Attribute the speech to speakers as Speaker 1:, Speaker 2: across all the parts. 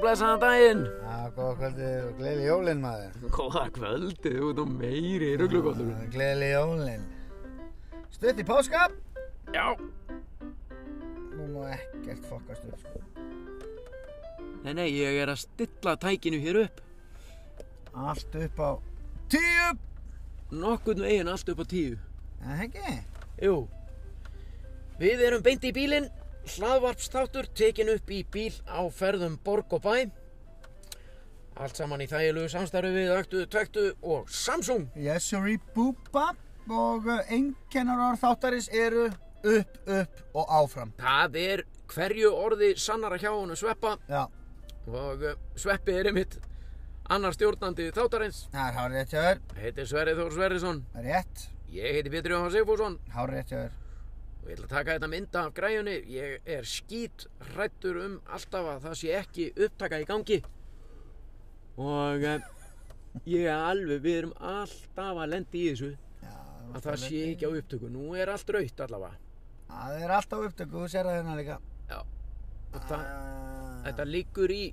Speaker 1: blessaðan daginn.
Speaker 2: Já, góða kvöldið og gleyli jólinn maður.
Speaker 1: Góða kvöldið, þú ert nú meiri í rugglugotlum.
Speaker 2: Gleyli jólinn. Stutt í páskap?
Speaker 1: Já.
Speaker 2: Nú má ekkert fokkast upp sko.
Speaker 1: Nei, nei, ég er að stilla tækinu hér upp.
Speaker 2: Allt upp á tíu!
Speaker 1: Nokkurn veginn allt upp á tíu.
Speaker 2: Það ekki?
Speaker 1: Jú. Við erum beint í bílinn. Hlaðvarpstáttur tekin upp í bíl á ferðum Borg og Bæ. Allt saman í þægilegu samstarfi við Öktu, Tvektu og Samsung.
Speaker 2: Yes, sorry, búba. Og einnkennarar þáttarins eru upp, upp og áfram.
Speaker 1: Það er hverju orði sannara hjá honum Sveppa
Speaker 2: Já,
Speaker 1: og eh, Sveppi er einmitt annar stjórnandi þáttarins.
Speaker 2: það er hárið eftir þér.
Speaker 1: Heiti Sverri Þór Sverrisson,
Speaker 2: Rétt,
Speaker 1: ég heiti Pétur Jóhann Sigfússon
Speaker 2: hárið eftir þér.
Speaker 1: og ég ætla að taka þetta mynda af græjunni. Ég er skýt hrættur um alltaf að það sé ekki upptaka í gangi og eh, ég er alveg, við erum alltaf að lendi í þessu
Speaker 2: Já,
Speaker 1: að það sé ekki á upptöku. Nú er allt raut allavega.
Speaker 2: Það er alltaf upptöku, þú sér það hérna líka.
Speaker 1: Já, og það,
Speaker 2: Ah.
Speaker 1: þetta liggur í,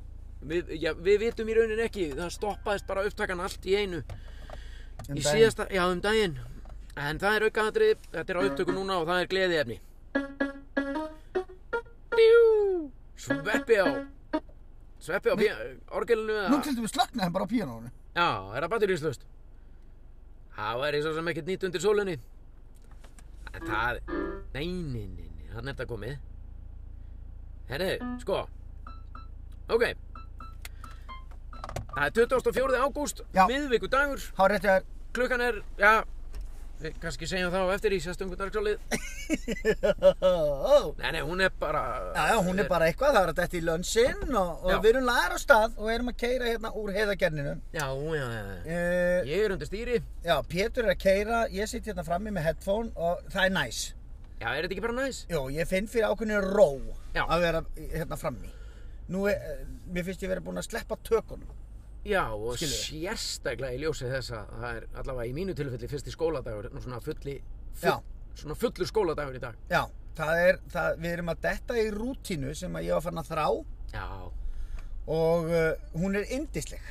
Speaker 1: við, já, við vitum í raunin ekki, það stoppaðist bara upptakan allt í einu.
Speaker 2: Um
Speaker 1: í
Speaker 2: daginn.
Speaker 1: síðasta, já um daginn en það er aukaðatrið, þetta er á upptöku núna og það er gleði efni Sveppi á Sveppi á pí- orgelinu
Speaker 2: Nú
Speaker 1: eða-
Speaker 2: til dæmis slöknaði hann bara á píanónu.
Speaker 1: Já, er það batteríslust Það væri svo sem ekkert nýtt undir sólunni En það Nei, nei, nei, nei, hann er þetta komið Herri, sko Ok Það er 24. ágúst
Speaker 2: Já.
Speaker 1: miðvikudagur
Speaker 2: Há rétti þér.
Speaker 1: klukkan er, já við kannski segjum það á eftir í sérstungu dagsálið nei, nei, hún er bara
Speaker 2: Já, já, hún er bara eitthvað, það er að detta í lönnsinn og,
Speaker 1: Eh. Já.
Speaker 2: og við erum lagar á stað og erum að keira hérna úr heiðagerninum.
Speaker 1: já, já, já,
Speaker 2: Uh,
Speaker 1: ég er undir stýri
Speaker 2: já, Pétur er að keira, ég sitt hérna frammi með headphone og það er næs.
Speaker 1: já, er þetta ekki bara næs?
Speaker 2: Jó, ég finn fyrir ákveðinu ró
Speaker 1: Já.
Speaker 2: að vera hérna frammi. Nú, er, mér finnst ég verið búinn að sleppa tökunum.
Speaker 1: já, og
Speaker 2: Skilur.
Speaker 1: sérstaklega í ljósi þess að það er allavega í mínu tilfelli fyrsti skóladagur nú svona fulli
Speaker 2: Já.
Speaker 1: svona fullur skóladagur í dag
Speaker 2: Já, það er, það, við erum að detta í rútínu sem að ég var fann að þrá
Speaker 1: já,
Speaker 2: og uh, hún er indisleg.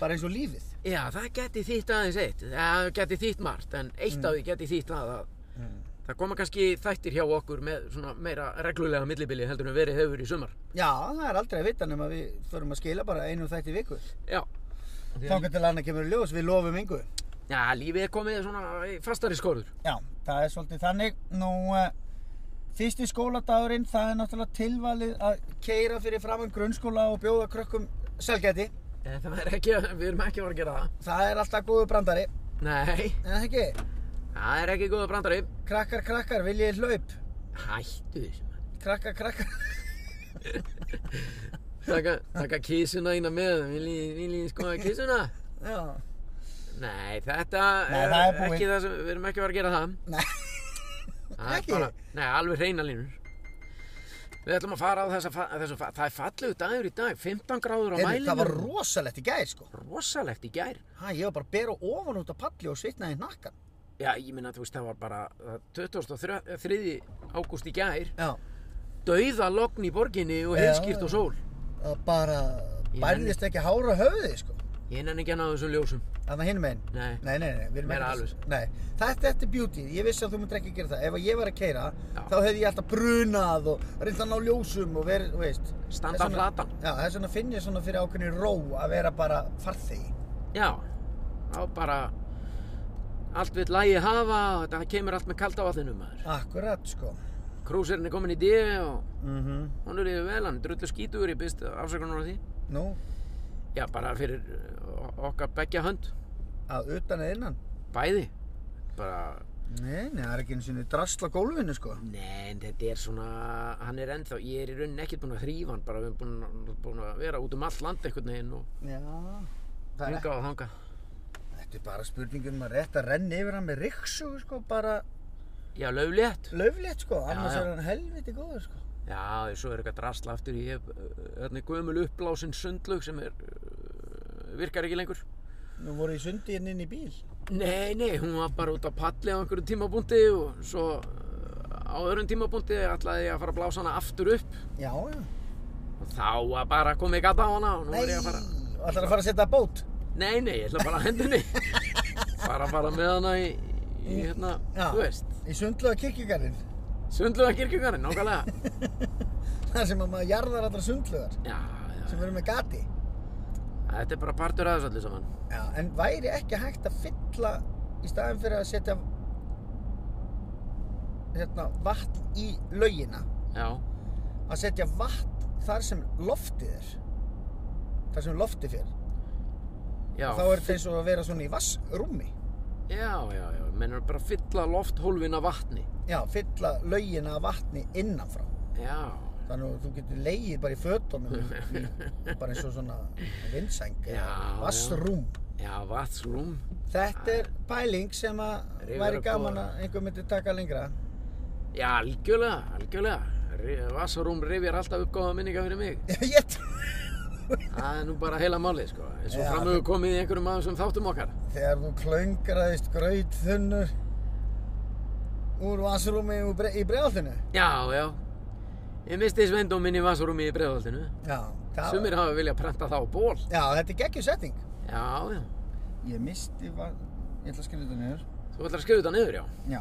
Speaker 2: Bara eins og lífið.
Speaker 1: já, það geti þýtt aðeins eitt það geti þýtt margt, en eitt
Speaker 2: Mm.
Speaker 1: af því geti þýtt það að Það koma kannski þættir hjá okkur með svona meira reglulega millibili heldur en verið hefur í sumar.
Speaker 2: Já, það er aldrei að vita nema við förum að skila bara einu þætti í viku.
Speaker 1: Já.
Speaker 2: Þangar til annað kemur í ljós, við lofum yngu.
Speaker 1: Já, lífið er komið svona í fastari skorður.
Speaker 2: Já, það er svolítið þannig. Nú, uh, fyrsti skóladagurinn, það er náttúrulega tilvalið að keira fyrir framann grunnskóla og bjóða krökkum selgæti.
Speaker 1: En Eh, það er ekki, við erum ekki að fara að gera það.
Speaker 2: Það er alltaf góðu brandari,
Speaker 1: Nei,
Speaker 2: en það ekki.
Speaker 1: það er ekki góða brandari.
Speaker 2: Krakkar, krakkar, viljið hlaup.
Speaker 1: Hættu þessu. maður.
Speaker 2: Krakkar, krakkar.
Speaker 1: Taka, taka kísuna ína með, viljið vilji skoða kísuna?
Speaker 2: Já.
Speaker 1: Nei, þetta
Speaker 2: Nei,
Speaker 1: er,
Speaker 2: það er búið.
Speaker 1: ekki það sem, við erum ekki að fara að gera það.
Speaker 2: Nei,
Speaker 1: Það er
Speaker 2: Ekki?
Speaker 1: bara, nei, alveg hreina línur. Við ætlum að fara á þessa, fa- þessu, fa- það er fallegu dagur í dag, 15 gráður á
Speaker 2: Heyrðu,
Speaker 1: mælinu.
Speaker 2: það var rosalegt í gæðir, sko.
Speaker 1: rosalegt í gær.
Speaker 2: Hæ, ég var bara að bera ofan út af palli og svitnaði í nakkan.
Speaker 1: Já, ég minna, þú veist, það var bara það- 23. ágúst í gær.
Speaker 2: Já.
Speaker 1: dauða logn í borginni og
Speaker 2: Já.
Speaker 1: heilskýrt og sól.
Speaker 2: Það bara
Speaker 1: Ég
Speaker 2: bærðist ekki hára höfuði, sko.
Speaker 1: Ég nenni ekki að ná þessum ljósum.
Speaker 2: Þannig að hinn meginn.
Speaker 1: Nei.
Speaker 2: Nei, nei, nei, við erum
Speaker 1: Meira sko.
Speaker 2: ekki Nei, þetta, þetta er beauty, ég vissi að þú myndir ekki gera það Ef að ég var að keira,
Speaker 1: Já.
Speaker 2: þá hefði ég alltaf brunað og reynd að ná ljósum og verið, þú veist
Speaker 1: Standa
Speaker 2: Þess vegna-
Speaker 1: flatan.
Speaker 2: Já, það er svona, finn ég svona fyrir ákveðni ró að vera bara farþegi
Speaker 1: Já, þá bara allt við lægi hafa og þetta kemur allt með kalda vatninu maður.
Speaker 2: Akkurat, sko
Speaker 1: Krúsirinn er komin í D og
Speaker 2: mm
Speaker 1: hún er yfir vel, hann er drullu skítugur, ég byrst afsökunar á því.
Speaker 2: Nú,
Speaker 1: Já, bara fyrir uh, okkar begja hönd,
Speaker 2: að utan eða innan
Speaker 1: bæði. Bara,
Speaker 2: Nei, nei, það er ekki einu sinni drasla gólfinu, sko
Speaker 1: nei, en þetta er svona, hann er ennþá, ég er í rauninni ekkert búinn að þrýfa hann, bara við erum búin að, búin að vera út um allt land einhvern veginn og
Speaker 2: Já Það er,
Speaker 1: hringa og þanga.
Speaker 2: þetta er bara spurningum að rétt að renna yfir hann með ryksugu, sko, bara
Speaker 1: Já, löflétt.
Speaker 2: löflétt, sko, annars
Speaker 1: já.
Speaker 2: er hann helviti góður, sko
Speaker 1: Já, svo er eitthvað drasla aftur í hérna gömul uppblásin sundlög sem er, uh, virkar ekki lengur.
Speaker 2: Nú voru í sundi hérna inn í bíl
Speaker 1: Nei, nei, hún var bara út á palli á einhverjum tímabúndi og svo eh, uh, á öðrum tímabúndi ætlaði ég að fara að blása hana aftur upp
Speaker 2: Já, já
Speaker 1: Og þá að bara komið gata á hana og nú er ég að fara...
Speaker 2: ætlar að fara að setja bót?
Speaker 1: Nei, nei, ég ætla bara að henda henni. bara bara með hana í, í hérna,
Speaker 2: Já.
Speaker 1: þú veist,
Speaker 2: Í sundluða kirkjugarðin,
Speaker 1: sundluða kirkjögarinn, nákvæmlega.
Speaker 2: þar sem að maður jarðar allra sundluðar
Speaker 1: Já, já,
Speaker 2: sem eru með gati.
Speaker 1: þetta er bara partur af þessu allir saman.
Speaker 2: Já, en væri ekki hægt að fylla í staðin fyrir að setja hérna, vatn í laugina
Speaker 1: Já,
Speaker 2: að setja vatn þar sem loftið er þar sem loftið fyrir
Speaker 1: já,
Speaker 2: þá er þetta eins og að vera svona í vassrúmi
Speaker 1: já, já, já, mennur bara að fylla lofthólfin af vatni.
Speaker 2: já, fylla laugina af vatni innanfrá
Speaker 1: Já,
Speaker 2: þannig að þú getur leigið bara í fötunum í, bara eins og svona vinsæng
Speaker 1: Já, já.
Speaker 2: vassrúm
Speaker 1: já, vatsrúm.
Speaker 2: þetta er pæling sem að
Speaker 1: Rífur
Speaker 2: væri
Speaker 1: upp
Speaker 2: gaman
Speaker 1: og-
Speaker 2: að einhver myndi taka lengra
Speaker 1: Já, algjörlega, algjörlega. Vatsrúm rifjar alltaf upp góða minninga fyrir mig.
Speaker 2: ég trú-
Speaker 1: Það er nú bara heila málið, sko. En svo
Speaker 2: Já,
Speaker 1: framöfu komið í einhverjum af þessum þáttum okkar.
Speaker 2: þegar þú klöngraðist gröyt þunnur úr vassrúmi úr bre- í bregðaltinu
Speaker 1: Já, já. Ég misti sveindóminn í vasarúmi í bregðaldinu.
Speaker 2: já, það-
Speaker 1: Sumir hafa viljað prenta það á ból.
Speaker 2: já, þetta er geggjum setting
Speaker 1: Já, já.
Speaker 2: ég misti var... ég ætla að skilja þetta niður
Speaker 1: Þú ætlar að skrifa þetta niður, já.
Speaker 2: Já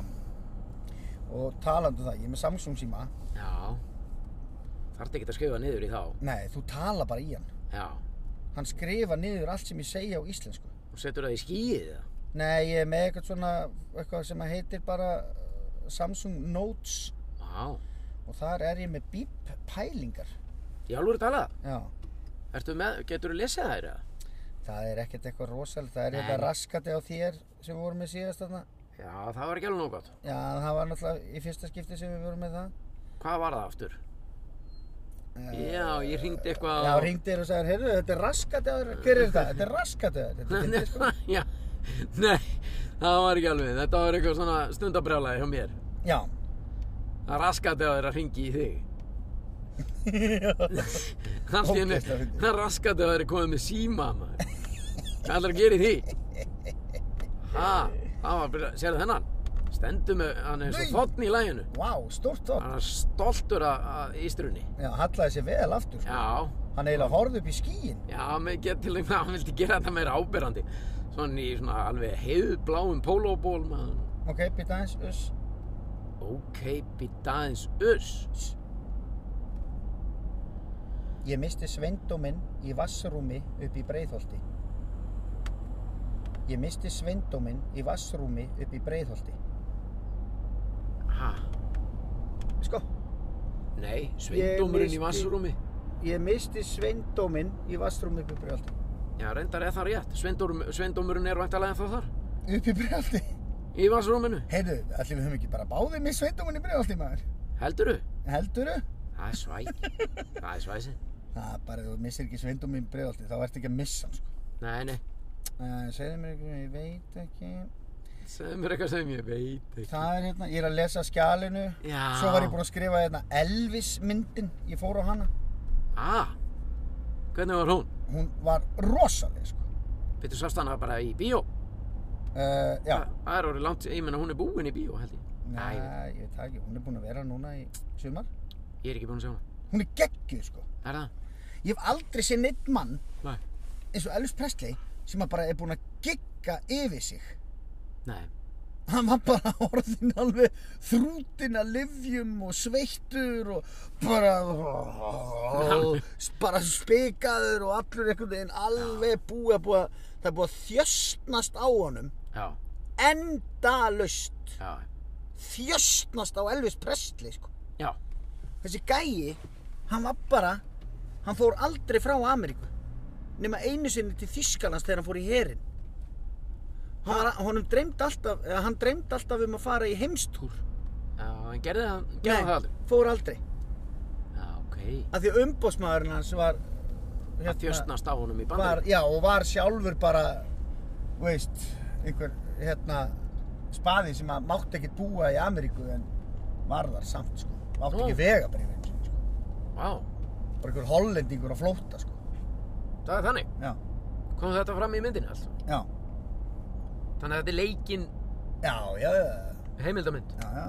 Speaker 2: Og talandi um það, ég er með Samsung síma
Speaker 1: Já. Þarfti ekki að skrifa niður í þá.
Speaker 2: Nei, þú tala bara í hann
Speaker 1: Já.
Speaker 2: Hann skrifa niður allt sem ég segja á íslensku
Speaker 1: Og setur það í skíið, það.
Speaker 2: Nei, ég er með eitthvað svona eitthvað sem að heitir bara uh, Samsung Notes
Speaker 1: Já.
Speaker 2: og þar er ég með bíp pælingar
Speaker 1: Í alvöru talað.
Speaker 2: Já,
Speaker 1: Ertu með, getur þú lesið þær, eða?
Speaker 2: það er ekkert eitthvað rosalega það er
Speaker 1: Nei.
Speaker 2: eitthvað raskati á þér sem við vorum með síðast þarna
Speaker 1: Já, það var ekki alveg nóg gott.
Speaker 2: Já, það var náttúrulega í fyrsta skipti sem við vorum með það
Speaker 1: Hvað var það aftur?
Speaker 2: Eh,
Speaker 1: Já, ég hringdi eitthvað
Speaker 2: Já,
Speaker 1: á-
Speaker 2: ringdi þér og sagði, heyrðu, þetta er raskati á þér Hver er þetta? Þetta er raskati á þér Þetta er fyndið, sko.
Speaker 1: Já. Nei, það var ekki alveg. Þetta var eitthvað svona stundabrjálæði hjá mér.
Speaker 2: Já,
Speaker 1: Það raskati á þér að ringi í þig. Allt í henni,
Speaker 2: Ógeðslega fyndið.
Speaker 1: það raskati á þér að komið með síma, maður. Hvað ætlar að gera í því? Ha, það var bara, sérðu þennan? Stendur með, hann er svo
Speaker 2: Nei.
Speaker 1: þotn í læginu.
Speaker 2: Vá, stórt þótt.
Speaker 1: Hann er stoltur að, að ístrunni.
Speaker 2: Já, hallaði sér vel aftur. sko.
Speaker 1: Já,
Speaker 2: Hann eiginlega horfði upp í skíin.
Speaker 1: já, með get til einhvern hann vildi gera þetta meira áberandi. Svona í svona alveg heiðbláum pólóból, maður.
Speaker 2: Ok, býta eins, uss.
Speaker 1: Ok, býta aðeins uss.
Speaker 2: Ég misti sveindóminn í vassrúmi upp í Breiðholti. Ég misti sveindóminn í vassrúmi upp í Breiðholti.
Speaker 1: Ha,
Speaker 2: Sko,
Speaker 1: nei, sveindómurinn
Speaker 2: misti-
Speaker 1: í vassrúmi.
Speaker 2: ég misti sveindóminn í vassrúmi upp í Breiðholti.
Speaker 1: Já, reyndar er það rétt. Sveindórum, sveindómurinn er vantalega ennþá þar.
Speaker 2: Upp í Breiðholti?
Speaker 1: Í vassrúminu.
Speaker 2: Heyrðu, allir við höfum ekki bara báðið mist sveindóminn í Breiðholti, maður.
Speaker 1: Heldurðu?
Speaker 2: Heldurðu?
Speaker 1: Það er svæk. Það er svæsinn.
Speaker 2: Það er bara, ef þú missir ekki sveindóminn í Breiðholti, þá ert ekki að missa hann, sko.
Speaker 1: Nei, nei.
Speaker 2: Uh, segðu mér ekki, ég veit ekki.
Speaker 1: Segðu mér eitthvað sem ég veit ekki.
Speaker 2: Það er hérna, ég er að lesa skjalinu
Speaker 1: Já.
Speaker 2: Svo var ég búinn að skrifa hérna Elvis myndin Ég fór á hana
Speaker 1: Ah, hvernig var hún?
Speaker 2: Hún var rosaleg sko
Speaker 1: Betur sást hana bara í bíó.
Speaker 2: uh, Já
Speaker 1: Það- Það er orðið langt, ég menna hún er búin í bíó held ég.
Speaker 2: Nei, ég veit það ekki Hún er búin að vera núna í sumar
Speaker 1: Ég er ekki búin að sjá hana.
Speaker 2: Hún er geggjuð sko
Speaker 1: Er það?
Speaker 2: Ég hef aldrei séð neitt mann
Speaker 1: Nei.
Speaker 2: eins og Elvis Presley sem að bara er búinn að gigga yfir sig
Speaker 1: Nei.
Speaker 2: Hann var bara orðinn alveg þrútinn að livjum og sveittur og bara, bara spikaður og allur einhvern veginn alveg búið að búið að það er búið að þjöstnast á honum
Speaker 1: Já,
Speaker 2: endalaust
Speaker 1: já,
Speaker 2: þjöstnast á Elvis Presley sko.
Speaker 1: já.
Speaker 2: Þessi gæi, hann var bara, hann fór aldrei frá Ameríku nema einu sinni til Þýskalands þegar hann fór í herin. Hann var, honum dreymd alltaf, eða hann dreymd alltaf um að fara í heimstúr.
Speaker 1: Já, en gerði það, gerði það aldrei.
Speaker 2: fór aldrei.
Speaker 1: Já, ok.
Speaker 2: Af því að umbósmaðurinn hans var, hérna,
Speaker 1: Það þjöstnast á honum í
Speaker 2: var,
Speaker 1: bandar.
Speaker 2: já, og var sjálfur bara, þú veist, einhver, hérna, spaði sem að mátti ekkert búa í Ameríku en var þar samt, sko. Mátti
Speaker 1: Nú.
Speaker 2: ekki vega bara yfir, sko.
Speaker 1: Vá,
Speaker 2: Bara einhver hollendingur á flóta, sko.
Speaker 1: það er þannig.
Speaker 2: Já,
Speaker 1: Kom þetta fram í myndinni allt.
Speaker 2: já,
Speaker 1: Þannig að þetta er leikinn
Speaker 2: já, já, já.
Speaker 1: heimildamynd.
Speaker 2: Já, já.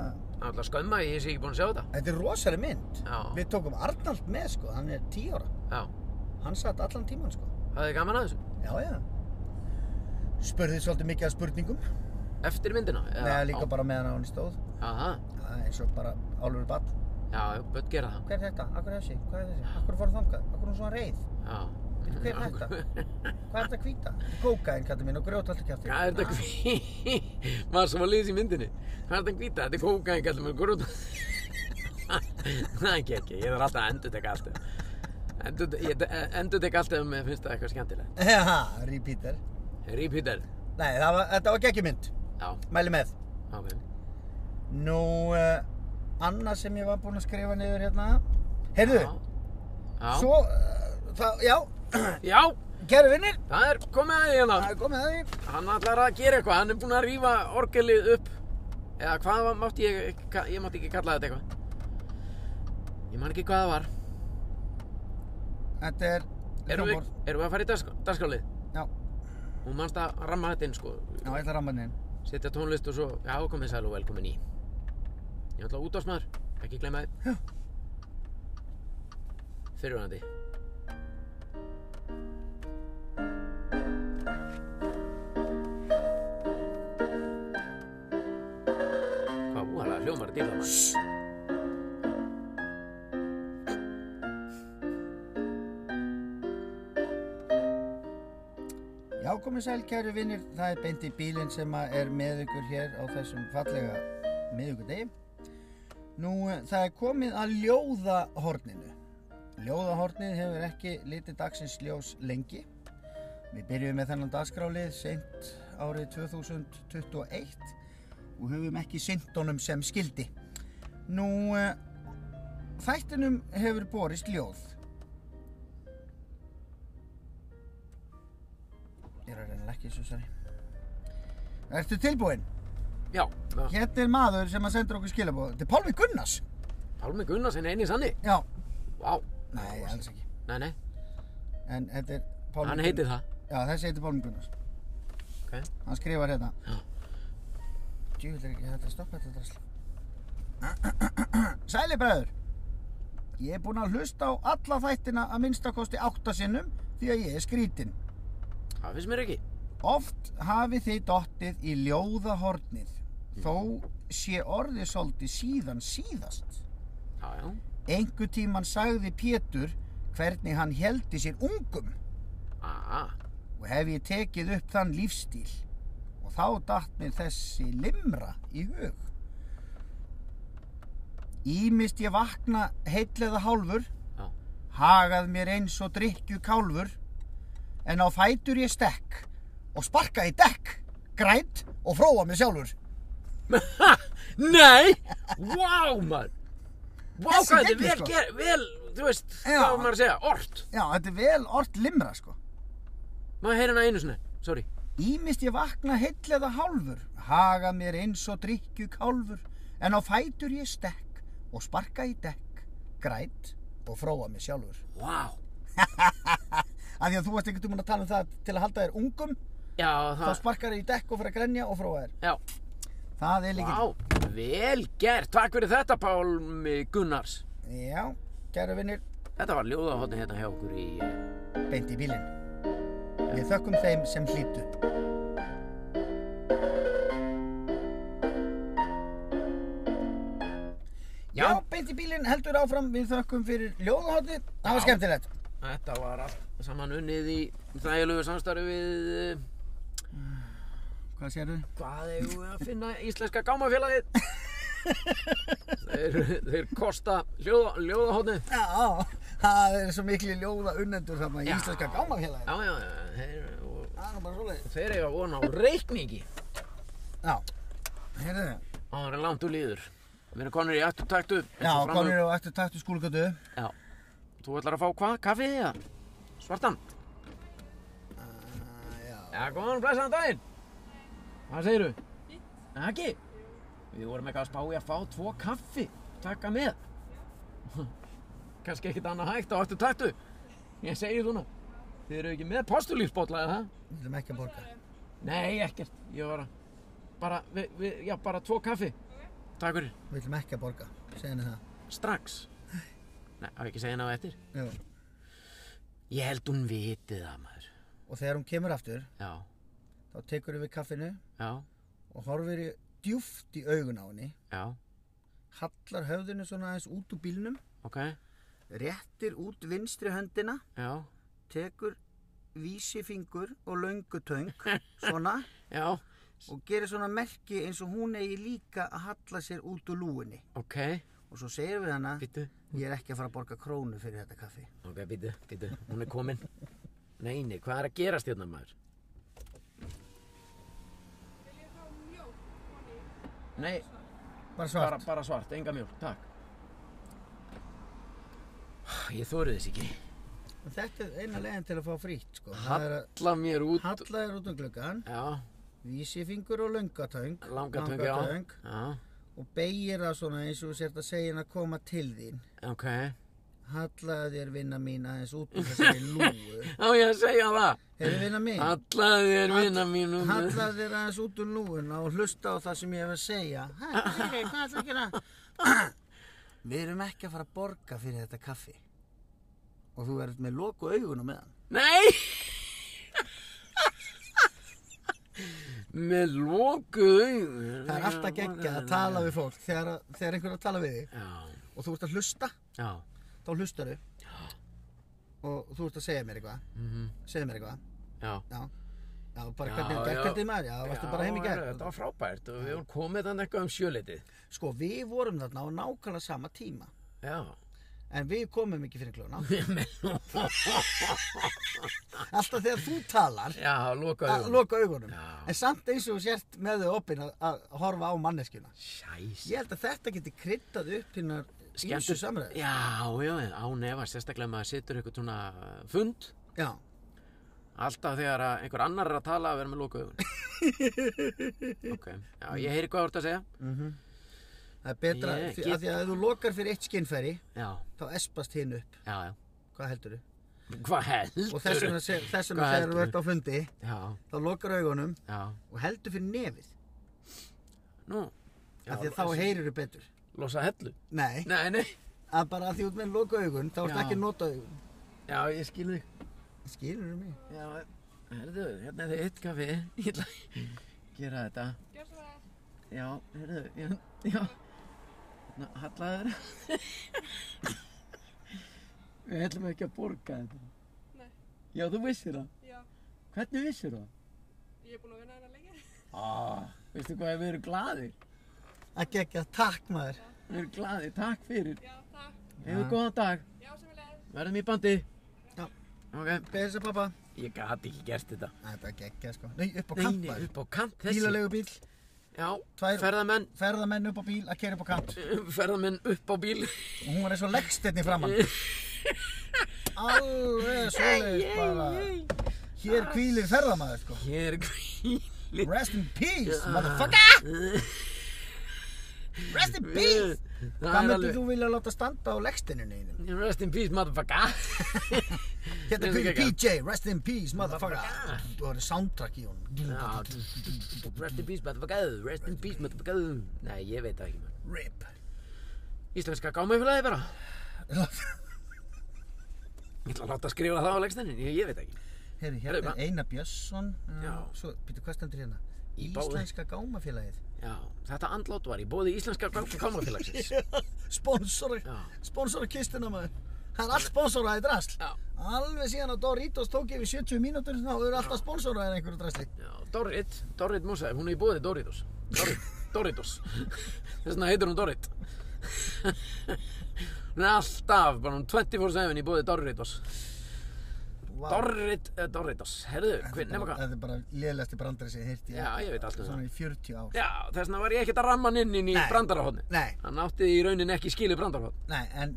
Speaker 1: Alltaf skömma ég sé ekki búin að sjá þetta.
Speaker 2: Þetta er rosaleg mynd.
Speaker 1: Já,
Speaker 2: Við tókum Arnald með sko, hann er 10 ára.
Speaker 1: já.
Speaker 2: Hann satt allan tíman sko.
Speaker 1: Það er gaman að þessu.
Speaker 2: Já, já. Spurðið svolítið mikið af spurningum.
Speaker 1: Eftir myndina? eða
Speaker 2: Nei,
Speaker 1: á-
Speaker 2: líka bara meðan á henni stóð.
Speaker 1: Já, það.
Speaker 2: Það er eins og bara álfur barn.
Speaker 1: Já, já, börn gera það.
Speaker 2: Hver er þetta? Akkur er þessi? Hvað er þessi? Akkur fór þangað? Akkur er hún svona reið?
Speaker 1: Já.
Speaker 2: Bíddu, hver er þetta? Hvað er þetta að hvíta? Kókaðin kallar mín og grjót alltaf kjátti.
Speaker 1: Hvað er þetta hví? Maður sem var liðs í myndinni. Hvað er þetta hvíta? Þetta er kókaðin, kallar mér grút. Nei, ekki, ekki. Ég þarf alltaf að endur teka allt. um- Endur teka allt ef mér finnst það eitthvað skemmtilegt.
Speaker 2: Já, repeater.
Speaker 1: Repeater.
Speaker 2: Nei, það var, þetta var geggjumynd.
Speaker 1: Já,
Speaker 2: Mæli með.
Speaker 1: ok.
Speaker 2: Nú, uh, annað sem ég var búinn að skrifa niður hérna. Heyrðu,
Speaker 1: Já. Já.
Speaker 2: svo, uh, það, já,
Speaker 1: Já,
Speaker 2: kæru vinnir,
Speaker 1: það er komið að því hérna.
Speaker 2: það er komið að því.
Speaker 1: Hann ætlar að gera eitthvað. Hann er búinn að rífa orgelið upp. Eða hvað var- mátti ég, ég mátti ekki kalla þetta eitthvað. Ég man ekki hvað það var.
Speaker 2: Þetta er
Speaker 1: Erum við,
Speaker 2: hljómborð.
Speaker 1: erum við að fara í dags- dagskrálið?
Speaker 2: Já,
Speaker 1: Hún manst að ramma þetta inn sko,
Speaker 2: já, ég ætla að ramma hann inn.
Speaker 1: setja tónlist og svo, já komið sæl og velkomin í. Ég ætla útásmaður, ekki glemma þið.
Speaker 2: Já.
Speaker 1: Fyrirvænandi. Hvað úalega hljómar þetta í það maður?
Speaker 2: Já, komið sæl, kæru vinnir, það er beint í bílinn sem að er með ykkur hér á þessum fallega miðugudegi. Nú, eh, það er komið að ljóðahorninu. Ljóðahornið hefur ekki litið dagsins ljós lengi. Við byrjuðum með þennan dagskrálið seint árið 2021 og höfum ekki sinnt honum sem skildi. Nú, eh, þættinum hefur borist ljóð. Ég er að reyna ekki svo sari. Ertu tilbúinn?
Speaker 1: Já, já.
Speaker 2: Hérna er maður sem að sendur okkur skilabóð. Þetta er Pálmi Gunnars.
Speaker 1: Pálmi Gunnarsen eini sanni.
Speaker 2: Já.
Speaker 1: Vá,
Speaker 2: Nei, alls ekki.
Speaker 1: nei, nei,
Speaker 2: En þetta er Pálmi
Speaker 1: hann heitir það.
Speaker 2: Já, þessi heitir Pálmi Gunnars.
Speaker 1: Ok.
Speaker 2: Hann skrifar hérna.
Speaker 1: Já.
Speaker 2: Djúvill er ekki hægt að stoppa þetta drasl. Sæli bræður. Ég er búinn að hlusta á alla þættina að minnstakosti áttasinnum því að ég er skrítinn.
Speaker 1: Það finnst mér ekki.
Speaker 2: Oft hafið þið dottið í ljóðahornið, þó sé orðið svolítið síðan síðast.
Speaker 1: Já, já,
Speaker 2: Engu tíman sagði Pétur hvernig hann heldi sér ungum
Speaker 1: aða,
Speaker 2: og hef ég tekið upp þann lífstíl og þá datt mér þessi limra í hug. Ímist ég vakna heill eða hálfur,
Speaker 1: já,
Speaker 2: hagað mér eins og drykju kálfur, en á fætur ég stekk og sparka í dekk, grænt og fróa mig sjálfur.
Speaker 1: Ha! Nei! Vá, maður! Vá,
Speaker 2: Þessi
Speaker 1: hvað þetta er
Speaker 2: geggjuð,
Speaker 1: vel,
Speaker 2: sko.
Speaker 1: ger, vel, þú veist,
Speaker 2: Já.
Speaker 1: hvað á maður að segja, ort.
Speaker 2: Já, þetta er vel orð limra sko.
Speaker 1: Maður heyrir hana einu sinni, sorry.
Speaker 2: Ímist ég vakna heill eða hálfur, hagað mér eins og drykju kálfur, en á fætur ég stekk og sparka í dekk, grænt og fróa mig sjálfur.
Speaker 1: Vá.
Speaker 2: Af því að þú varst einhvern veginn að tala um það til að halda þér ungum,
Speaker 1: Já,
Speaker 2: þá
Speaker 1: það,
Speaker 2: sparkar þér í dekk og fyrir að grenja og fróa þér.
Speaker 1: já,
Speaker 2: Það er líka...
Speaker 1: vá, vel gert. Takk fyrir þetta, Pálmi Gunnars.
Speaker 2: Já, kæra vinnir,
Speaker 1: Þetta var ljóðahotni hérna hjá okkur í... eh,
Speaker 2: beint í bílinn. Við þökkum þeim sem hlýtu. Já,
Speaker 1: Já,
Speaker 2: beint í bílinn heldur áfram, við þökkum fyrir ljóðahotni, það var skemmtilegt.
Speaker 1: þetta var allt saman unnið í þægilegu samstarfi við... eh,
Speaker 2: Hvað sérðu?
Speaker 1: Hvað eigum við að finna íslenska gámafélagið? þeir, þeir kosta ljóða, ljóðahotni.
Speaker 2: Já, það er svo miklu ljóða unnendur þarna í
Speaker 1: Já.
Speaker 2: Íslenska gámafélagi.
Speaker 1: Já, já, já, þeir... Og,
Speaker 2: Það er nú bara svoleiðis.
Speaker 1: Þeir eiga von á reikningi
Speaker 2: Já, heyrðu þið.
Speaker 1: á það er langt úr líður. Við erum konur í aftur taktu.
Speaker 2: Já, konur og eftir taktu skúlgötu.
Speaker 1: Já. Þú ætlar að fá hvað? Kaffið eða? Svartan?
Speaker 2: Ah, Já.
Speaker 1: Já, góðan og blæsaðan daginn. Hvað segiru? Fínt. Ekki? Við vorum eitthvað að spá í að fá tvo kaffi. Takka með. Kanski ekkit annað hægt á aftur taktu. Ég segi svona. Þið eru ekki með postulífsbótla eða það?
Speaker 2: Við viljum ekki að borga.
Speaker 1: Nei, ekkert. Ég var að... Bara, við, við, já, bara tvo kaffi. takk fyrir,
Speaker 2: Við viljum ekki að borga, segja henni það.
Speaker 1: strax Nei, á ekki að segja henni á eftir
Speaker 2: Jú.
Speaker 1: Ég held hún vitið það maður
Speaker 2: Og þegar hún kemur aftur,
Speaker 1: Já,
Speaker 2: þá tekur við kaffinu
Speaker 1: já,
Speaker 2: og horfir í djúft í augun á henni,
Speaker 1: já,
Speaker 2: hallar höfðinu svona aðeins út úr bílnum,
Speaker 1: ok,
Speaker 2: réttir út vinstri höndina,
Speaker 1: já,
Speaker 2: tekur vísifingur og löngutöng, svona,
Speaker 1: já,
Speaker 2: og gerir svona merki eins og hún eigi líka að halla sér út úr lúinni.
Speaker 1: ok,
Speaker 2: Og svo segir við hana,
Speaker 1: býttu
Speaker 2: ég er ekki að fara að borga krónu fyrir þetta kaffi.
Speaker 1: Ok, býttu, býttu, hún er komin Nei, nei, hvað er að gerast hérna maður? Nei,
Speaker 2: Bara
Speaker 1: bara, bara svart, enga mjólk, takk Ég þorið þess ekki
Speaker 2: Þetta er eina leiðin til að fá frýtt, sko. Það er að
Speaker 1: Halla mér út
Speaker 2: halla þér út um gluggan,
Speaker 1: Já,
Speaker 2: vísifingur og löngatöng.
Speaker 1: langatöng, já Já,
Speaker 2: Og beigir það svona eins og þú sért að segja henn að koma til þín.
Speaker 1: ok
Speaker 2: Hallaði þér vinna mín aðeins út úr þessari lúu.
Speaker 1: Á ég að segja það
Speaker 2: Hefur vinna mín?
Speaker 1: Hallaði þér vinna mín um
Speaker 2: Hallaði þér aðeins út úr lúuna og hlusta á það sem ég hef að segja. Hæ, hey, hvað ætlaðu að gera? Við erum ekki að fara að borga fyrir þetta kaffi. Og þú verður með loku augunum með hann.
Speaker 1: Nei Með loku
Speaker 2: Það er alltaf geggja að tala við fólk þegar, þegar einhver er að tala við þig
Speaker 1: Já,
Speaker 2: og þú ert að hlusta,
Speaker 1: já,
Speaker 2: þá hlustar þau og þú ert að segja mér eitthvað,
Speaker 1: mhm,
Speaker 2: segja mér eitthvað,
Speaker 1: já
Speaker 2: já, já, bara
Speaker 1: Já,
Speaker 2: hvernig
Speaker 1: já.
Speaker 2: gekk þetta í maður, já, það varstu bara heim í
Speaker 1: Já,
Speaker 2: gær.
Speaker 1: Þetta var frábært og við vorum komið þannig eitthvað um sjöleitið
Speaker 2: Sko, við vorum þarna á nákvæmlega sama tíma,
Speaker 1: Já
Speaker 2: en við komum ekki fyrir kljóna. Alltaf þegar þú talar,
Speaker 1: Já, loka
Speaker 2: að loka augunum,
Speaker 1: Já.
Speaker 2: en samt eins og þú sért með þau opinn að, að horfa á manneskjuna.
Speaker 1: Sjæs
Speaker 2: Ég held að þetta geti kryddað upp hinnar ímsu samræði.
Speaker 1: Já, já, án efa, sérstaklega ef maður situr eitthvað svona uh, fund
Speaker 2: Já,
Speaker 1: Alltaf þegar að einhver annar er að tala að vera með loka augun Ok, já, ég heyri hvað þú ert að segja
Speaker 2: það er betra,
Speaker 1: Ég
Speaker 2: fyrir,
Speaker 1: get-
Speaker 2: af því að ef þú lokar fyrir eitt skinnfæri,
Speaker 1: Já,
Speaker 2: þá espast hinn upp
Speaker 1: já, já
Speaker 2: hvað heldur
Speaker 1: Hvað heldur?
Speaker 2: og þess vegna se- þess vegna
Speaker 1: Hvað
Speaker 2: þegar þú
Speaker 1: heldurðu?
Speaker 2: ert á fundi
Speaker 1: Já,
Speaker 2: þá lokar augunum
Speaker 1: já,
Speaker 2: og heldur fyrir nefið
Speaker 1: nú já,
Speaker 2: af því að þá
Speaker 1: losa-
Speaker 2: heyrir þú betur
Speaker 1: Losa hellu
Speaker 2: nei,
Speaker 1: Nei, nei
Speaker 2: að bara af því út með loka augun þá ert
Speaker 1: Já.
Speaker 2: ekki að nota augun
Speaker 1: Já, ég skil þig
Speaker 2: skilur þú mig
Speaker 1: Já, herðu, hérna er þið eitt kaffi Ég ætla að gera þetta
Speaker 3: Gjörðu svo vel.
Speaker 1: Já, herðu, já, já Hérna, hallaður Við ætlum ekki að borga þetta
Speaker 3: Nei.
Speaker 1: Já, þú vissir það
Speaker 3: Já,
Speaker 1: Hvernig vissir það?
Speaker 3: ég er búin að vinna hérna lengi.
Speaker 1: Ah, veistu hvað, við erum glaðir
Speaker 2: að gegja takk maður
Speaker 1: Við erum glaðir, takk fyrir
Speaker 3: Já, takk.
Speaker 1: Hefur góðan dag,
Speaker 3: Já, sem við leiðis.
Speaker 1: verðum í bandi
Speaker 2: Já.
Speaker 1: Ok,
Speaker 2: beðið þess að pappa
Speaker 1: ég gat ekki gert þetta
Speaker 2: þetta er gegja sko nei, upp á kant
Speaker 1: Nei, nei,
Speaker 2: maður
Speaker 1: upp á kant þessi
Speaker 2: bílalegu bíl
Speaker 1: Já,
Speaker 2: Tvær-
Speaker 1: ferðamenn,
Speaker 2: ferðamenn upp á bíl að kera upp á kant
Speaker 1: ferðamenn upp á bíl
Speaker 2: og hún var eins og leggstinn í framann alveg svoleiðis bara hér hvílir ferðamaður sko
Speaker 1: Hér er kvíli
Speaker 2: Rest in peace, motherfucker Rest in peace Hvað
Speaker 1: Það er
Speaker 2: myndir
Speaker 1: alveg
Speaker 2: þú vilja láta standa á legstinu neynu?
Speaker 1: Rest in peace, motherfucker
Speaker 2: Hérna
Speaker 1: Nei,
Speaker 2: fyrir
Speaker 1: ekki.
Speaker 2: PJ, rest in peace, motherfucker
Speaker 1: Motherfucker.
Speaker 2: Þú voru soundtrack í
Speaker 1: Já,
Speaker 2: honum
Speaker 1: Rest in peace, motherfucker Rest in peace, motherfucker Nei, ég veit það ekki man.
Speaker 2: Rip
Speaker 1: Íslenska gámafélagi bara Ég ætla að láta að skrifa það á leggstænin Ég, ég veit það ekki
Speaker 2: Herri,
Speaker 1: Herri,
Speaker 2: hérna
Speaker 1: hvað?
Speaker 2: er Einar Björnsson uh,
Speaker 1: Já.
Speaker 2: Svo, býttu, hvað stendur hérna?
Speaker 1: Í báði.
Speaker 2: Íslenska gámafélagið
Speaker 1: Já, þetta andlát var í bóði Íslenska gámafélagsins
Speaker 2: Sponsor,
Speaker 1: Já.
Speaker 2: sponsor kistuna maður Það er allt sponsoraði drasl
Speaker 1: Já.
Speaker 2: Alveg síðan að Doritos tók yfir 70 mínútur þá eru alltaf sponsoraðir einhverju drasli
Speaker 1: Já, Dorrit, Dorrit Musa, hún er í bóði Doritos Dorrit, Doritos Þess vegna heitir hún Dorrit Hún er alltaf, bara hún 24-7 í bóði Doritos
Speaker 2: Vá.
Speaker 1: Dorrit, eh, Doritos, herðu, hvern, nema hvað
Speaker 2: Þetta er bara lélægasti brandari sem ég heyrti
Speaker 1: Já, ég veit allt um
Speaker 2: Svona í 40 ár
Speaker 1: Já, þess vegna var ég ekkert að ramma hann inn, inn í
Speaker 2: Nei.
Speaker 1: brandarahotni
Speaker 2: Nei,
Speaker 1: Hann átti í rauninni ekki skilið brandarahotn
Speaker 2: nei, en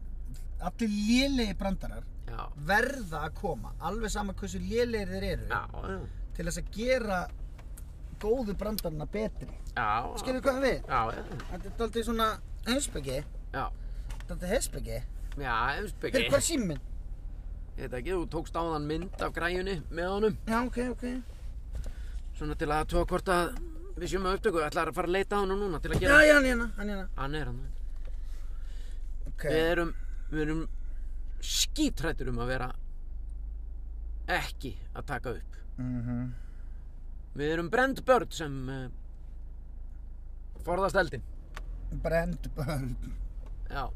Speaker 2: allir lélegi brandarar
Speaker 1: Já,
Speaker 2: verða að koma alveg sama hversu lélegir þeir eru
Speaker 1: já, já,
Speaker 2: til þess að gera góðu brandarana betri
Speaker 1: já
Speaker 2: Skilur hvað við?
Speaker 1: Já, já,
Speaker 2: Þetta er aldrei svona heimsbyggi
Speaker 1: já,
Speaker 2: Þetta er heimsbyggi
Speaker 1: já, heimsbyggi
Speaker 2: Hver, hvað er síminn?
Speaker 1: Þetta ekki, þú tókst á þann mynd af græjunni með honum
Speaker 2: Já, ok, ok
Speaker 1: Svona til að tóa hvort að við séum að upptöku, ætlar að fara að leita að honum núna til að
Speaker 2: Já,
Speaker 1: gera
Speaker 2: já, hann er hérna, hann er hérna.
Speaker 1: Hann er hann
Speaker 2: Ok.
Speaker 1: Við erum, við erum skítrættur um að vera ekki að taka upp
Speaker 2: Mhm.
Speaker 1: Við erum brend börn sem uh, forðast eldin
Speaker 2: Brend börn.
Speaker 1: Já,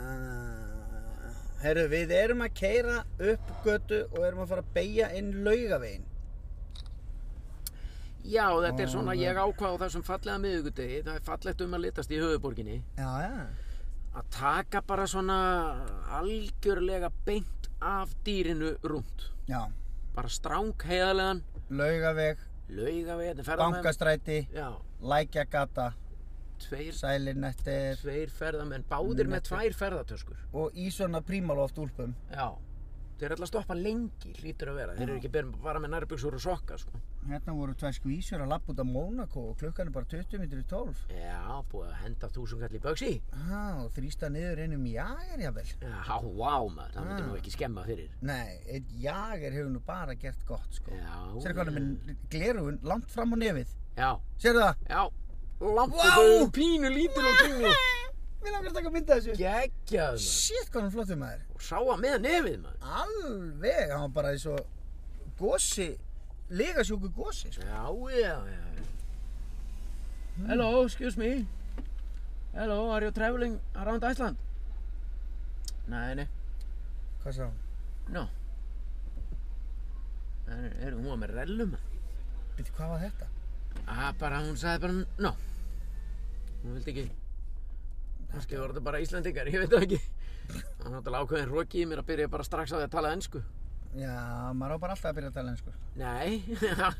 Speaker 2: Uh, herru, við erum að keira upp götu og erum að fara að beigja inn laugavegin.
Speaker 1: Já þetta er
Speaker 2: Ó,
Speaker 1: svona,
Speaker 2: nei.
Speaker 1: ég ákvað á þessum fallega miðugudegi Það er fallegt um að litast í höfuborginni
Speaker 2: Já, já.
Speaker 1: Að taka bara svona algjörlega beint af dýrinu rúmt
Speaker 2: Já,
Speaker 1: Bara stráng heiðarlegan,
Speaker 2: laugaveg,
Speaker 1: lauga við þetta ferðamenn
Speaker 2: bankastræti,
Speaker 1: Já,
Speaker 2: lækjagata,
Speaker 1: tveir,
Speaker 2: sælinettir
Speaker 1: tveir ferðamenn, báðir með
Speaker 2: Nettir.
Speaker 1: tvær ferðatöskur
Speaker 2: og í svona prímaloft úlpum.
Speaker 1: Já, þeir eru alltaf að stoppa lengi, hlýtur að vera Þeir eru ekki bara- bara með nærbuxur og sokka, sko
Speaker 2: Hérna voru tvær skvísur að lappa út af Mónaco og klukkan er bara 20 minnir í 12.
Speaker 1: Já, búið að henda þúsungall í bögsi
Speaker 2: Há, þrýsta niður einum jager jafnvel.
Speaker 1: Já, vá maður, það myndi
Speaker 2: Ah.
Speaker 1: nú ekki skemma fyrir
Speaker 2: Nei, einn jager hefur nú bara gert gott sko.
Speaker 1: Já,
Speaker 2: Sér hvað hann er
Speaker 1: já.
Speaker 2: með glerugun langt fram á nefið.
Speaker 1: Já,
Speaker 2: Sérðu það?
Speaker 1: já, langt
Speaker 2: Vá!
Speaker 1: og bauður pínu lítil og kringlu
Speaker 2: Mér langar að taka mynda þessu.
Speaker 1: Gekkjað maður,
Speaker 2: Shit, hvað hann er flottur maður.
Speaker 1: og sá að með nefið maður
Speaker 2: Alveg, hann var bara eins og gósi, legasjúku gósi sko.
Speaker 1: Já, já, já Hello, excuse me Hello, are you traveling around Iceland? Nei, nei
Speaker 2: Hvað sá hann?
Speaker 1: No. Það er, er hún var með rellum.
Speaker 2: Býtti, hvað var þetta?
Speaker 1: Að bara, hún sagði bara, no. Hún vildi ekki. Kannski voru þetta bara Íslandingar, ég veit það ekki. Það er náttúrulega ákveðin roki í mér að byrja bara strax á því að tala ennsku.
Speaker 2: Já, maður á bara alltaf að byrja að tala enn sko.
Speaker 1: Nei.
Speaker 2: alla.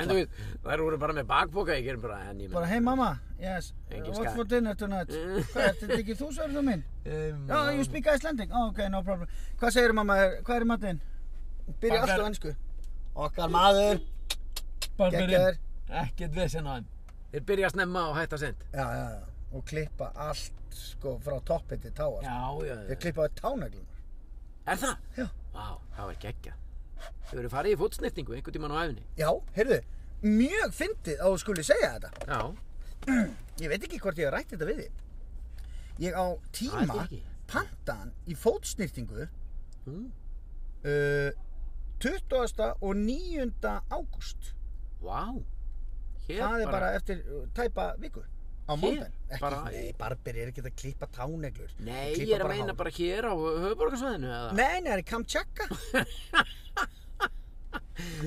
Speaker 1: en þú veit, þær voru bara með bakboka, ég gerum bara, en ég
Speaker 2: Bara, hei mamma, yes,
Speaker 1: Engin
Speaker 2: what's
Speaker 1: skar.
Speaker 2: for dinner tonight? Hvað, er þetta ekki þú, sérðu þú minn?
Speaker 1: Um,
Speaker 2: Já, you speak Icelandic, oh, ok, no problem. Hvað segir mamma, þér? hvað er í matinn? Byrja
Speaker 1: Bakar.
Speaker 2: alltaf enn sko. Okkar maður, geggjaður.
Speaker 1: Ekkert vesen á þeim. Þeir byrja snemma og hætta sent.
Speaker 2: Já, já, já, og klippa allt sko frá toppi til táa.
Speaker 1: Já,
Speaker 2: sko.
Speaker 1: já,
Speaker 2: Þeir
Speaker 1: já.
Speaker 2: klippaðu tánaglunar.
Speaker 1: Er það?
Speaker 2: Já.
Speaker 1: Vá, það var geggja. Þau eru farið í fótsnýtningu einhvern tíman á æfinni.
Speaker 2: Já, heyrðu, mjög fyndið að þú skuli segja þetta.
Speaker 1: Já.
Speaker 2: Ég veit ekki hvort ég hef rætt þetta við þig. Ég á
Speaker 1: Það
Speaker 2: tíma
Speaker 1: er ekki.
Speaker 2: pantaðan í fótsnýrtingu
Speaker 1: Mm.
Speaker 2: uh, 20. og 9. ágúst.
Speaker 1: Vá Hér
Speaker 2: Það er bara eftir uh, tæpa viku á móndag. Ekki,
Speaker 1: bara-
Speaker 2: nei, Barber er ekki að klippa táneglur.
Speaker 1: Nei,
Speaker 2: Klippa
Speaker 1: ég er að
Speaker 2: bara
Speaker 1: meina
Speaker 2: hár.
Speaker 1: bara hér á höfuborgarsvæðinu eða
Speaker 2: Nei, nei, það er í Kamchatka.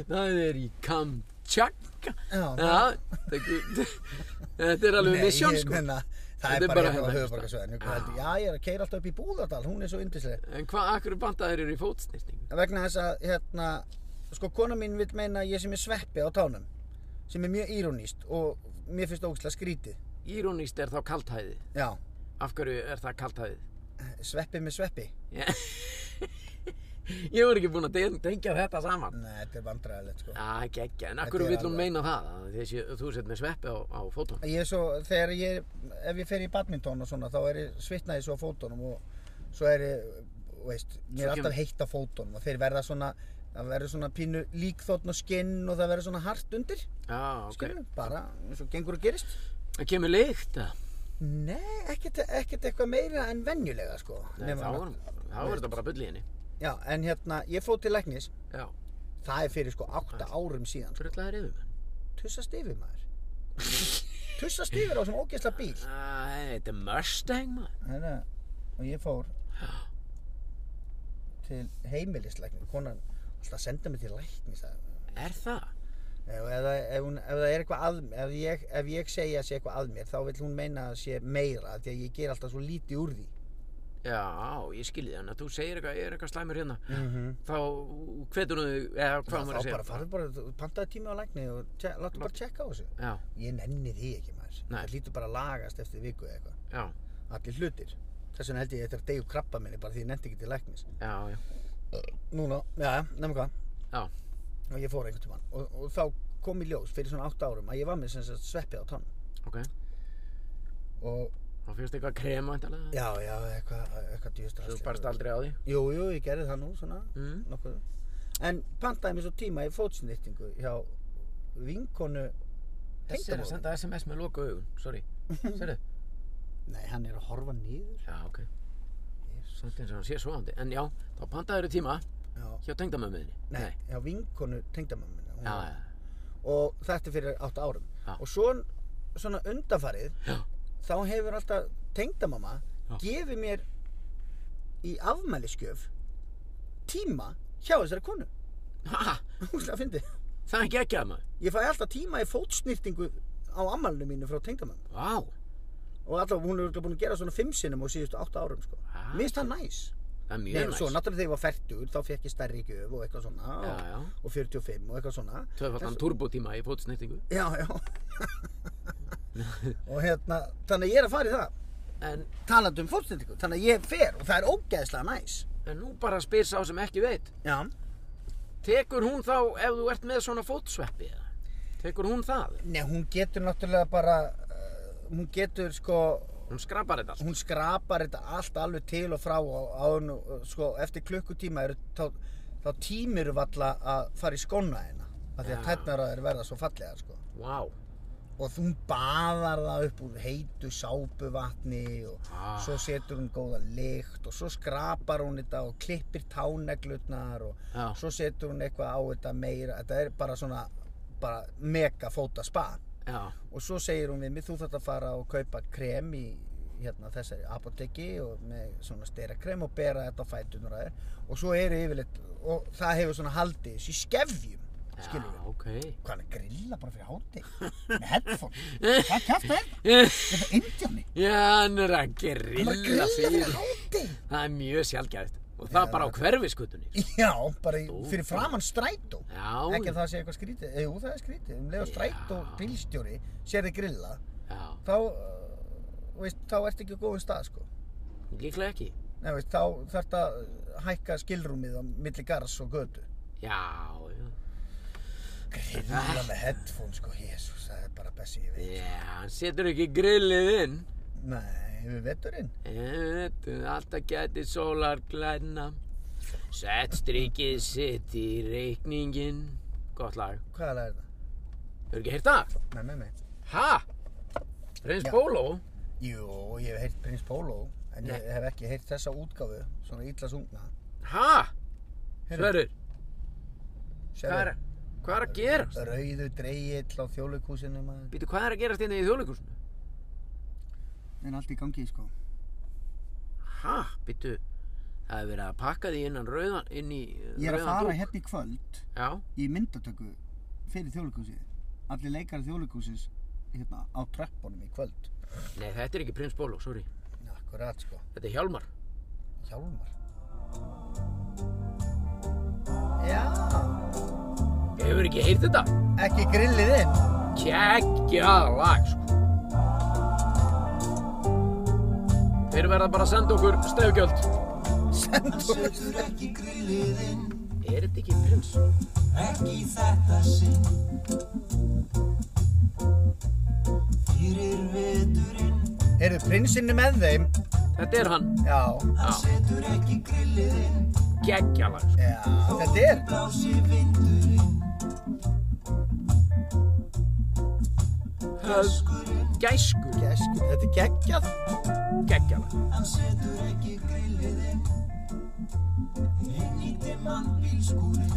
Speaker 1: Það er í Kamchatka
Speaker 2: Já,
Speaker 1: Já, þetta þetta er alveg misjón
Speaker 2: ég
Speaker 1: sko
Speaker 2: meina,
Speaker 1: Þetta
Speaker 2: það
Speaker 1: er
Speaker 2: er
Speaker 1: bara
Speaker 2: bara hérna á
Speaker 1: hérna.
Speaker 2: höfuborgarsvæðinu.
Speaker 1: Já.
Speaker 2: hvað heldur- Já, ég er að keira alltaf upp í Búðardal, hún er svo yndislega.
Speaker 1: En hvað, akkur bandaðir eru í fótsnýrtingu?
Speaker 2: vegna þess að hérna, sko kona mín vil meina að ég sem er sveppi á tánum sem er mjög íróníst og mér finnst það ógislega skrítið
Speaker 1: Íróníst er þá kalthæði
Speaker 2: já,
Speaker 1: Af hverju er það kalthæði?
Speaker 2: sveppi með sveppi
Speaker 1: Ég var ekki búinn að ten- tengja þetta saman
Speaker 2: nei, þetta er vandræðilegt sko
Speaker 1: Já, geggja, en
Speaker 2: Þetta
Speaker 1: akkur
Speaker 2: er
Speaker 1: vill hún
Speaker 2: alveg-
Speaker 1: meina það að Þessi, þú sett með sveppi á, á fótum
Speaker 2: ég er svo, þegar ég, ef ég fer í badminton og svona, þá er ég svitnaði svo á fótunum og svo er ég, veist mér
Speaker 1: Svo
Speaker 2: er
Speaker 1: kemur-
Speaker 2: alltaf heitt á fótunum og þeir verða svona það verður svona pínu líkþóttn og skinn og það verður svona hart undir
Speaker 1: Já, ok
Speaker 2: skilur, bara eins og gengur og gerist
Speaker 1: Það kemur lykt eða?
Speaker 2: nei, ekkert, ekkert eitthvað meira en venjulega sko
Speaker 1: Nei,
Speaker 2: Nema
Speaker 1: þá
Speaker 2: nátt-
Speaker 1: er þá er þetta bara bull í henni
Speaker 2: Já, en hérna, ég fóð til læknis,
Speaker 1: Já,
Speaker 2: það er fyrir sko átta árum síðan, sko.
Speaker 1: tröllaðir yfir menn
Speaker 2: tussast yfir maður. tussast yfir á sem ógeðsla bíl.
Speaker 1: Æ, Ah, þetta er Mustang maður
Speaker 2: Hérna, og ég fór til heimilislæknis, konan alltaf senda mig til læknis. að-
Speaker 1: Er það?
Speaker 2: Ef, eða, ef, hún, ef það er eitthvað að, ef ég, ef ég segja sé eitthvað að mér, þá vill hún meina að sé meira, af því að ég ger alltaf svo lítið úr því.
Speaker 1: Já, ég skilji þannig að þú segir eitthvað, ég er eitthvað slæmur hérna
Speaker 2: Mm -hmm.
Speaker 1: Þá hvetur hún þig, eða hvað
Speaker 2: Þá
Speaker 1: maður að segja
Speaker 2: bara
Speaker 1: um
Speaker 2: farðu bara, þú- pantaðu tíma á lækni og te- láttu bara tjekka á þessu.
Speaker 1: Já,
Speaker 2: Ég nenni því ekki maður.
Speaker 1: Nei.
Speaker 2: Það lítur bara að lagast eftir viku eða eitthvað.
Speaker 1: já,
Speaker 2: allir hlutir þess vegna held ég að þetta er degu krabba minni bara því ég nefndi ekki til læknis
Speaker 1: já, já
Speaker 2: núna, já, nefnum hvað
Speaker 1: Já,
Speaker 2: og ég fór einhvern tímann og, og þá kom í ljós fyrir svona 8 árum að ég var með sem sagt sveppið á tánum
Speaker 1: ok,
Speaker 2: og
Speaker 1: þá fyrst eitthvað krema endalega
Speaker 2: já, já, eitthvað eitthvað djúst
Speaker 1: Þú barst aldrei á því
Speaker 2: jú, jú, ég gerði það nú svona
Speaker 1: mm.
Speaker 2: nokkuð en pantaði mér svo tíma í fótsnýttingu hjá vinkonu
Speaker 1: Þessi er að
Speaker 2: tengdamóður.
Speaker 1: senda SMS með loka augun, sorry. Serðu?
Speaker 2: Nei, hann er að horfa niður.
Speaker 1: Já, ok. Samt eins og hann sé svoandi. En já, þá pantaður tíma
Speaker 2: Já,
Speaker 1: hjá tengdamömmuðinni.
Speaker 2: nei, já vinkonu tengdamamminna.
Speaker 1: Já, já,
Speaker 2: Og þetta er fyrir 8 árum.
Speaker 1: Já.
Speaker 2: Og svo, svona undanfarið,
Speaker 1: Já.
Speaker 2: þá hefur alltaf tengdamamma
Speaker 1: Já.
Speaker 2: gefið mér í afmæliskjöf tíma hjá þessari konu.
Speaker 1: Ha,
Speaker 2: Úslega fyndið.
Speaker 1: það er ekki ekki að maður.
Speaker 2: Ég fæ alltaf tíma í fótsnýrtingu á ammælinu mínu frá tengdamamma.
Speaker 1: Vá,
Speaker 2: Og alltaf hún er örugglega búin að gera svona fimm sinnum á síðustu 8 árum, sko.
Speaker 1: Ah.
Speaker 2: Mér finnst það næs.
Speaker 1: það er
Speaker 2: Nei,
Speaker 1: mjög næst.
Speaker 2: svo náttúrulega þegar ég var færtur þá fekk ég stærri gjöf og eitthvað svona
Speaker 1: Já,
Speaker 2: og,
Speaker 1: já.
Speaker 2: og 45 og eitthvað svona
Speaker 1: Tvöfaldan turbotíma í fótsnýttingu.
Speaker 2: Já, já Og hérna, þannig að ég er að fara í það
Speaker 1: En,
Speaker 2: talandi um fólkstendingu, þannig að ég fer og það er ógeðslega næs
Speaker 1: en nú bara spyr sá sem ekki veit.
Speaker 2: Já,
Speaker 1: Tekur hún þá ef þú ert með svona fótsveppi eða? Tekur hún það?
Speaker 2: nei, hún getur náttúrulega bara uh, hún getur sko
Speaker 1: Hún skrapar þetta allt.
Speaker 2: hún skrapar þetta allt alveg til og frá og áður nú, uh, sko, eftir klukkutíma eru, þá, þá tímir valla að fara í skóna hérna af því að
Speaker 1: Já.
Speaker 2: tætnar að þeir verða svo fallega sko
Speaker 1: Vá.
Speaker 2: og hún baðar það upp úr heitu sápuvatni og
Speaker 1: Ah.
Speaker 2: svo setur hún góða lykt og svo skrapar hún þetta og klippir táneglutnar og
Speaker 1: Já.
Speaker 2: svo setur hún eitthvað á þetta meira þetta er bara svona bara mega fóta spa
Speaker 1: Já,
Speaker 2: og svo segir hún við mig þú þarft að fara og kaupa krem í hérna þessari apoteki og með svona sterakrem og bera þetta á fætunar að þér og svo eru yfirleitt og það hefur svona haldið þessu í skefjum skilur
Speaker 1: já, ok.
Speaker 2: Hvað hann er að grilla bara fyrir háti með headphone hvað kæft er þetta er indjáni
Speaker 1: Já, hann er að
Speaker 2: hann
Speaker 1: grilla,
Speaker 2: er að grilla
Speaker 1: fyrir.
Speaker 2: fyrir háti
Speaker 1: Það er mjög sjálfgæðist. Og það
Speaker 2: Já.
Speaker 1: bara á hverfiskutunni.
Speaker 2: já, bara í,
Speaker 1: Þú.
Speaker 2: fyrir framann strætó
Speaker 1: Já,
Speaker 2: ekki að það sé eitthvað skrítið Eh, jú það er skrítið um leið og
Speaker 1: Já.
Speaker 2: strætó bílstjóri sér þið grilla
Speaker 1: já,
Speaker 2: þá uh, veist, þá ertu ekki á góðum stað sko
Speaker 1: líklega ekki.
Speaker 2: Nei, veist, þá þarf að uh, hækka skilrúmið á milli garðs og götu
Speaker 1: Já, já.
Speaker 2: grilla með headphone sko jésús, það er bara bessi ég veit
Speaker 1: Já, hann setur ekki grillið inn.
Speaker 2: nei, við veturinn
Speaker 1: Þetta alltaf gæti sólar glæna. Sett strikið sitt í reikningin. Gott lag.
Speaker 2: hvað er það?
Speaker 1: Hefur ekki heyrt það?
Speaker 2: nei, nei, nei
Speaker 1: Ha? Prins
Speaker 2: Já.
Speaker 1: Pólo?
Speaker 2: Jú, ég hef heyrt Prins Pólo en ég
Speaker 1: Nei.
Speaker 2: hef ekki heyrt þessa útgáfu svona illa sungna
Speaker 1: Ha?
Speaker 2: Heyrðu,
Speaker 1: Sverur, hvað er,
Speaker 2: sérðu,
Speaker 1: hvað er að gerast?
Speaker 2: Rauðu dreigill á þjóðleikúsinu maður
Speaker 1: Býtu, hvað er að gerast inn í þjóðleikursinu?
Speaker 2: Það er allt í gangi sko
Speaker 1: Ha? Býtu, það hefur verið að pakka því innan rauðan, inn í uh, rauðan
Speaker 2: Ég er að fara
Speaker 1: dúk.
Speaker 2: hérna í kvöld
Speaker 1: Já,
Speaker 2: í myndatöku fyrir þjóðleikúsið Allir leikar þjóðleikúsins hérna á trappunum í kvöld
Speaker 1: nei þetta er ekki Prins Pólo, sorry.
Speaker 2: Akkurat sko,
Speaker 1: Þetta er Hjálmar.
Speaker 2: hjálmar Já,
Speaker 1: Hefur ekki heyrt þetta?
Speaker 2: ekki grillið inn
Speaker 1: Kekjað lag, sko. Þeir verða bara að senda okkur stefgjöld.
Speaker 2: Sendu
Speaker 4: Setur ekki grillið inn,
Speaker 1: Er þetta ekki prins?
Speaker 4: ekki í þetta sinn. Fyrir veturinn,
Speaker 2: Heyrðu, prinsinn er með þeim
Speaker 1: Þetta er hann.
Speaker 2: Já,
Speaker 4: hann setur ekki grillið inn,
Speaker 1: Kekjað lag, sko.
Speaker 2: já, þetta er
Speaker 4: blási vindurinn,
Speaker 1: Það
Speaker 4: skurinn,
Speaker 1: gæskur
Speaker 2: Gæsku, þetta er geggjað
Speaker 1: kekjað lag.
Speaker 4: hann setur ekki grillið inn. Inn í dimman bílskúrinn,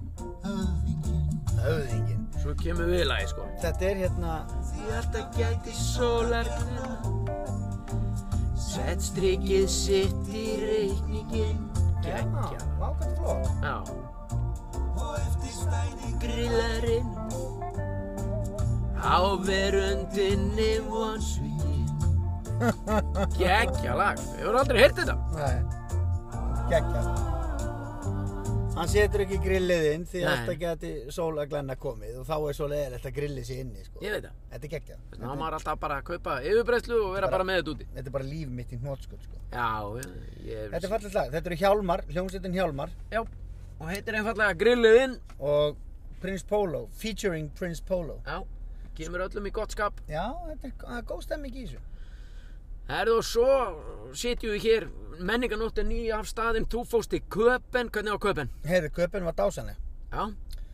Speaker 4: höfðinginn.
Speaker 2: Höfðingin
Speaker 1: Svo kemur við lagi, sko.
Speaker 2: Þetta er hérna
Speaker 4: Því alltaf gæti sólargrina Sett strikið sitt í reikningin
Speaker 1: Kekjað.
Speaker 2: Vá, hvað þetta er flott
Speaker 1: Já.
Speaker 4: Og eftir stæði
Speaker 1: Grillarinn á verundinni vonsvíkin. Kekjað lag. Við vorum aldrei heyrt þetta.
Speaker 2: Nei Geggjað Hann setur ekki grillið inn því
Speaker 1: Nei.
Speaker 2: að þetta geti sól að glenna komið og þá er svo leiðilegt að grillið sé inni sko.
Speaker 1: Ég veit það.
Speaker 2: Þetta er geggjað
Speaker 1: Ná
Speaker 2: þetta,
Speaker 1: maður alltaf bara að kaupa yfirbreyslu og vera
Speaker 2: Bara-
Speaker 1: bara með þetta úti.
Speaker 2: þetta er bara líf mitt í hnótskut sko.
Speaker 1: Já, ég er...
Speaker 2: Þetta er fallið lag, þetta eru Hjálmar, hljómsveitin Hjálmar
Speaker 1: Já, og heitir einfallega grillið inn.
Speaker 2: og Prince Polo, featuring Prince Polo
Speaker 1: Já, kemur öllum í gott skap.
Speaker 2: Já, þetta er, það er góð stemming í þessu
Speaker 1: Herðu og svo sitjum við hér menninganóttin nýja af staðinn, þú fóst í Köpen, hvernig var Köpen?
Speaker 2: Heyrðu, köpinn var dásanleg.
Speaker 1: Já,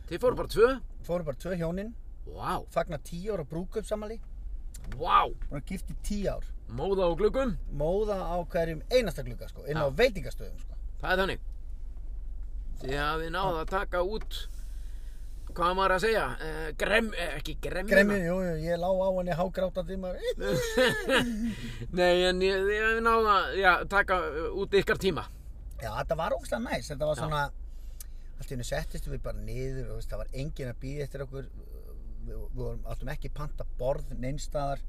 Speaker 1: þið fóru bara tvö.
Speaker 2: Fóru bara tvö hjóninn,
Speaker 1: Vá,
Speaker 2: fagna tíu ára brúkup samanlí.
Speaker 1: vá,
Speaker 2: Búin að gifti tíu ár.
Speaker 1: móða og gluggum,
Speaker 2: Móða á hverjum einasta glugga, sko. Inn á
Speaker 1: Já.
Speaker 2: veitingastöðum, sko.
Speaker 1: það er þannig. Þið hafið náð að taka út, hvað á maður að segja, eh, grem, eh, ekki gremjuna.
Speaker 2: Gremjun, jú, jú, ég lá á henni hágrátandi maður.
Speaker 1: Nei, en ég- þið hafið náð að já, taka eh, út ykkar tíma.
Speaker 2: Já, þetta var ógstlega næs. Þetta var
Speaker 1: Já.
Speaker 2: svona, allt í henni settist við bara niður og veist, það var enginn að býða eftir okkur. Við, við vorum alltum ekki panta borð neinstaðar.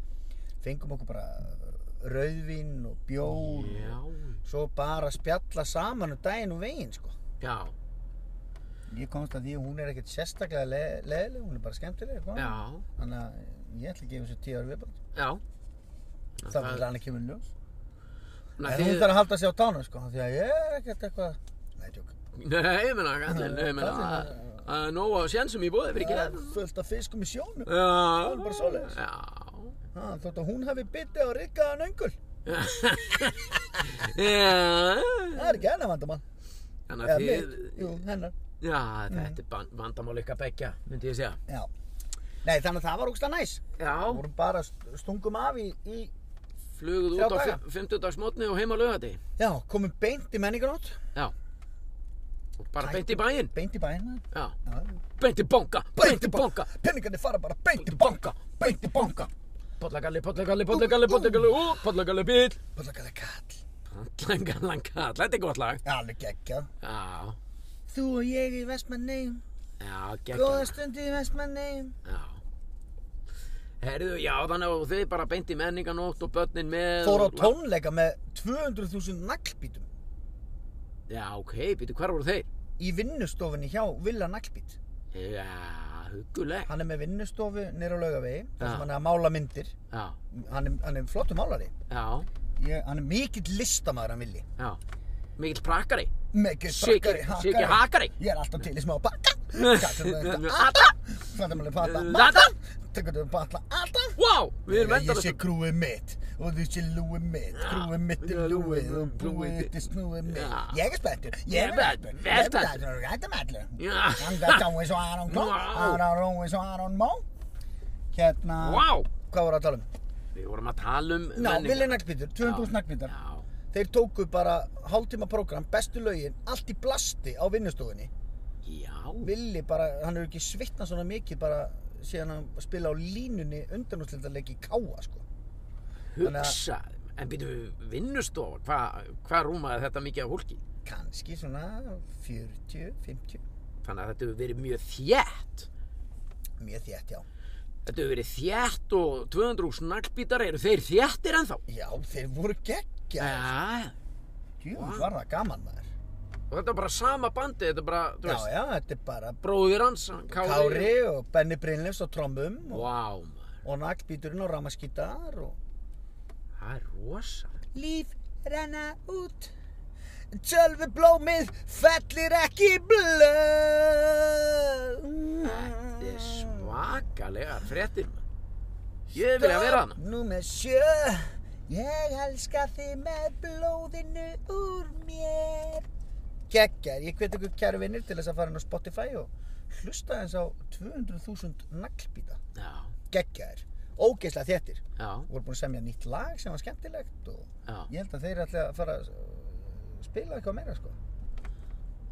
Speaker 2: Fengum okkur bara uh, rauðvín og bjór.
Speaker 1: Já,
Speaker 2: Svo bara spjalla saman um daginn og veginn, sko.
Speaker 1: já,
Speaker 2: Ég komst að því að hún er ekkert sérstaklega le- leiðileg, hún er bara skemmtileg. konan.
Speaker 1: já,
Speaker 2: Þannig að ég ætla að gefa þessu tíu ári viðbært.
Speaker 1: já.
Speaker 2: Það er hann að kemur í ljós.
Speaker 1: Þannig
Speaker 2: En
Speaker 1: að
Speaker 2: hún
Speaker 1: þið-
Speaker 2: þarf að halda sig á tánum sko, því að ég er ekkert eitthvað... Nei, tjók.
Speaker 1: Nei, ég meina, kallinn, ég meina,
Speaker 2: Kallinn,
Speaker 1: að-
Speaker 2: já, já.
Speaker 1: að nóg á sjensum í bóði fyrir ekki það.
Speaker 2: Fullt af fiskum í sjónum.
Speaker 1: Já. Það
Speaker 2: er bara svoleiðis.
Speaker 1: Já.
Speaker 2: Ha, þótt að hún hafi bitið á riggaðan öngul.
Speaker 1: Já.
Speaker 2: Það er ekki hennar vandamann.
Speaker 1: Þannig
Speaker 2: Eða
Speaker 1: að þið,
Speaker 2: mitt. Jú, hennar.
Speaker 1: já, þetta er ban- vandamál ykkar begja, myndi ég segja.
Speaker 2: Já. Nei, þannig að það var ógstlega næs.
Speaker 1: Já,
Speaker 2: Við vorum bara st- stungum af í, í...
Speaker 1: fluguð
Speaker 2: Þrjá
Speaker 1: út á
Speaker 2: daga.
Speaker 1: 50 dags mótni og heim á lögati.
Speaker 2: Já, komum beint í menningarnót.
Speaker 1: Já. Og bara beint í bæinn.
Speaker 2: Beint í bæinn, maður.
Speaker 1: Já.
Speaker 2: Já.
Speaker 1: Beint í bonga, beint í bonga.
Speaker 2: Penningarnir fara bara beint í banka, beint í banka.
Speaker 1: Pollagalli, pollagalli, pollagalli, pollagalli, ú, pollagalli bíl.
Speaker 2: Pollakalli kall.
Speaker 1: Pollagallan kall, þetta er gott lag.
Speaker 2: Alveg geggjað.
Speaker 1: Já,
Speaker 2: Þú og ég í Vestmanneim,
Speaker 1: já, geggjum.
Speaker 2: góða stund í Vestmanneim.
Speaker 1: Já. Herðu, já, þannig að þið bara beint í menninganótt og börnin með...
Speaker 2: fór á
Speaker 1: og-
Speaker 2: tónleika með 200.000 naglbítum
Speaker 1: Já, ok, býtu, hvar voru þeir?
Speaker 2: í vinnustofunni hjá Villa Naglbít.
Speaker 1: Já, hugulegt.
Speaker 2: Hann er með vinnustofu nýra á laugavegi, þar
Speaker 1: Já.
Speaker 2: sem hann er að mála myndir.
Speaker 1: Já,
Speaker 2: Hann er, hann er flottur málari.
Speaker 1: já,
Speaker 2: Ég, hann er mikill listamaður hann villi.
Speaker 1: já. Mikill prakkari.
Speaker 2: Mikill
Speaker 1: Siggi-
Speaker 2: brakkari,
Speaker 1: Siggi hakari.
Speaker 2: Ég er alltaf til í smá bakka.
Speaker 1: Alla.
Speaker 2: Fættum alveg pata.
Speaker 1: Mata.
Speaker 2: Tekur þú pata alltaf.
Speaker 1: Wow, við erum
Speaker 2: Ég
Speaker 1: endar
Speaker 2: sé krúið mitt og þú sé lúið mitt, krúið mitt er lúið og búið til snúið mitt.
Speaker 1: Já.
Speaker 2: Ég er spenntur,
Speaker 1: Ég
Speaker 2: ég
Speaker 1: er
Speaker 2: er spenntur,
Speaker 1: vel
Speaker 2: ég er
Speaker 1: spenntur.
Speaker 2: spenntur og rættum allir.
Speaker 1: Já.
Speaker 2: Anga dái svo Aron Kló,
Speaker 1: Vá.
Speaker 2: Aron Rói svo Aron Mó. Hérna,
Speaker 1: Wow,
Speaker 2: hvað voru að tala um?
Speaker 1: við vorum að tala um
Speaker 2: Ná,
Speaker 1: menningar.
Speaker 2: Vili Naglbítur, 200 Naglbítar.
Speaker 1: Já,
Speaker 2: Þeir tóku bara hálftíma program, bestu lögin, allt í blasti á vinnustofunni.
Speaker 1: já,
Speaker 2: Vili bara, hann er ekki svitna svona mikið bara síðan hann spila á línunni undanúslindarleik í Káa sko. Þannig að-
Speaker 1: hugsa. En býtu, vinnustofa, hvað hva rúmaði þetta mikið af hólki?
Speaker 2: Kanski svona 40, 50.
Speaker 1: Þannig að þetta hefur verið mjög þjætt.
Speaker 2: Mjög þétt, já.
Speaker 1: Þetta hefur verið þjætt og 200 snaglbítar, eru þeir þjættir ennþá?
Speaker 2: Já, þeir voru geggja.
Speaker 1: Já,
Speaker 2: Jú, var það gaman maður.
Speaker 1: og þetta er bara sama bandi, þetta er bara, þú
Speaker 2: Já,
Speaker 1: veist,
Speaker 2: já, þetta er bara
Speaker 1: bróðir hans, hann Kári.
Speaker 2: Kári og Benni Brynlefs á trommum
Speaker 1: Vá,
Speaker 2: og,
Speaker 1: maður,
Speaker 2: og naglbíturinn á ramaskítar og
Speaker 1: það er rosa.
Speaker 2: Líf renna út Tölvublómið fellir ekki blöð
Speaker 1: Þetta er svakalegar fréttir, maður. Ég vil að vera hana.
Speaker 2: Númer sjö Ég elska þig með blóðinu úr mér Geggar, ég hvet ykkur kæru vinnir til þess að fara inn á Spotify og hlusta eins á 200.000 naglbíta
Speaker 1: Já,
Speaker 2: Geggar, ógeðslega þéttir
Speaker 1: já,
Speaker 2: Voru búin að semja nýtt lag sem var skemmtilegt og
Speaker 1: já,
Speaker 2: ég held að þeir ætla að fara að uh, spila eitthvað meira sko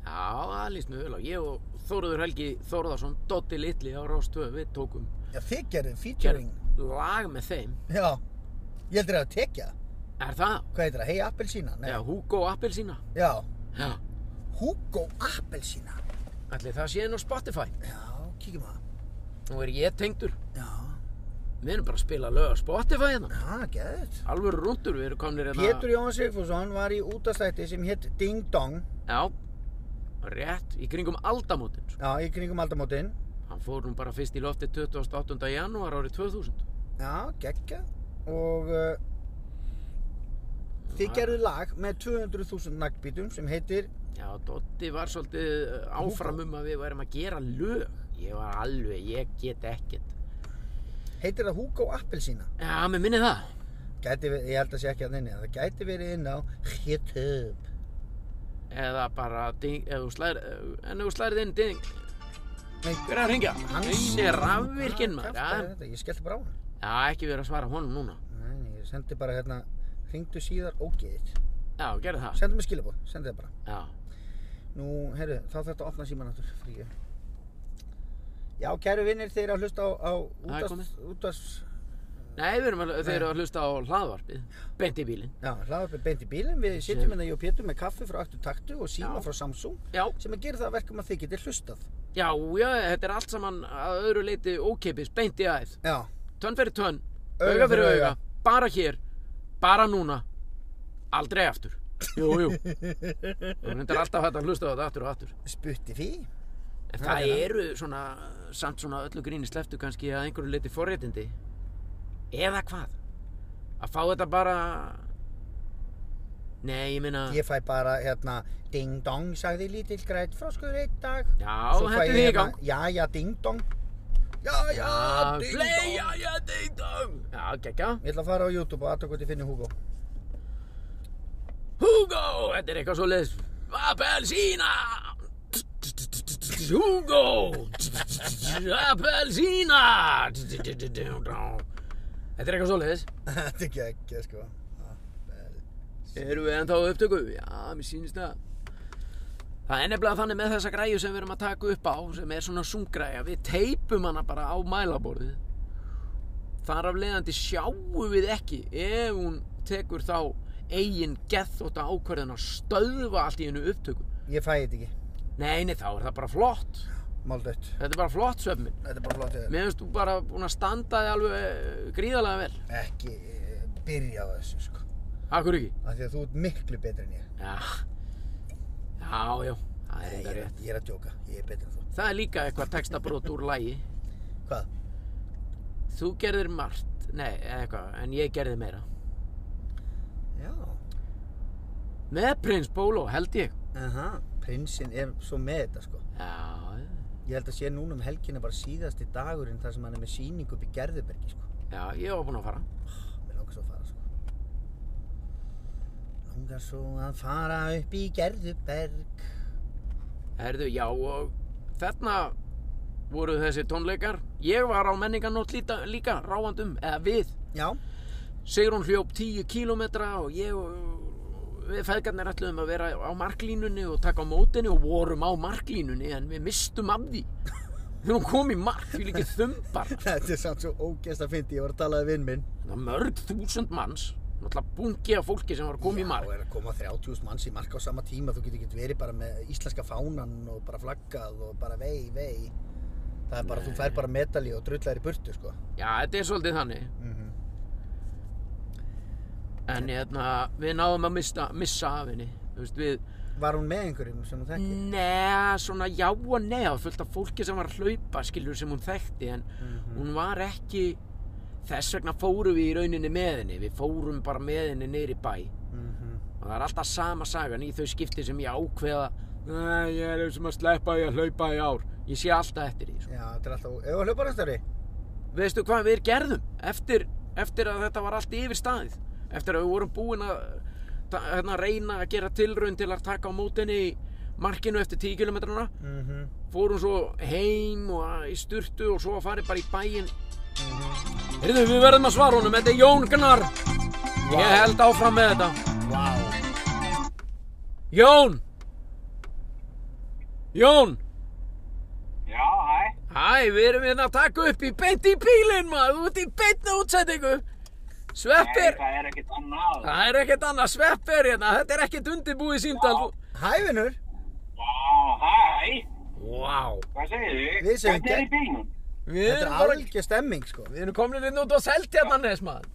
Speaker 1: já, það líst mjög vel á. Ég og Þóruður Helgi Þórðarsson, Dotti Lilli á Rástöðu, við tókum
Speaker 2: Já, þið gerðu featuring
Speaker 1: gerð lag með þeim.
Speaker 2: Já, ég heldur að tekja það.
Speaker 1: Er það?
Speaker 2: Hvað heitir það? Hei Appelsína? Nei.
Speaker 1: Já, Hugo Appelsína.
Speaker 2: Já,
Speaker 1: Já,
Speaker 2: Hugo Appelsína
Speaker 1: ætli það sé inn á Spotify.
Speaker 2: Já, kíkjum að
Speaker 1: Nú er ég tengdur.
Speaker 2: Já,
Speaker 1: Við erum bara að spila lög á Spotify hérna.
Speaker 2: já, geðut
Speaker 1: Alvöru rundur, við erum komnir hérna
Speaker 2: Pétur Jóhann Sigfússon var í útastætti sem hétt Ding Dong
Speaker 1: Já, rétt, í kringum aldamótin sko.
Speaker 2: Já, í kringum aldamótin
Speaker 1: Hann fór nú bara fyrst í lofti 28. janúar árið 2000
Speaker 2: Já, geggja Og uh, þið gerðu lag með 200.000 naglbítum sem heitir
Speaker 1: Já, Dotti var svolítið eh, áfram um að við værum að gera lög Ég var alveg, ég get ekkert
Speaker 2: heitir það Hugo Appelsína
Speaker 1: Já, mér minni það
Speaker 2: Gæti verið, ég held að sé ekki hann inni, en það gæti verið inn á YouTube.
Speaker 1: Eða bara ding, ef þú slær, eh, en ef þú slærið inn ding,
Speaker 2: Nei,
Speaker 1: hver er að ringja? Hann er
Speaker 2: Hvað
Speaker 1: rafvirkinn maður,
Speaker 2: kjaftaði
Speaker 1: já.
Speaker 2: þetta? Ég skellti bara á hann.
Speaker 1: Já, ekki verið að svara honum núna.
Speaker 2: Nei, nei, ég sendi bara hérna, hringdu síðar ógeðið.
Speaker 1: Já, gerðu það.
Speaker 2: Sendu mér skilabóð, sendi það bara.
Speaker 1: Já,
Speaker 2: Nú, heyrðu, þá þarf þetta að opna síman aftur fríu. Já, kæru vinnir, þeir eru að hlusta á, á
Speaker 1: Það er
Speaker 2: útast, útast,
Speaker 1: nei, við erum að, þeir
Speaker 2: Nei.
Speaker 1: eru að hlusta á hlaðvarpið, beint í bílinn.
Speaker 2: já, hlaðarpið beint í bílinn. Við
Speaker 1: Sem-
Speaker 2: sitjum hérna, ég og Pétur, með kaffi frá Aktu Taktu og síma
Speaker 1: Já.
Speaker 2: frá Samsung,
Speaker 1: Já,
Speaker 2: sem að gera það að verkum að þið getið hlustað.
Speaker 1: já, já, þetta er allt saman að öðru leiti ókeipis, beint í æð.
Speaker 2: Já,
Speaker 1: Tönn fyrir tönn,
Speaker 2: Auga
Speaker 1: auga fyrir
Speaker 2: fyrir
Speaker 1: auga,
Speaker 2: auga.
Speaker 1: bara hér, bara núna, aldrei aftur. Jú, jú. Þú reyndir alltaf hægt að hlusta á þetta aftur og aftur.
Speaker 2: sputti því.
Speaker 1: En
Speaker 2: Það er
Speaker 1: það
Speaker 2: það.
Speaker 1: eru svona, samt svona öllu gríni sleftu kannski að einhverju leiti forréttindi. Eða hvað? Að fá þetta bara... Nei, ég minna...
Speaker 2: Ég fæ bara hérna ding dong sagði lítill grætt froskur einn dag
Speaker 1: Já, hendur þig í
Speaker 2: hérna,
Speaker 1: gang.
Speaker 2: Já, já, ding dong Já, já,
Speaker 1: Já,
Speaker 2: ding
Speaker 1: play, já,
Speaker 2: dong
Speaker 1: já, ding dong. Já, geggja.
Speaker 2: Ég ætla að fara á YouTube og aðtöku hvort ég finni Hugo
Speaker 1: Hugo, þetta er eitthvað svo leiðis. Appelsína! Hugo! Appelsína! Þetta er eitthvað svo leiðis.
Speaker 2: Þetta er ekki ekki, sko
Speaker 1: Erum við ennþá á upptöku? Já, mér sýnist það. Það er nefnilega þannig með þessa græju sem við erum að taka upp á, sem er svona sungræja. Við teipum hana bara á mælaborðið. Þar af leiðandi sjáum við ekki ef hún tekur þá eigin geðþóta ákvörðin að stöðva allt í hennu upptöku.
Speaker 2: Ég fæ þetta ekki,
Speaker 1: Nei, nei, þá er það bara flott.
Speaker 2: máldött
Speaker 1: Þetta er bara flott söfn minn.
Speaker 2: Þetta er bara flott eða
Speaker 1: Mér finnst þú bara búin að standa þig alveg eh, gríðarlega vel.
Speaker 2: Ekki eh, byrja á þessu, sko
Speaker 1: Akkur ekki?
Speaker 2: Af því að þú ert miklu betri en ég
Speaker 1: Já, já, já. það
Speaker 2: Nei,
Speaker 1: er
Speaker 2: ég
Speaker 1: þetta
Speaker 2: er,
Speaker 1: rétt.
Speaker 2: ég er að djóka, ég er betri en þú
Speaker 1: Það er líka eitthvað textabrót úr lægi.
Speaker 2: Hvað?
Speaker 1: Þú gerðir margt, nei, eða eitthvað, en ég gerði meira.
Speaker 2: Já
Speaker 1: Með prins Bóló, held ég.
Speaker 2: Aha. Prinsinn er svo með þetta, sko
Speaker 1: Já,
Speaker 2: Ég held að sé núna um helgina bara síðasti dagurinn þar sem hann er með sýningu upp í Gerðubergi, sko
Speaker 1: já, ég var búinn að fara.
Speaker 2: Mér langar svo að fara sko Langar svo að fara upp í Gerðuberg
Speaker 1: Herðu, já, og þarna voru þessi tónleikar. Ég var á menningarnótt líta, líka, ráandum, eða við.
Speaker 2: Já
Speaker 1: Sigrún hljóp 10 kílómetra og ég og við feðgarnir ætluðum að vera á marklínunni og taka á mótinni og vorum á marklínunni en við mistum af því. Þegar hún kom í mark, því líkið þumbar.
Speaker 2: Þetta er samt svo ógeðst að fyndi, ég var að tala við vinn minn
Speaker 1: Það var mörg þúsund manns, náttúrulega bungi af fólki sem var að koma í mark.
Speaker 2: Já, er að koma 30.000 manns í mark á sama tíma Þú getur ekki verið bara með íslenska fánan og bara flaggað og bara vei, vei Það er bara, þú fær bara medalji og drullar í burtu sko
Speaker 1: Já, þetta er svolítið þannig.
Speaker 2: Mhm.
Speaker 1: En hérna, við náðum að mista, missa af henni. Þú veist, við,
Speaker 2: Var hún með einhverjum sem þú þekki?
Speaker 1: neða, svona já og neða, fullt af fólki sem var að hlaupa, skilur, sem hún þekkti, en
Speaker 2: Mm. Mhm,
Speaker 1: hún var ekki, þess vegna fórum við í rauninni með henni, við fórum bara með henni niður í bæ.
Speaker 2: Mm -hmm.
Speaker 1: Og það er alltaf sama sagan í þau skipti sem ég ákveða, "Nei, ég er sem að sleppa því að hlaupa í ár. Ég sé alltaf eftir því, sko.
Speaker 2: Já, þetta er alltaf, ef hún hljópar næstari
Speaker 1: veistu hvað við gerðum eftir, eftir að þetta var allt yfir staðið eftir að við vorum búin að ta- hérna, reyna að gera tilraun til að taka á mótinni í markinu eftir 10 kilometrana
Speaker 2: mm -hmm.
Speaker 1: fórum svo heim og að- í sturtu og svo að fara bara í bæinn heyrðu við verðum að svara honum þetta er Jón Gnar ég held áfram með þetta Jón Jón
Speaker 5: Já, hæ.
Speaker 1: Hæ, við erum hérna að taka upp í beint í bílinn maður, þú ert í beinna útsendingu. Sveppir,
Speaker 5: Nei, það er ekkert annað.
Speaker 1: það er ekkert annað, sveppir hérna, þetta er ekkert undirbúið síndal.
Speaker 2: Hæ vinnur,
Speaker 5: Já, hæ.
Speaker 1: Vá,
Speaker 5: Hvað segir þið?
Speaker 2: Við segjum
Speaker 5: Hvernig er
Speaker 2: gegn-
Speaker 5: í bílnum?
Speaker 1: við
Speaker 2: þetta er
Speaker 1: erum bara,
Speaker 2: algjör stemming sko
Speaker 1: við erum komin inn út á Seltjarnarnes maður.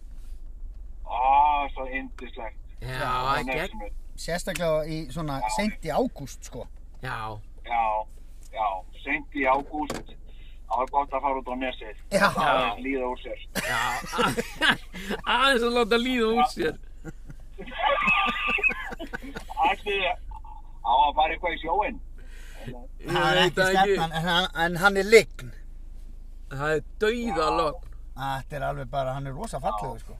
Speaker 5: Á, svo yndislegt.
Speaker 1: Já, gegn,
Speaker 2: Sérstaklega í svona seint í ágúst sko
Speaker 1: já,
Speaker 5: Já, já. Seint í ágúst. Það var gott að fara út á nesið.
Speaker 2: Já.
Speaker 5: Það er líða úr sér.
Speaker 1: já, aðeins að láta líða úr sér.
Speaker 5: Ætlið á að fara eitthvað í sjóinn.
Speaker 1: Ég veit það
Speaker 2: stefnan, en, hann- en hann er lign
Speaker 1: það er dauðalogn.
Speaker 2: Þetta er alveg bara, hann er rosa fallegur sko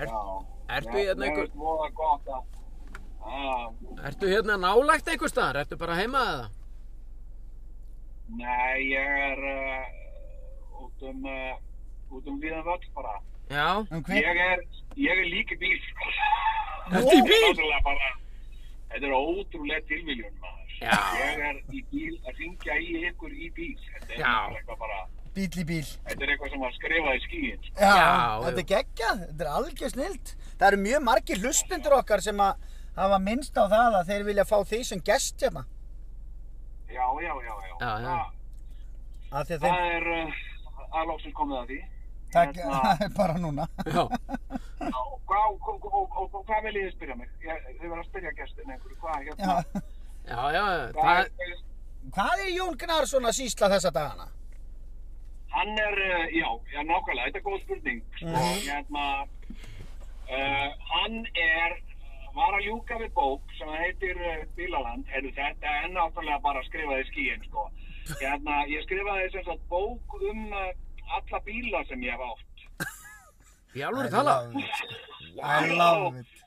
Speaker 1: Er,
Speaker 5: Já.
Speaker 1: ertu í hérna einhver-
Speaker 5: Mér er móða gott að... að-
Speaker 1: ertu hérna nálægt einhver staðar? Ertu bara heima eða?
Speaker 5: Nei, ég er uh, út um... Uh, út um líðan völl bara.
Speaker 1: Já.
Speaker 2: En hver,
Speaker 5: Ég er, ég er líka bíl, sko.
Speaker 1: Ertu í
Speaker 5: Þetta er
Speaker 1: bíl?
Speaker 5: náttúrulega bara... Þetta er ótrúlega tilviljun, maður.
Speaker 1: Já.
Speaker 5: Ég er í bíl að ringja í ykkur í bíl. Þetta er
Speaker 1: Já.
Speaker 5: náttúrulega eitthvað bara...
Speaker 2: bíl í bíl.
Speaker 5: Þetta er eitthvað sem var skrifað í skíin, sko.
Speaker 2: Já,
Speaker 1: Já,
Speaker 2: þetta
Speaker 1: já.
Speaker 2: er geggjað, þetta er algjör snilt. Það eru mjög margir hlustendur okkar sem að hafa minnst á það að þeir vilja fá því sem gest hérna.
Speaker 5: Já, já, já, já.
Speaker 1: Já, já.
Speaker 5: Það-
Speaker 2: Af því að þeim,
Speaker 5: Það er uh, aðlóksins komið að því.
Speaker 2: það
Speaker 5: Hérna,
Speaker 2: það er bara núna.
Speaker 1: Já.
Speaker 5: og, hvað- og, og, og, og hvað viljið þið spyrja mig? Ég, þið verða að spyrja gestin einhverju. Hvað,
Speaker 2: Já.
Speaker 5: hérna,
Speaker 1: Já, já,
Speaker 5: hvað
Speaker 1: það,
Speaker 5: er,
Speaker 2: Hvað er Jón Gnarsson að sýsla þessa dagana?
Speaker 5: hann er, uh, já, já, nákvæmlega, þetta er góð spurning. Og hérna, uh, hann er, eh, var að ljúka við bók sem heitir uh, Bílaland. Heyrðu, þetta er náttúrulega bara skrifaði skíin, sko. Hérna, ég skrifaði sem sagt bók um uh, alla bíla sem ég hef átt.
Speaker 1: ég alveg tala.
Speaker 2: I love it.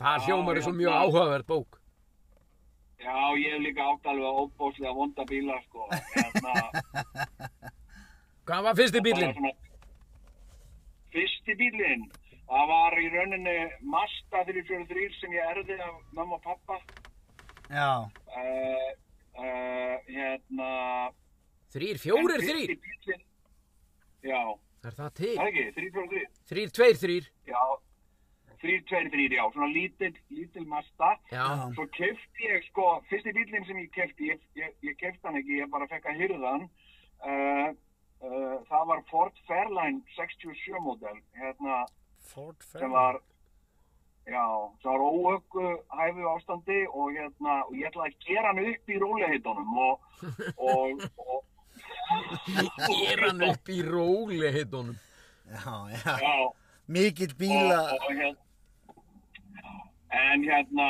Speaker 1: Það hljómar er
Speaker 5: Já,
Speaker 1: svo
Speaker 5: já.
Speaker 1: mjög áhugaverð bók.
Speaker 5: Já, ég hef líka átt alveg óbóðslega vonda bíla, sko. Hérna,
Speaker 1: Hvað var fyrsti
Speaker 5: bara
Speaker 1: bílinn?
Speaker 5: svona- Fyrsti bílinn, það var í rauninni Mazda 343 sem ég erði af mamma og pappa.
Speaker 2: Já,
Speaker 5: Uh, uh, hérna...
Speaker 1: Þrýr, fjórir,
Speaker 5: en fyrsti
Speaker 1: þrýr.
Speaker 5: bíllinn- Já,
Speaker 1: Er það til?
Speaker 5: það er ekki, 343.
Speaker 1: Þrýr, tveir, þrýr.
Speaker 5: Já, 323, já, svona lítil, lítil Mazda.
Speaker 1: Já.
Speaker 5: Svo kefti ég, sko, fyrsti bílinn sem ég kefti, ég, ég, ég kefti hann ekki, ég bara fekk að hyrða hann. Uh, uh, það var Ford Fairline 67 model, hérna,
Speaker 2: Ford
Speaker 5: sem var, já, sem var óöggu hæfu ástandi og hérna, og ég ætlaði að gera hann upp í róliheitunum og, og, og,
Speaker 1: Ger hann upp í róli heitunum.
Speaker 2: Já, já.
Speaker 5: já,
Speaker 2: Mikill bíla.
Speaker 5: og, og, hérna, en hérna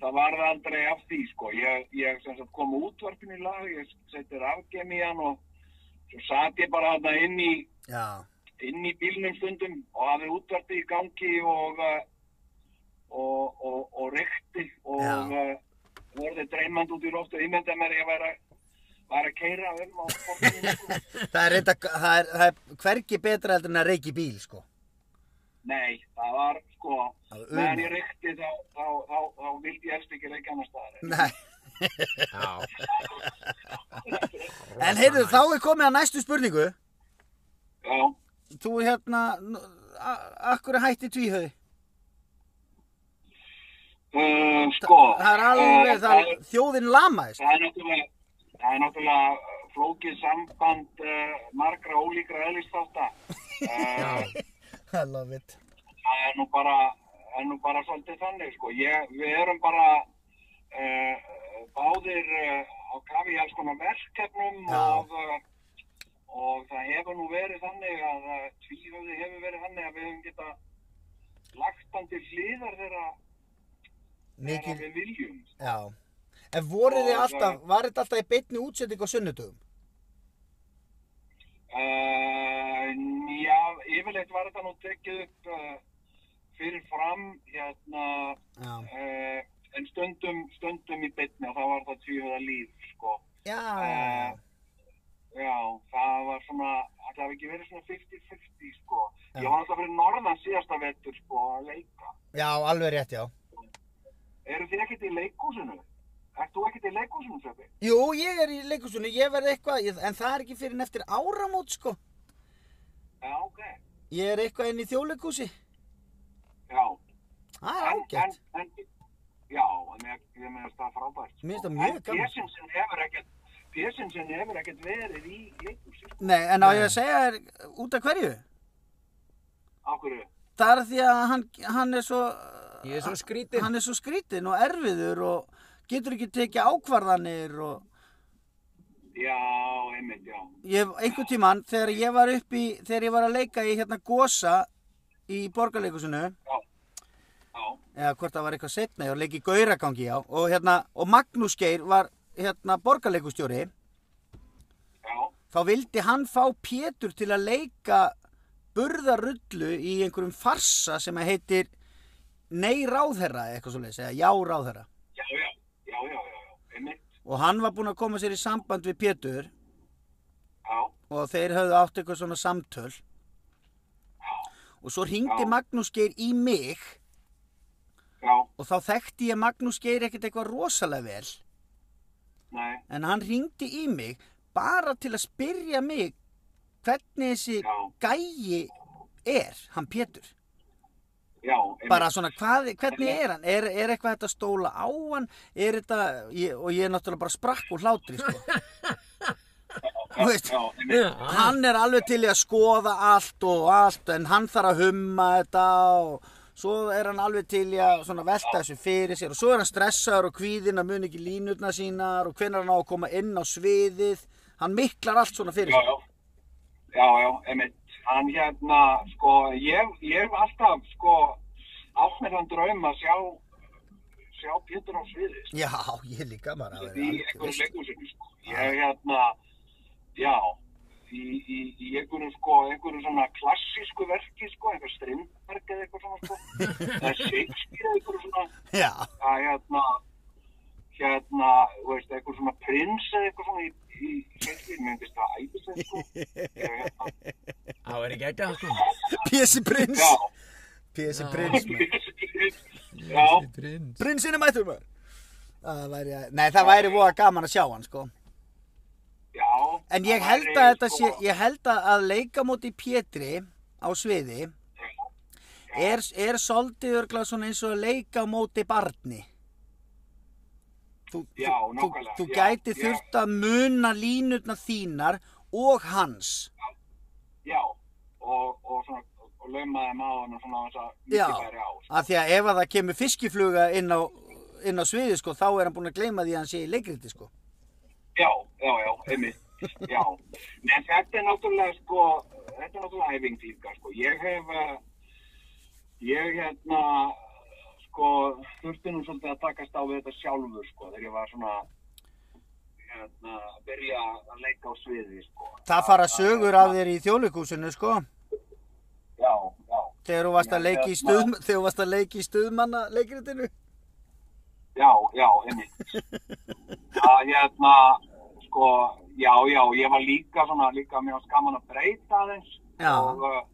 Speaker 5: það varði aldrei af því sko. ég, ég sem sagt kom útvarpinu í lag ég setti rafgem í hann og svo satt ég bara þarna inn í
Speaker 2: Já,
Speaker 5: inn í bílnum stundum og hafði útvarpi í gangi og uh, og, og, og reykti og
Speaker 2: Já.
Speaker 5: uh, vorði dreymand út í loft og ímynda mér að ég væri að var að keira um á borðinu sko.
Speaker 2: það er reynda, það er, það er hvergi betra heldur en að reyki bíl, sko.
Speaker 5: nei, það var sko
Speaker 2: Það var
Speaker 5: meðan
Speaker 2: ömurlegt.
Speaker 5: ég reykti þá, þá, þá, þá, vildi ég helst ekki reykja annar staðar
Speaker 2: Nei.
Speaker 1: Já.
Speaker 2: En heyrðu, þá er komið að næstu spurningu.
Speaker 5: Já,
Speaker 2: Þú hérna, akkur er hætti tvíhauði?
Speaker 5: uh, sko.
Speaker 2: Það er alveg,
Speaker 5: eh,
Speaker 2: það
Speaker 5: það,
Speaker 2: er, þjóðin lamaðist.
Speaker 5: það er náttúrulega, það er náttúrulega eh, flókið samband uh, margra ólíkra eðlistáta. Uh,
Speaker 2: I love it.
Speaker 5: það er nú bara, er nú bara svolítið þannig, sko. Ég, við erum bara uh, báðir uh, á kafi í alls konar verkefnum
Speaker 2: Já.
Speaker 5: og... Uh, og það hefur nú verið þannig að eh, tvíhöfði hefur verið þannig að við höfum geta lagt hann til hliðar þegar þegar
Speaker 2: Mikil,
Speaker 5: við viljum.
Speaker 2: já. En voruð þið
Speaker 5: Og-
Speaker 2: alltaf, var þetta alltaf í beinni útsending á sunnudögum?
Speaker 5: Uh, já, yfirleitt var þetta nú tekið upp uh, fyrir fram hérna
Speaker 2: Já.
Speaker 5: uh, en stundum, stundum í bytni og það var það tvíhöða líf sko.
Speaker 2: Já, já,
Speaker 5: Já, það var svona, það hafi ekki verið svona 50-50 sko.
Speaker 2: Já.
Speaker 5: Ég var alltaf fyrir norðan síðasta vettur sko að leika.
Speaker 2: já. Já, alveg rétt, já.
Speaker 5: Eru þið ekkert í leikúsinu? Ert þú ekkert í leikúsinu, Sveppi?
Speaker 2: Jú, ég er í leikusunni, ég verð eitthvað, ég, en það er ekki fyrir en eftir áramót, sko.
Speaker 5: Já, ok.
Speaker 2: Ég er eitthvað inn í þjóðleikúsi.
Speaker 5: Já.
Speaker 2: Það er ágætt.
Speaker 5: En, en, en, já, en ég, ég meðast það frábært. sko.
Speaker 2: Mér finnst það mjög
Speaker 5: En
Speaker 2: gaman.
Speaker 5: Pésinsen hefur ekkert, Pésinsen hefur ekkert verið í leikhúsi, sko.
Speaker 2: Nei, en á ég að segja þér út af hverju?
Speaker 5: Af hverju?
Speaker 2: Það er því að hann, hann er svo,
Speaker 1: Ég er svo skrítinn.
Speaker 2: hann er svo skrítinn og erfiður og getur ekki tekið ákvarðanir og
Speaker 5: Já, einmitt, já.
Speaker 2: ég hef einhvern tímann þegar ég var upp í, þegar ég var að leika í hérna Gosa í borgarleikusinu
Speaker 5: Já, já,
Speaker 2: eða hvort það var eitthvað setna, ég var að leika í Gauragangi já og hérna, og Magnús Geir var hérna borgarleikustjóri
Speaker 5: já.
Speaker 2: þá vildi hann fá Pétur til að leika burðarullu í einhverjum farsa sem að heitir Nei ráðherra eða eitthvað svo leiðis, eða Já ráðherra.
Speaker 5: Já, já, já, já, já, já, einmitt,
Speaker 2: Og hann var búinn að koma sér í samband við Pétur
Speaker 5: já,
Speaker 2: og þeir höfðu átt eitthvað svona samtöl. Og svo hringdi
Speaker 5: Já.
Speaker 2: Magnús Geir í mig
Speaker 5: já,
Speaker 2: og þá þekkti ég Magnús Geir ekkert eitthvað rosalega vel.
Speaker 5: nei,
Speaker 2: En hann hringdi í mig bara til að spyrja mig hvernig þessi
Speaker 5: Já.
Speaker 2: gæi er, hann Pétur.
Speaker 5: já, einmitt.
Speaker 2: bara svona hvað, hvernig er hann er, er eitthvað þetta að stóla á hann er þetta, ég, og ég er náttúrulega bara sprakk úr hlátri sko. þú veist,
Speaker 5: Já, einmitt,
Speaker 2: hann er alveg til í að skoða allt og allt en hann þarf að humma þetta og svo er hann alveg til í að svona velta þessu fyrir sér og svo er hann stressaður og kvíðinn að mun ekki línutna sínar og hvenær hann á að koma inn á sviðið hann miklar allt svona fyrir
Speaker 5: já,
Speaker 2: sér
Speaker 5: já, já, já, einmitt, hann hérna, sko, ég, ég hef alltaf, sko, átt með þann draum að sjá, sjá Pétur á sviði, sko.
Speaker 2: já, ég líka bara að
Speaker 5: í
Speaker 2: vera
Speaker 5: einhverjum
Speaker 2: alveg
Speaker 5: leikhúsinu sko. ég hérna já í, í, í einhverjum sko einhverjum svona klassísku verki sko einhver strindverk eða eitthvað svona sko eða Shakespeare eða einhverjum svona
Speaker 2: já,
Speaker 5: að hérna hérna, þú veist, einhver svona prins eða eitthvað svona í, í Shakespeare myndist það æðislega sko ég, hérna,
Speaker 1: Það verður ekki ekki að sko.
Speaker 2: Pési prins
Speaker 5: já
Speaker 2: Pési prins maður.
Speaker 5: já,
Speaker 1: Prins.
Speaker 2: Prinsinn er mættur maður Það væri, að- nei það væri voða gaman að sjá hann sko
Speaker 5: já
Speaker 2: En ég
Speaker 5: það
Speaker 2: held að
Speaker 5: væri,
Speaker 2: þetta sé,
Speaker 5: sko,
Speaker 2: ég held að að leika móti Pétri á sviði er, er soldið örgla svona eins og að leika á móti barni Þú,
Speaker 5: Já,
Speaker 2: þú, þú,
Speaker 5: nákvæmlega,
Speaker 2: þú
Speaker 5: já,
Speaker 2: gæti
Speaker 5: já.
Speaker 2: þurft að muna línutna þínar og hans
Speaker 5: já, og, og svona og laumaði maður og svona þess að
Speaker 2: Já,
Speaker 5: mikið færi á sko.
Speaker 2: af því að ef að það kemur fiskifluga inn á, inn á sviði sko þá er hann búinn að gleyma því að hann sé í leikriti sko
Speaker 5: Já, já, já, einmitt, já. En þetta er náttúrulega, sko, þetta er náttúrulega æfing líka, sko. Ég hef, eh, ég hérna, sko, þurfti nú svolítið að takast á við þetta sjálfur, sko, þegar ég var svona, hérna, að byrja að leika á sviði, sko.
Speaker 2: Það fara sögur af þér í þjóðleikúsinu sko
Speaker 5: Já, já,
Speaker 2: Þegar þú varst að
Speaker 5: Já,
Speaker 2: leiki í
Speaker 5: hérna.
Speaker 2: stuðm, þegar þú varst að leiki í stuðmanna leikritinu?
Speaker 5: já, já, einmitt. Það, hérna, sko, já, já, ég var líka svona, líka mjög skaman að breyta aðeins.
Speaker 2: Já.
Speaker 5: Og uh,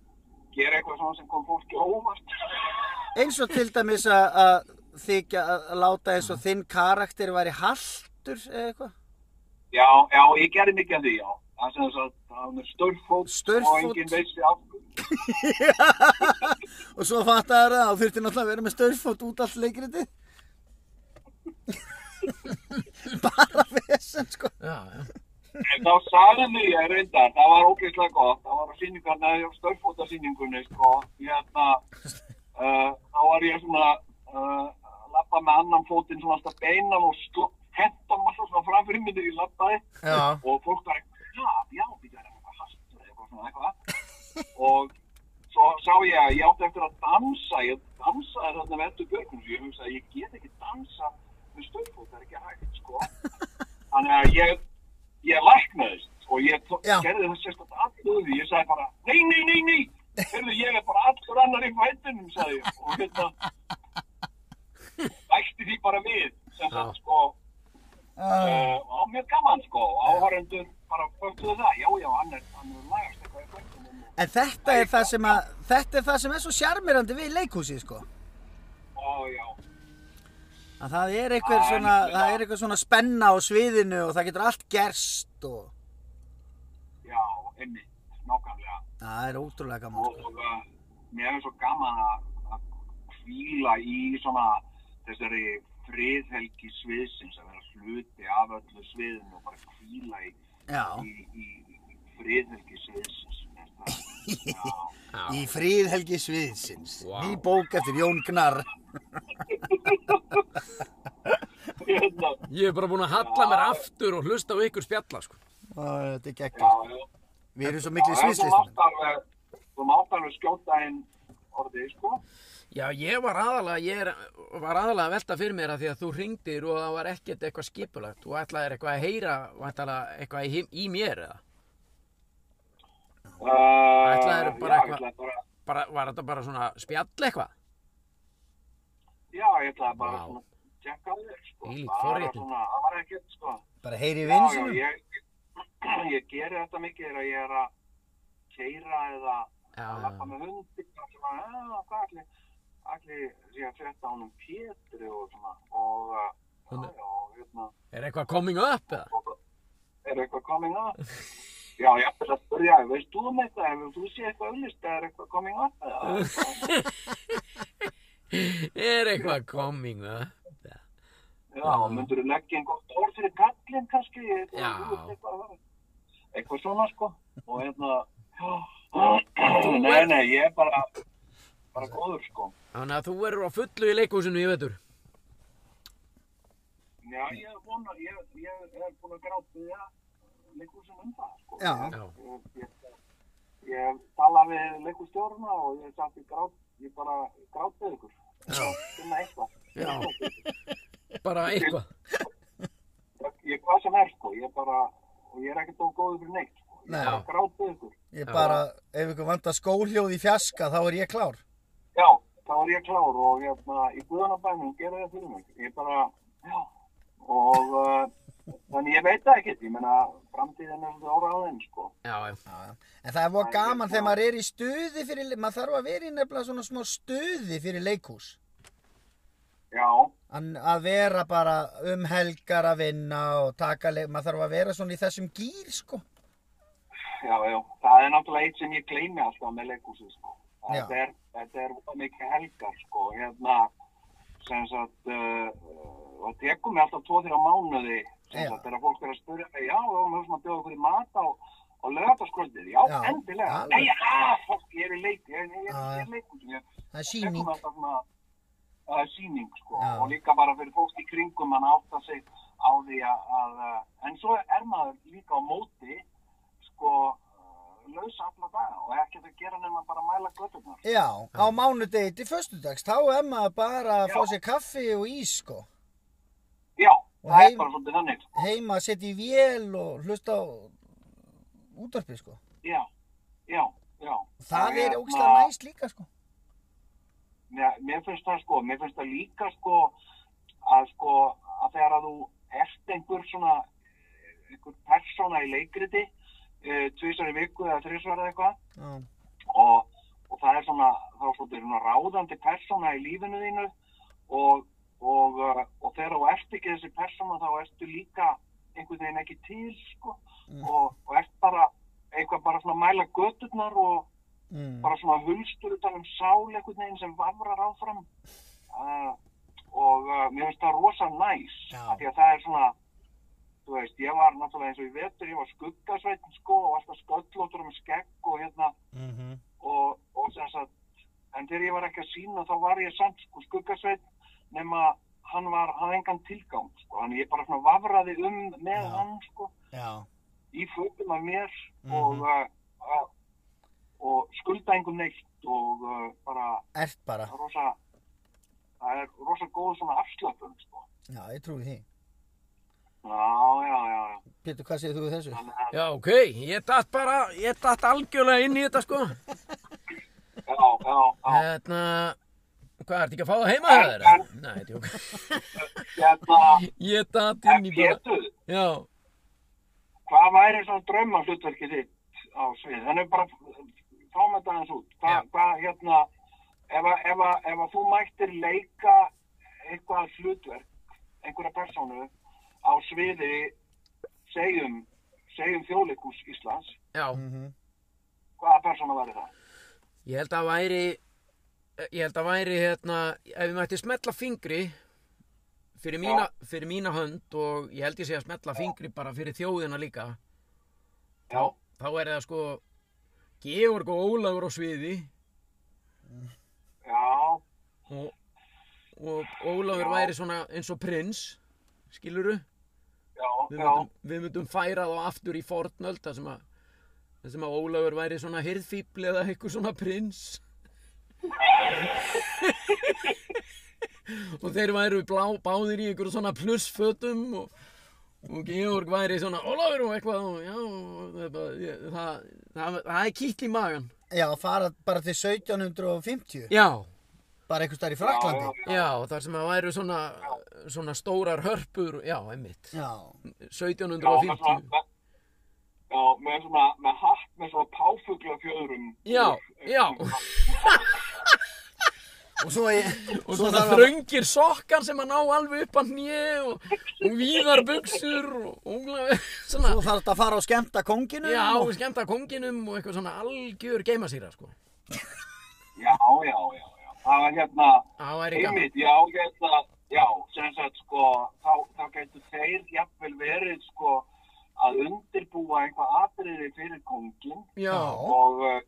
Speaker 5: gera eitthvað svona sem kom fólki á óvart.
Speaker 2: Eins og til dæmis að- að þykja að að láta eins og þinn karakter væri haltur eða eitthvað?
Speaker 5: Já, já, ég gerði mikið af því, já. Það sem þess að það er störfót
Speaker 2: Staurfót.
Speaker 5: og enginn veist af hverju.
Speaker 2: Og svo fattaður það að þú þurfti náttúrulega að vera með störfót út allt leikriti. Bara vesen sko.
Speaker 1: Já, já.
Speaker 5: En þá sagði mig ég reyndar, það var ógeðslega gott, það var á sýningarna, á störfótasýningunni, sko. Hérna, uh, þá var ég svona, uh, lappa með annan fótinn svona alltaf beinan og stó, henta massa svona framfyrir minni í lappaði
Speaker 2: Já.
Speaker 5: og fólk var eitthvað, já, já, býta er eitthvað hastur eða eitthvað svona eitthvað. og svo sá ég að ég átti eftir að dansa, ég dansaði þarna með Eddu Björgum, ég hugsa að ég get ekki dansa með stöðfót, það er ekki hægt, sko. Þannig að ég, ég læknaðist og ég tó-
Speaker 2: Já.
Speaker 5: gerði það sérstætt alluðu því, ég sagði bara, nei, nei, nei, nei, Hörðu, ég er bara allur annar í fætinum, sagði ég, og hérna, ætti því bara við, sem
Speaker 1: Já.
Speaker 5: sagt, sko, uh, á mjög gaman sko áhörendur bara föttuðu það já já hann er, hann er lagast eitthvað í fættinum
Speaker 2: En þetta er það sem að, þetta er það sem er svo sjarmirandi við leikhúsið sko.
Speaker 5: og já
Speaker 2: Að það er eitthvað svona, það er eitthvað svona spenna á sviðinu og það getur allt gerst og
Speaker 5: já einmitt nákvæmlega
Speaker 2: það er ótrúlega gaman sko.
Speaker 5: og uh, mér er svo gaman að, að hvíla í svona þessari friðhelgi sviðsins að vera hluti af öllu sviðinu og bara hvíla í,
Speaker 2: Já.
Speaker 5: í, í, í friðhelgi sviðsins Mér finnst það- já
Speaker 2: Í fríðhelgi sviðsins.
Speaker 1: Vá.
Speaker 2: Ný bók eftir Jón Gnar.
Speaker 5: Hérna,
Speaker 1: Ég hef bara búin að halla mér aftur og hlusta á ykkur spjalla sko.
Speaker 2: Ó, þetta er
Speaker 5: já,
Speaker 2: geggjast.
Speaker 5: já.
Speaker 2: Við erum svo miklu
Speaker 5: Já, þú
Speaker 2: sviðslistamenn.
Speaker 5: mátt alveg- þú mátt alveg skjóta inn orðið sko
Speaker 1: Já, ég var aðalega, ég er, var aðalega að velta fyrir mér að því að þú ringdir og það var ekkert eitthvað skipulagt. Þú ætlaðir eitthvað að heyra, ætlaðir eitthvað í, him- í mér eða?
Speaker 5: Ætlaðir
Speaker 1: Ætlaðirðu bara eitthvað-
Speaker 5: Eh, Já, ég ætlaði bara,
Speaker 1: Bara, var þetta bara svona spjall eitthvað?
Speaker 5: já, ég ætlaði bara
Speaker 1: Vá.
Speaker 5: svona tjekka á þér, sko.
Speaker 1: Þvílík
Speaker 5: Bara
Speaker 1: forréttindi.
Speaker 5: svona, Það var ekkert, sko.
Speaker 2: Bara heyri í
Speaker 5: Já,
Speaker 2: vinn
Speaker 5: já,
Speaker 2: sínum.
Speaker 5: ég, ég geri þetta mikið þegar ég er að keira eða
Speaker 1: Já,
Speaker 5: að lappa með hundi og svona, já, hvað allir, allir sé að frétta honum Pétri og svona og, uh, já,
Speaker 1: Þannig-
Speaker 5: já, og hérna,
Speaker 1: Er eitthvað coming up eða?
Speaker 5: og er eitthvað coming up? Já, ég ætla að spyrja, veist þú um þetta, hefur þú séð eitthvað auðlist, er eitthvað coming up eða?
Speaker 1: Er eitthvað coming up eða?
Speaker 5: Já, myndur þú leggja einhvern orð fyrir kallinn kannski, eitthvað,
Speaker 1: Já.
Speaker 5: þú veist, eitthvað, eitthvað svona sko, og hérna, já, nei,
Speaker 1: ert-
Speaker 5: nei, ég er bara, bara góður sko.
Speaker 1: Þannig að þú verður á fullu í leikhúsinu í vetur.
Speaker 5: Já, ég er búin að, ég, ég er búin að gráta því að leikhúsum um það sko.
Speaker 2: Já.
Speaker 1: Já.
Speaker 5: Ég, ég, ég tala við leikhússtjórna og ég satt í grát, ég bara grátið ykkur. Já. Finna eitthvað.
Speaker 1: Já. Bara eitthvað.
Speaker 5: Ég, hvað sem er sko, ég bara, og ég er ekkert of góður fyrir neitt sko. Ég
Speaker 2: Nei.
Speaker 5: bara grátið ykkur.
Speaker 2: Ég bara, ef ykkur vantar skóhljóð í fjaska, þá er ég klár.
Speaker 5: Já, þá er ég klár og hérna í Guðanabænum gera það fyrir mig. Ég bara, já, og uh, þannig ég veit það ekkert, ég menna framtíðin er það óráðin, sko.
Speaker 1: Já, já.
Speaker 2: Já, já. En það er voða gaman þegar maður er í stuði fyrir, maður þarf að vera í nefnilega svona smá stuði fyrir leikhús.
Speaker 5: Já,
Speaker 2: An, að vera bara um helgar að vinna og taka leik, maður þarf að vera svona í þessum gýr, sko.
Speaker 5: já, já, það er náttúrulega eitt sem ég gleymi alltaf með leikúsið, sko.
Speaker 2: Já.
Speaker 5: Þetta er, þetta er voða mikið helgar, sko, hérna, sem sagt, uh, uh, og tekum mig alltaf tvo þrjá mánuði, sem
Speaker 2: Já.
Speaker 5: sagt, þegar fólk er að spyrja mig, já, við vorum hugsa að bjóða ykkur í mat á, á lögataskvöldið, já,
Speaker 2: Já,
Speaker 5: endilega.
Speaker 2: alveg.
Speaker 5: Nei, já, fólk, ég er í leik, ég, ég, ég, ég
Speaker 2: Já,
Speaker 5: er
Speaker 2: já.
Speaker 5: í leikúsið, ég,
Speaker 2: Það er
Speaker 5: tekum
Speaker 2: síning.
Speaker 5: þetta svona uh, síning sko
Speaker 2: Já.
Speaker 5: og líka bara fyrir fólk í kringum hann átta sig á því að, að uh, en svo er maður líka á móti sko uh, laus alla daga og ekkert að gera nema bara að mæla götturnar
Speaker 2: Já, á mánudegi til föstudags, þá er maður bara að fá
Speaker 5: Já.
Speaker 2: sér kaffi og ís, sko.
Speaker 5: já, það
Speaker 2: heim-
Speaker 5: er bara svolítið þannig sko.
Speaker 2: Heima að setja í vél og hlusta á útarpi, sko.
Speaker 5: já, já, já
Speaker 2: Það
Speaker 5: Og
Speaker 2: er
Speaker 5: hérna-
Speaker 2: ógislega næst líka, sko.
Speaker 5: mér, mér finnst það sko, mér finnst það líka sko að sko að þegar að þú ert einhver svona einhver persóna í leikriti uh, tvisar í viku eða þrisvar eða eitthvað
Speaker 2: Já,
Speaker 5: og, og það er svona, það er svona, svona ráðandi persóna í lífinu þínu og, og, uh, og þegar þú ert ekki þessi persóna þá ertu líka einhvern veginn ekki til sko,
Speaker 2: Mm.
Speaker 5: og, og ert bara eitthvað bara svona að mæla göturnar og
Speaker 2: mm.
Speaker 5: bara svona hulstur utan um sál einhvern veginn sem vafrar áfram uh, og uh, mér finnst það rosa næs
Speaker 2: Já.
Speaker 5: af því að það er svona þú veist, ég var náttúrulega eins og í vetur ég var skuggasveitin sko og alltaf sköllóttur um skegg og hérna
Speaker 2: Mm -hmm.
Speaker 5: og, og sem sagt, en þegar ég var ekki að sína þá var ég samt sko skuggasveit nema hann var, hann engan tilgang sko, hann ég bara svona vafraði um með
Speaker 2: Já.
Speaker 5: hann sko,
Speaker 2: Já,
Speaker 5: í fötum af mér og, uh, uh, og skulda engum neitt og uh, bara
Speaker 2: ert bara.
Speaker 5: rosa, það er rosa góð svona afslöpun sko.
Speaker 2: Já, ég trúi því.
Speaker 5: Já, já, já, já.
Speaker 2: Pétur, hvað segir þú við þessu?
Speaker 5: Þannig að-
Speaker 1: Já, ok. Ég datt bara, ég datt algjörlega inn í þetta, sko.
Speaker 5: já, já, já.
Speaker 1: Hérna, hvað, ertu ekki að fá það heima hjá þér? eða? Nei, þetta er
Speaker 5: Hérna,
Speaker 1: Ég datt inn í bara.
Speaker 5: Pétur,
Speaker 1: Já.
Speaker 5: hvað væri svona drauma hlutverkið þitt á svið? Þannig bara fáum þetta aðeins út. Hva,
Speaker 1: Já.
Speaker 5: Hvað, hérna, ef, að- ef, að- ef að þú mættir leika eitthvað hlutverk, einhverja persónu á sviði, segjum, segjum þjóðleikús Íslands,
Speaker 1: Já.
Speaker 5: hvaða persóna væri það?
Speaker 1: Ég held að væri, ég held að væri, hérna, ef ég mætti smetla fingri fyrir mína, fyrir mína hönd og ég held ég sé að smetla fingri bara fyrir þjóðina líka,
Speaker 5: Já,
Speaker 1: þá er það sko Georg og Ólafur á sviði
Speaker 5: já,
Speaker 1: og, og Ólafur væri svona eins og prins, skiluru?
Speaker 5: já,
Speaker 1: Við
Speaker 5: já,
Speaker 1: myndum, við myndum færa þá aftur í fornöld þar sem að, þar sem að Ólafur væri svona hirðfíbl eða eitthvað svona prins. og þeir væru blá, báðir í einhverju svona plussfötum og, og Georg væri svona Ólafur og eitthvað og já, og það, það, það, það, það er kýtt í magan
Speaker 2: Já, fara bara til 1750,
Speaker 1: já,
Speaker 2: bara einhvers staðar í Fraklandi.
Speaker 1: já, þar sem það væru svona svona stórar hörpur já, einmitt,
Speaker 2: Já,
Speaker 1: 1750
Speaker 5: Já, með svona, með hatt með svona páfugla fjöðrum.
Speaker 1: já, já
Speaker 2: og svo,
Speaker 1: og svona þröngir sokkar sem að ná alveg upp að hnje og, og víðar buksur og ungla, svona
Speaker 2: Svo þarf þetta að fara og skemmta konginu
Speaker 1: já,
Speaker 2: og,
Speaker 1: skemmta konginum og eitthvað svona algjör geimasýra, sko
Speaker 5: Já, já, já, já. Það var hérna,
Speaker 1: það væri gaman
Speaker 5: einmitt, já, hérna, já, sem sagt, sko, þá, þá getur þeir jafnvel verið, sko, að undirbúa einhvað atriði fyrir kongin
Speaker 1: já,
Speaker 5: og uh,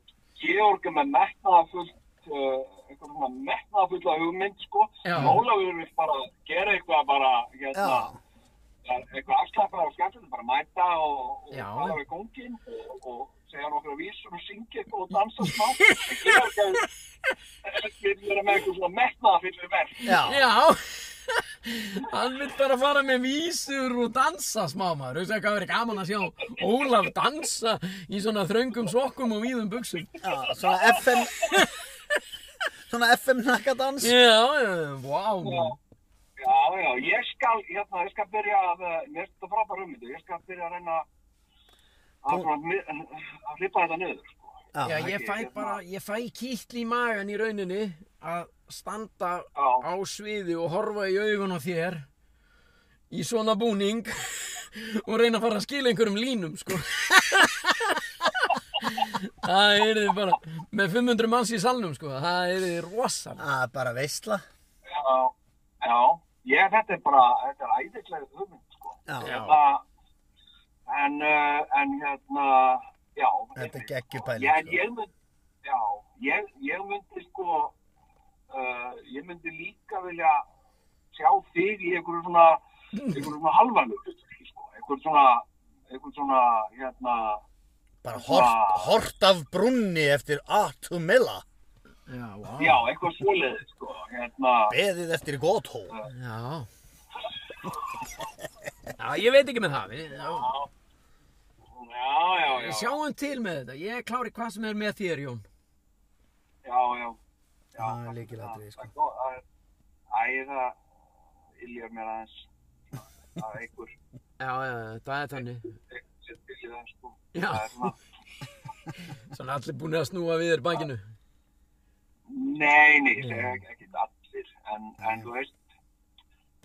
Speaker 5: Georg er með metnaðafullt, uh, eitthvað svona metnaðafulla hugmynd, sko.
Speaker 1: Já.
Speaker 5: Ólafur vil bara gera eitthvað bara, hérna,
Speaker 2: já,
Speaker 5: Það er eitthvað afslapað og skemmtilegt, bara mæta og, og
Speaker 1: Já.
Speaker 5: tala við kóngin og, og segja nokkra vísur og syngja eitthvað og dansa smá. En Georg hefur- vill vera með eitthvað svona metnaða fyrir verð.
Speaker 2: já,
Speaker 1: Já, hann vill bara fara með vísur og dansa smá maður. Þú veist hvað verið gaman að sjá Ólaf dansa í svona þröngum sokkum og víðum buksum.
Speaker 2: já, svona FM, svona FM nakkadans.
Speaker 1: Já, já, vá. Wow.
Speaker 5: Já, já, ég skal, hérna, ég skal byrja að, eh, mér finnst þetta frábær hugmyndu, ég skal byrja að reyna að, svona mi- að hlipa þetta niður, sko.
Speaker 1: Já,
Speaker 2: Já,
Speaker 1: ég fæ bara, ég fæ kýtl í magan í rauninni að standa á sviði og horfa í augun á þér í svona búning og reyna að fara að skila einhverjum línum, sko. Það er þið bara, með 500 manns í salnum, sko, það er þið rosalega.
Speaker 2: það er bara veistla.
Speaker 5: Já, já, ég, þetta er bara, þetta er æðislega hugmynd, sko.
Speaker 2: Já,
Speaker 5: Hérna, en, uh, en hérna, já.
Speaker 2: Þetta er
Speaker 5: einmitt,
Speaker 2: geggjupæling,
Speaker 5: Ég,
Speaker 2: sko.
Speaker 5: ég mynd, já, ég, ég myndi sko, uh, ég myndi líka vilja sjá þig í einhverju svona, einhverju svona halvanlegu hlutverki, sko. Einhverju svona, einhverju svona, hérna,
Speaker 2: bara hort, hort af brunni eftir Atumilla,
Speaker 1: Já, vá.
Speaker 5: já,
Speaker 2: Ah.
Speaker 5: einhverju svoleiði, sko. Hérna,
Speaker 2: beðið eftir Gothó.
Speaker 1: Já. Já, ég veit ekki með það. Við, já.
Speaker 5: já, já, já,
Speaker 1: Við
Speaker 5: já,
Speaker 1: sjáum til með þetta. Ég er klári hvað sem er með þér, Jón.
Speaker 5: já. já
Speaker 2: Það er lykilatriði, sko.
Speaker 5: Það er, æ, það yljar mér aðeins, að einhver,
Speaker 1: Já, já, það er þannig.
Speaker 5: sem byrja það sko.
Speaker 1: Já.
Speaker 5: Það er svona,
Speaker 1: Svona allir búin að snúa við þér bakinu.
Speaker 5: nei, nei, það er ekki- ekki allir, en, en þú veist,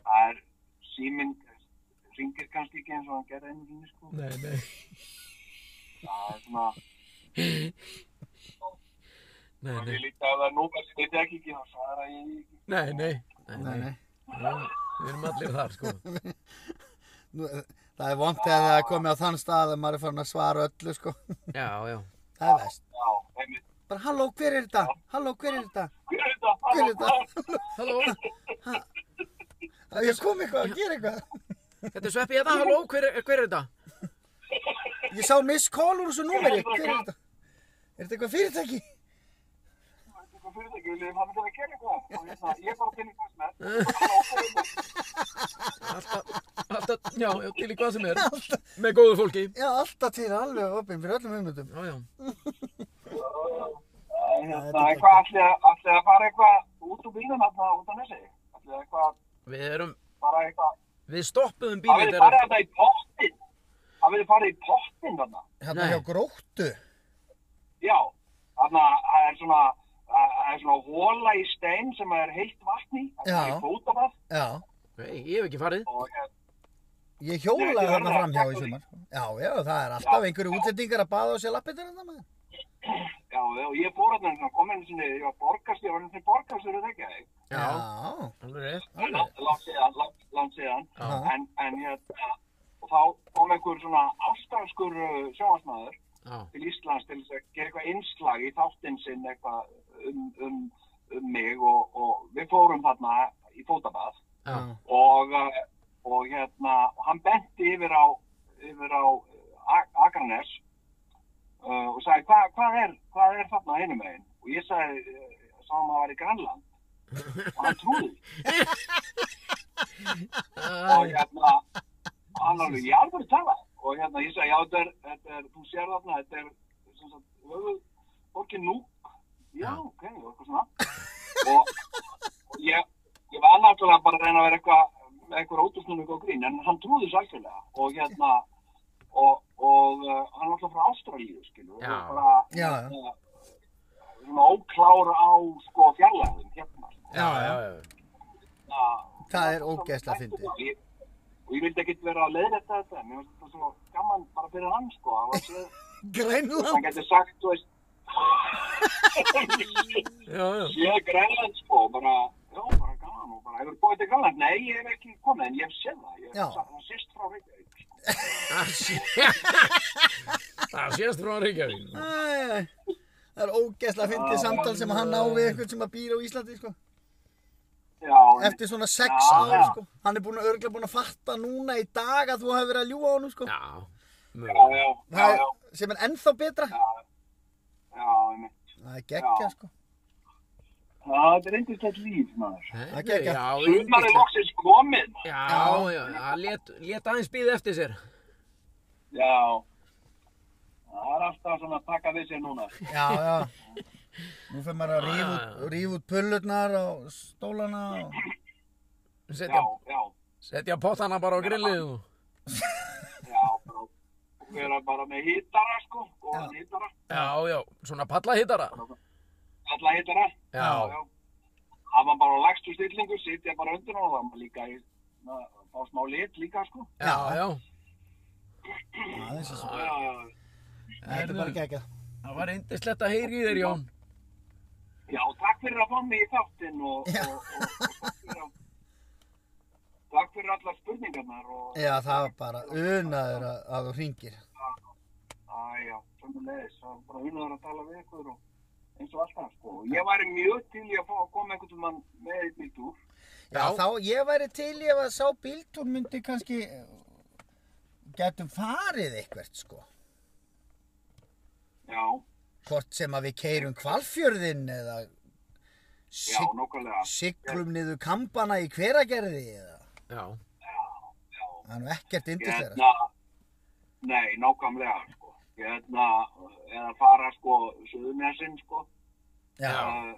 Speaker 5: það er, síminn ringir kannski ekki eins og hann gerði einu sinni sko.
Speaker 1: Nei, nei.
Speaker 5: Það er svona,
Speaker 1: Nei,
Speaker 5: það
Speaker 1: nei.
Speaker 5: er lítið að það er númer sem þetta ekki ekki, þá svara ég ekki.
Speaker 1: Nei, nei. Nei,
Speaker 2: Nei, nei.
Speaker 1: Já, Við erum allir þar, sko.
Speaker 2: Nú, eh, það er vont að það er komið á þann stað að maður er farin að svara öllu sko.
Speaker 1: Já, já.
Speaker 2: Það er vest.
Speaker 5: Já, einmitt.
Speaker 2: Bara halló, hver er þetta? Halló, hver er þetta?
Speaker 5: Hver er þetta?
Speaker 2: Hver er þetta?
Speaker 1: Halló,
Speaker 2: Á Ég kom eitthvað að gera eitthvað.
Speaker 1: þetta er sveppi hérna. Halló, hver, er- hver er þetta?
Speaker 2: Ég sá miss call úr þessu númeri. Hver er þetta? Er þetta eitthvað fyrirtæki?
Speaker 5: Hvað fyrir þetta ekki? Viljið þið fara með það að gera eitthvað? Og ég sagði, Ég er bara til í hvað sem er.
Speaker 1: Alltaf, alltaf, já, já, til í hvað sem er. Með góðu fólki.
Speaker 2: Já, alltaf til alveg opinn fyrir öllum umhundum.
Speaker 1: Já, já.
Speaker 5: Það er hvað, ætlið þið- ætlið þið að fara eitthvað út úr bílnum þarna út á nesi? Ætlið þið eitthvað,
Speaker 1: Við erum,
Speaker 5: bara eitthvað,
Speaker 1: við stoppuðum
Speaker 5: Það
Speaker 1: bílið
Speaker 5: verður farið þetta í pottin. Það verður farið í pottin þarna.
Speaker 2: Hérna
Speaker 1: Nei.
Speaker 2: hjá gróttu.
Speaker 5: Já, þarna það er svona, það það er svona hóla í stein sem er heilt vatni. Það
Speaker 2: Já.
Speaker 5: er fótabað
Speaker 2: Já,
Speaker 1: Nei, ég hef ekki farið.
Speaker 5: og hérna,
Speaker 2: ég
Speaker 5: Nei,
Speaker 2: hjólaði
Speaker 5: ég
Speaker 2: hérna
Speaker 5: verð að
Speaker 2: fram hjá í
Speaker 5: taka því.
Speaker 2: sumar. Já, já, það er alltaf einhverju útlendingar að baða á sér lappir þarna maður.
Speaker 5: já, og ég fór þarna og kom einu sinni, ég var borgast, ég var einu sinni borgast fyrir þekkja þig.
Speaker 1: Já,
Speaker 2: Já,
Speaker 1: alveg rétt.
Speaker 5: Látt síðan, langt- langt síðan.
Speaker 2: Já.
Speaker 5: En, en hérna, og þá kom einhver svona uh, ástæðskur sjóhansmaður
Speaker 1: Já.
Speaker 5: til Íslands til þess að gera eitthvað innslag í þáttinn sinn eitthvað um, um, um mig og, og við fórum þarna í fótabað
Speaker 1: Já,
Speaker 5: og, eh, og hérna, og hann benti yfir á, yfir á eh, Ak- Akranes uh, og sagði, Hva, hvað, er, hvað er þarna hinum megin? Og ég sagði, eh, sá hann að það var í Grænland og hann trúði því. og hérna, hann hann alveg, ég alveg tala. Og hérna, ég sagði, já, þetta er, þetta er, þú sér þarna, þetta er, sem sagt, höfuð, fólki núk. Já, ok, og eitthvað svona. og, og ég, ég var náttúrulega bara að reyna að vera eitthvað, með eitthvað ótusnum og grín, en hann trúði þessu algjörlega. Og hérna, og, og uh, hann er alltaf frá Ástralíu, skilur. og
Speaker 1: Já.
Speaker 5: Bara,
Speaker 2: Já.
Speaker 5: hérna, Svona óklára á, sko, fjarlæðum, hérna, sko.
Speaker 1: já, já, já.
Speaker 5: Já.
Speaker 2: Það er ógeðslega fyndið.
Speaker 5: Og ég- Og ég vildi ekkert vera að leiðrætta þetta, mér finnst þetta svo gaman bara fyrir hann, sko. Hann, var svo- hann
Speaker 2: Grænland.
Speaker 5: getur sagt, þú veist,
Speaker 1: já, já.
Speaker 5: séð Grænland, sko, bara, já, bara gaman og bara, hefur búið til Grænland? Nei, ég hef ekki komið, en ég hef séð það. Ég
Speaker 2: Já.
Speaker 5: hef sagt- hann sýst frá Reykjavík, sko.
Speaker 1: Það sé- Ah, Það sést frá Reykjavík.
Speaker 2: Æ, Það er ógeðslega fyndið samtal sem hann á við eitthvað sem að býra á Íslandi sko.
Speaker 5: Já, en-
Speaker 2: Eftir svona sex
Speaker 5: Já.
Speaker 2: ár sko. Hann er búin að örgla búin að fatta núna í dag að þú hefur verið að ljúga á honum sko.
Speaker 1: Já,
Speaker 5: já,
Speaker 1: mögulega.
Speaker 5: já, já,
Speaker 2: Það
Speaker 5: já,
Speaker 2: er- sem er ennþá betra.
Speaker 5: já, einmitt.
Speaker 2: Það er geggja sko.
Speaker 5: Já, þetta er eindislegt líf, maður.
Speaker 1: Herðu,
Speaker 2: Það gekk að-
Speaker 1: Já,
Speaker 5: Sumar er
Speaker 1: yndislegt.
Speaker 5: loksins komið, maður.
Speaker 1: Já,
Speaker 2: Já.
Speaker 1: já, það let, let aðeins býð eftir sér.
Speaker 5: Já. Það er alltaf svona að taka við sér núna.
Speaker 2: Já, já. Nú fyrir maður að rífa út, rífa út pullurnar á stólana og...
Speaker 1: Setja,
Speaker 5: Já, já.
Speaker 1: setja pottana bara á grillið og...
Speaker 5: Já, bara vera bara með hittara sko, góðan hittara,
Speaker 1: Já, já, svona pallahittara.
Speaker 5: alla hittara.
Speaker 1: Já.
Speaker 5: Það var bara á lagstu stillingu, sitja bara undir hann og það var líka í, na, fá smá lit líka sko.
Speaker 1: Já, já.
Speaker 2: Aðeins og svo.
Speaker 5: Já, já,
Speaker 2: Þetta er bara geggja.
Speaker 1: Það var yndislegt að heyri í þér, Jón.
Speaker 5: já, takk fyrir að fá mig í þáttinn og,
Speaker 2: Já.
Speaker 5: og, og, og takk fyrir að, takk fyrir allar spurningarnar og,
Speaker 2: Já, það var bara unaður að, að þú hringir.
Speaker 5: aðja, sömulegis, það var bara unnaður að tala við ykkur og eins og alltaf sko. Ég væri mjög til í að fá að koma einhvern veginn með í mitt úr.
Speaker 2: Já, þá ég væri til ég að sá bíltúr myndi kannski getum farið eitthvert sko.
Speaker 5: Já,
Speaker 2: Hvort sem að við keirum kvalfjörðin eða
Speaker 5: já,
Speaker 2: sig,
Speaker 5: nokkulega.
Speaker 2: siglum niður kampana í hveragerði eða.
Speaker 1: Já,
Speaker 2: Það er nú ekkert indislega.
Speaker 5: hérna, nei, nákvæmlega, sko, hérna, eða fara, sko, suðunesinn, sko,
Speaker 2: Já,
Speaker 5: uh,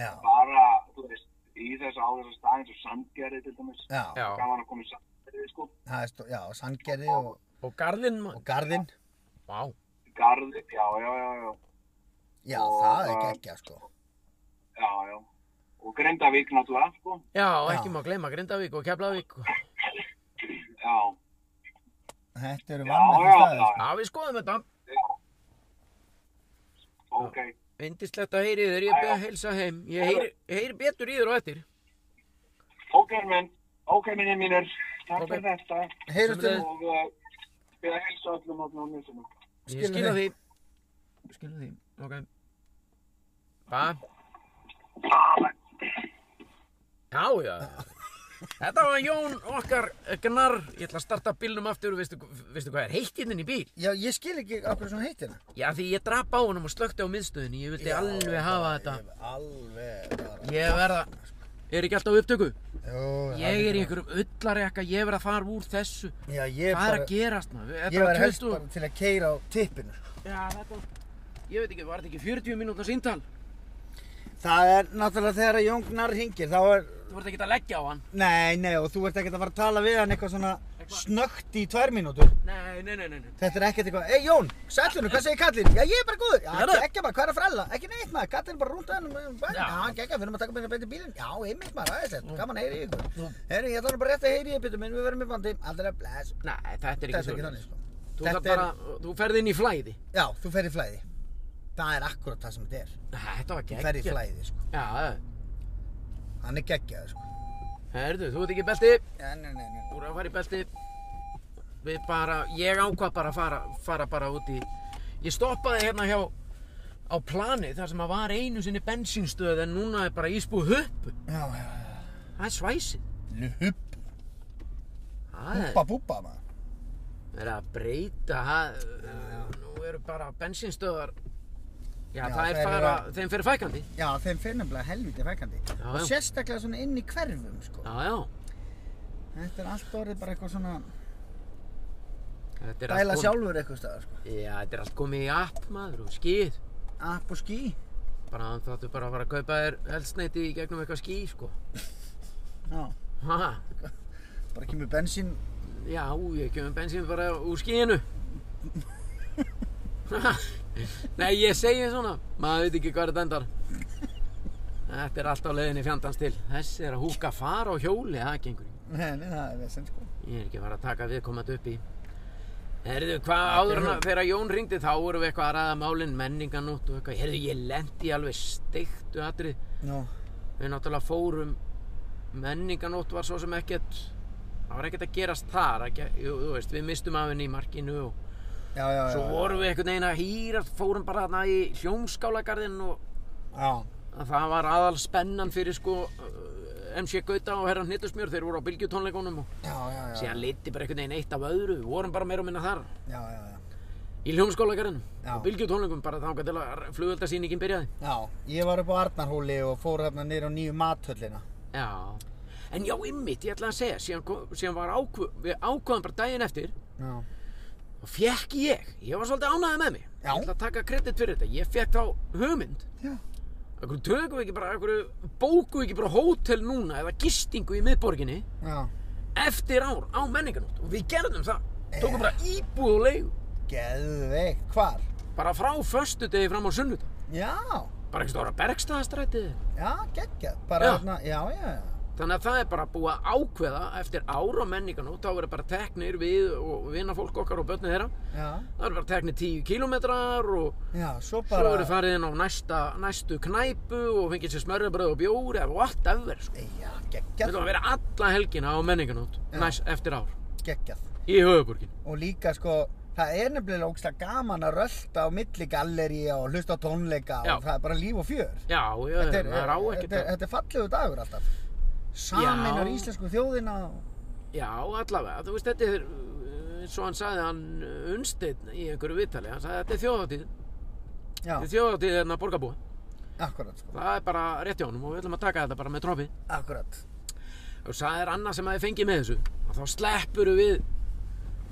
Speaker 2: já,
Speaker 5: bara, þú veist, í þess á þessa staðin svo sandgerði til dæmis,
Speaker 2: já.
Speaker 1: já.
Speaker 5: gaman að koma í sandgerði, sko,
Speaker 2: Það er stó, já, sangerði og,
Speaker 1: Og garðinn, ma-
Speaker 2: og garðinn.
Speaker 1: vá.
Speaker 5: garði, já, já, já, já,
Speaker 2: Já,
Speaker 5: Og
Speaker 2: það er
Speaker 5: það-
Speaker 2: geggja sko.
Speaker 5: já, já, og Grindavík náttúrulega, sko,
Speaker 1: Já,
Speaker 2: Já.
Speaker 1: ekki má gleyma Grindavík og Keflavík. og-
Speaker 5: já,
Speaker 2: Þetta eru
Speaker 5: já,
Speaker 2: vannmætti
Speaker 5: já,
Speaker 2: staðið.
Speaker 5: já,
Speaker 2: sko.
Speaker 1: Já, við skoðum þetta.
Speaker 5: já, ok,
Speaker 1: Yndislegt að heyri í þér, ég beð að heilsa heim. Ég heyri, ég heyri betur í þér og eftir.
Speaker 5: ok, menn, ok, minni mínir, takk
Speaker 1: Ok.
Speaker 5: fyrir þetta,
Speaker 2: Heyrumst um,
Speaker 5: og uh, við að helsa öllum öllum á nýsinu.
Speaker 1: Ég
Speaker 2: Skilum
Speaker 1: skilja því.
Speaker 2: þig.
Speaker 1: Skilja því, ok. Hva? Já, já. Þetta var Jón okkar eh, gnar. Ég ætla að starta bílnum aftur. Veistu, veistu hvað er heitt hérna í bíl?
Speaker 2: Já, ég skil ekki okkur svona heitina.
Speaker 1: Já, því ég drap á honum og slökkti á miðstöðinni. Ég vildi alveg hafa þetta.
Speaker 2: Alveg bara.
Speaker 1: Ég verða... Er ekki alltaf á upptöku?
Speaker 2: Jú,
Speaker 1: Ég er í einhverjum ullarekka. Ég verð að fara úr þessu.
Speaker 2: Já, ég
Speaker 1: Hvað er
Speaker 2: bara,
Speaker 1: að gerast maður? Þetta
Speaker 2: ég var helst
Speaker 1: 20
Speaker 2: bara til að keira á tippinu. sko.
Speaker 1: Já, þetta... Ég veit ekki, var þetta ekki 40 mínútna síntal?
Speaker 2: Það er náttúrulega þegar að Jón Gnarr hringir, þá er,
Speaker 1: Þú voru ekki að leggja á hann?
Speaker 2: nei, nei, og þú ert ekkert að fara að tala við hann eitthvað svona snöggt í tvær mínútur.
Speaker 1: Nei, nei, nei, nei. nei.
Speaker 2: Þetta er ekkert eitthvað, ei Jón, sælunum, hvað segir kallinn? Já, ég er bara góður. Já,
Speaker 1: Herra.
Speaker 2: ekki, ekki bara, hvað er að frella? Ekki neitt maður, kallinn er bara rúnt að hann, bara,
Speaker 1: Já. Mm.
Speaker 2: já, ekki, ekki, við erum að taka beina beint í bílinn. Já, heimilt maður, aðeins, þetta, gaman að heyri ykkur.
Speaker 1: Nú.
Speaker 2: Herri, ég ætla nú bara rétt að heyri ykkur, Pétur minn, við verðum í bandi, aldrei að bless.
Speaker 1: Nei, þetta er
Speaker 2: Þetta
Speaker 1: ekki
Speaker 2: er ekki
Speaker 1: svo.
Speaker 2: þannig, sko.
Speaker 1: Þú,
Speaker 2: Þetta
Speaker 1: þarf
Speaker 2: er-
Speaker 1: bara, þú ferð inn í flæði.
Speaker 2: Já, þú fer í flæði. Það er akkurat það sem þetta er.
Speaker 1: Nei, Þetta var
Speaker 2: Þú
Speaker 1: geggja.
Speaker 2: fer í flæði, sko.
Speaker 1: Já, það-
Speaker 2: Hann er geggjaður, sko.
Speaker 1: herðu, þú ert ekki í belti.
Speaker 2: Já, nei, nei, nei.
Speaker 1: Þú ert að fara í belti. Við bara, ég ákvað bara að fara, fara bara út í... Ég stoppaði hérna hjá á plani þar sem að var einu sinni bensínstöð en núna er bara ísbúð huppu.
Speaker 2: Já, já, já.
Speaker 1: Það er svæsið.
Speaker 2: Luhup.
Speaker 1: Það er-
Speaker 2: Búba, búba, maður.
Speaker 1: verið að breyta það, nú eru bara bensínstöðar
Speaker 2: Já,
Speaker 1: já, það er
Speaker 2: þær eru
Speaker 1: fara,
Speaker 2: að-
Speaker 1: þeim fyrir fækandi
Speaker 2: Já, þeim fer nefnilega helviti fækandi.
Speaker 1: Já,
Speaker 2: og
Speaker 1: já.
Speaker 2: sérstaklega svona inn í hverfum, sko.
Speaker 1: já, já,
Speaker 2: Þetta er allt orðið bara eitthvað svona...
Speaker 1: Þetta er allt
Speaker 2: Dæla
Speaker 1: komið-
Speaker 2: sjálfur eitthvað staðar, sko.
Speaker 1: Já, þetta er allt komið í app maður og skýr.
Speaker 2: App og ský.
Speaker 1: Bara þá ættu bara að fara að kaupa þér eldsneiti í gegnum eitthvað ský, sko.
Speaker 2: Já.
Speaker 1: Ha,
Speaker 2: Bara kemur bensín.
Speaker 1: já, ég kemur bensín bara úr skíinu. Ha, Nei, ég segi svona. Maður veit ekki hvað þetta endar. Þetta er allt á leiðinni fjandans til. Þessi er að húka fara á hjóli, það gengur. ekki.
Speaker 2: Nei, nei, það er vesen, sko.
Speaker 1: Ég er ekki að fara að taka viðkomandi upp í. Herðu, hvað áður en að þegar Jón ringdi þá vorum við eitthvað að ræða málinn menninganótt og eitthvað. Herðu, ég lendi alveg steiktu atrið.
Speaker 2: Já.
Speaker 1: við náttúrulega fórum menninganótt var svo sem ekkert það var ekkert að gerast þar ekki, jú, þú veist, við mistum af henni í markinu og
Speaker 2: Já, já, já.
Speaker 1: svo
Speaker 2: já.
Speaker 1: vorum við einhvern veginn að hýrast fórum bara þarna í hljómskálagarðinn og
Speaker 2: Já.
Speaker 1: það var aðal spennan fyrir sko uh, MC Gauta og Herran Hnittusmjör þeir voru á bylgjutónleikunum og
Speaker 2: Já, já, já.
Speaker 1: síðan liti bara einhvern veginn eitt af öðru við vorum bara meira og minna þar
Speaker 2: Já, já, já.
Speaker 1: í hljómskálagarðinn
Speaker 2: Já.
Speaker 1: og bylgjutónleikum bara þangað til að flugöldasýningin byrjaði
Speaker 2: Já, ég var upp á Arnarhóli og fór hérna niður á nýju mathöllina.
Speaker 1: Já, en já, ymmit, ég ætla að segja, síðan, kom- síðan var ákvöð, við ákvöðum bara daginn eftir
Speaker 2: Já.
Speaker 1: og fekk ég, ég var svolítið ánæðið með mig,
Speaker 2: Já.
Speaker 1: ég ætla að taka kredit fyrir þetta, ég fekk þá hugmynd,
Speaker 2: Já.
Speaker 1: að hverju tökum við ekki bara, að hverju bókum við ekki bara hótel núna eða gistingu í miðborginni
Speaker 2: Já.
Speaker 1: eftir ár á menninganótt og við gerðum það, tókum bara íbúð og leigu,
Speaker 2: Geðveik, hvar?
Speaker 1: bara frá föstudegi fram á sunnudag,
Speaker 2: Já.
Speaker 1: bara ekki stóra Bergstaðastrætið,
Speaker 2: Já, geggjað. Bara
Speaker 1: Já.
Speaker 2: hérna, já, já, já.
Speaker 1: Þannig að það er bara búið að ákveða eftir ára menninganótt, þá verður bara teknir við og vinafólk okkar og börnið þeirra.
Speaker 2: Já.
Speaker 1: Það verður bara teknir 10 kilometrar og
Speaker 2: Já, svo
Speaker 1: svo
Speaker 2: bara...
Speaker 1: verður farið inn á næsta, næstu knæpu og fengið sér smörjabröð og bjóri eða whatever. Sko.
Speaker 2: Já,
Speaker 1: Þetta
Speaker 2: geggjað,
Speaker 1: var að vera alla helgina á menninganótt,
Speaker 2: Já.
Speaker 1: næst eftir ár,
Speaker 2: geggjað.
Speaker 1: í höfuburgin.
Speaker 2: og líka sko það er nefnilega ógslag gaman að rölda á milli galleríja og hlusta á tónleika
Speaker 1: Já.
Speaker 2: og það er bara líf og fjör
Speaker 1: Já, já,
Speaker 2: þetta er,
Speaker 1: það er á ekkert
Speaker 2: þetta, er-
Speaker 1: að...
Speaker 2: þetta er fallegu dagur alltaf saminar
Speaker 1: Já.
Speaker 2: íslensku þjóðina og-
Speaker 1: Já, allavega, þú veist, þetta er, uh, eins og hann sagði hann eh, unnsteinn í einhverju viðtali, hann sagði þetta er þjóðháttíð,
Speaker 2: já,
Speaker 1: þetta er þjóðháttíð en að borgarbúa.
Speaker 2: akkurat sko
Speaker 1: Það er bara rétt hjá honum og við ætlum að taka þetta bara með trófi.
Speaker 2: akkurat,
Speaker 1: Og það er annað sem að ég fengið með þessu. Að þá sleppur við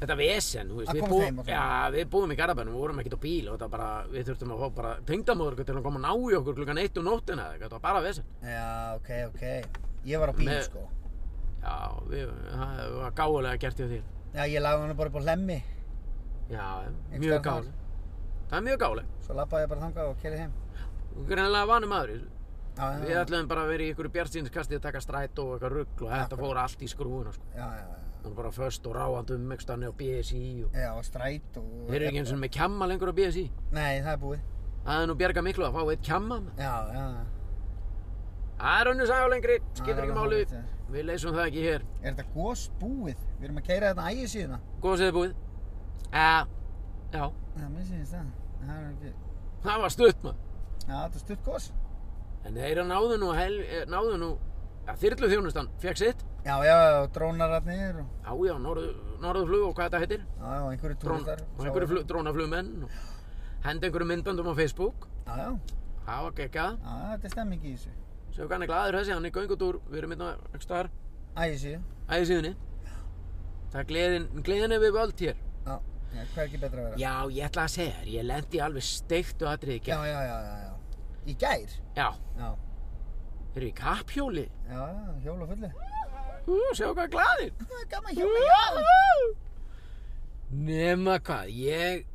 Speaker 1: þetta vesen, þú veist.
Speaker 2: Að
Speaker 1: við
Speaker 2: komast
Speaker 1: bú-
Speaker 2: heim og svona.
Speaker 1: Já, við búum í Garabænum, við vorum ekkert á bíl og þetta bara, við þurftum að fá bara tengdamóður til að koma að ná í okkur klukkan eitt um nóttina eða eitthvað, þetta var bara vesen.
Speaker 2: já, ok, ok ég var á bíl
Speaker 1: Með-
Speaker 2: sko
Speaker 1: Já, við, það var gáðulega gert hjá þér.
Speaker 2: já, ég lagði hann bara upp á hlemmi
Speaker 1: Já,
Speaker 2: Einhvers staðar
Speaker 1: mjög
Speaker 2: þar.
Speaker 1: gáðulega. Það er mjög gáðulega.
Speaker 2: svo lappaði ég bara þangað og kerið heim
Speaker 1: Þú er hennilega vanum maður í þessu.
Speaker 2: já, já,
Speaker 1: Við
Speaker 2: já,
Speaker 1: ætlum bara að vera í ykkur bjartsinskasti að taka strætó og eitthvað rugg og þetta fór allt í skrúuna sko.
Speaker 2: já, já,
Speaker 1: Hún var bara föst og ráandi um ekki stanni á BSI og
Speaker 2: já, já, og stræt og
Speaker 1: Þeir eru ekki eins og með kjamma lengur á BSI.
Speaker 2: nei, það er búið
Speaker 1: Það er nú bjarga miklu að fá eitt kjamma.
Speaker 2: já, já, já.
Speaker 1: Það er önnur sagá lengri,
Speaker 2: Það
Speaker 1: skiptir
Speaker 2: er
Speaker 1: ekki
Speaker 2: alveg
Speaker 1: máli.
Speaker 2: hárrétt,
Speaker 1: Við leysum það ekki hér.
Speaker 2: er þetta gos búið? við erum að keira þetta ægið síðuna
Speaker 1: Góðs eða búið. Eða, já,
Speaker 2: já, mér syns það það er ekki
Speaker 1: það var stutt maður.
Speaker 2: Já, þetta er stutt gos.
Speaker 1: En þeir eru náðu nú, hel, eh, náðu nú, ja, þyrlu þjónustan, fekk sitt.
Speaker 2: Já, já, já, og drónararnir og,
Speaker 1: Já, já, norðu, norðuflug og hvað þetta heitir.
Speaker 2: já, já, og einhverju
Speaker 1: Drón,
Speaker 2: túristar.
Speaker 1: og einhverju flug, drónaflugmenn og hendi einhverju myndböndum á Facebook.
Speaker 2: Já, já,
Speaker 1: Það var gekkað.
Speaker 2: já, þetta er stemming í þessu.
Speaker 1: Svo hann er glaður þessi, hann er göngutúr, við erum hérna ekki staðar,
Speaker 2: Ægir síðu.
Speaker 1: æði síðunni. Það er gleðin, gleðin er við völd hér.
Speaker 2: Já, já, hvað er ekki betra að vera?
Speaker 1: Já, ég ætla að segja þér, ég lendi alveg steiktu atriði
Speaker 2: já,
Speaker 1: gær.
Speaker 2: já, já, já, já. Í gær?
Speaker 1: Já,
Speaker 2: Já,
Speaker 1: þeir eru í kapphjóli.
Speaker 2: já, já, hjól og fulli.
Speaker 1: Ú, sjá hvað glaðir.
Speaker 2: Það er gaman hjól og hjól.
Speaker 1: Nema hvað, ég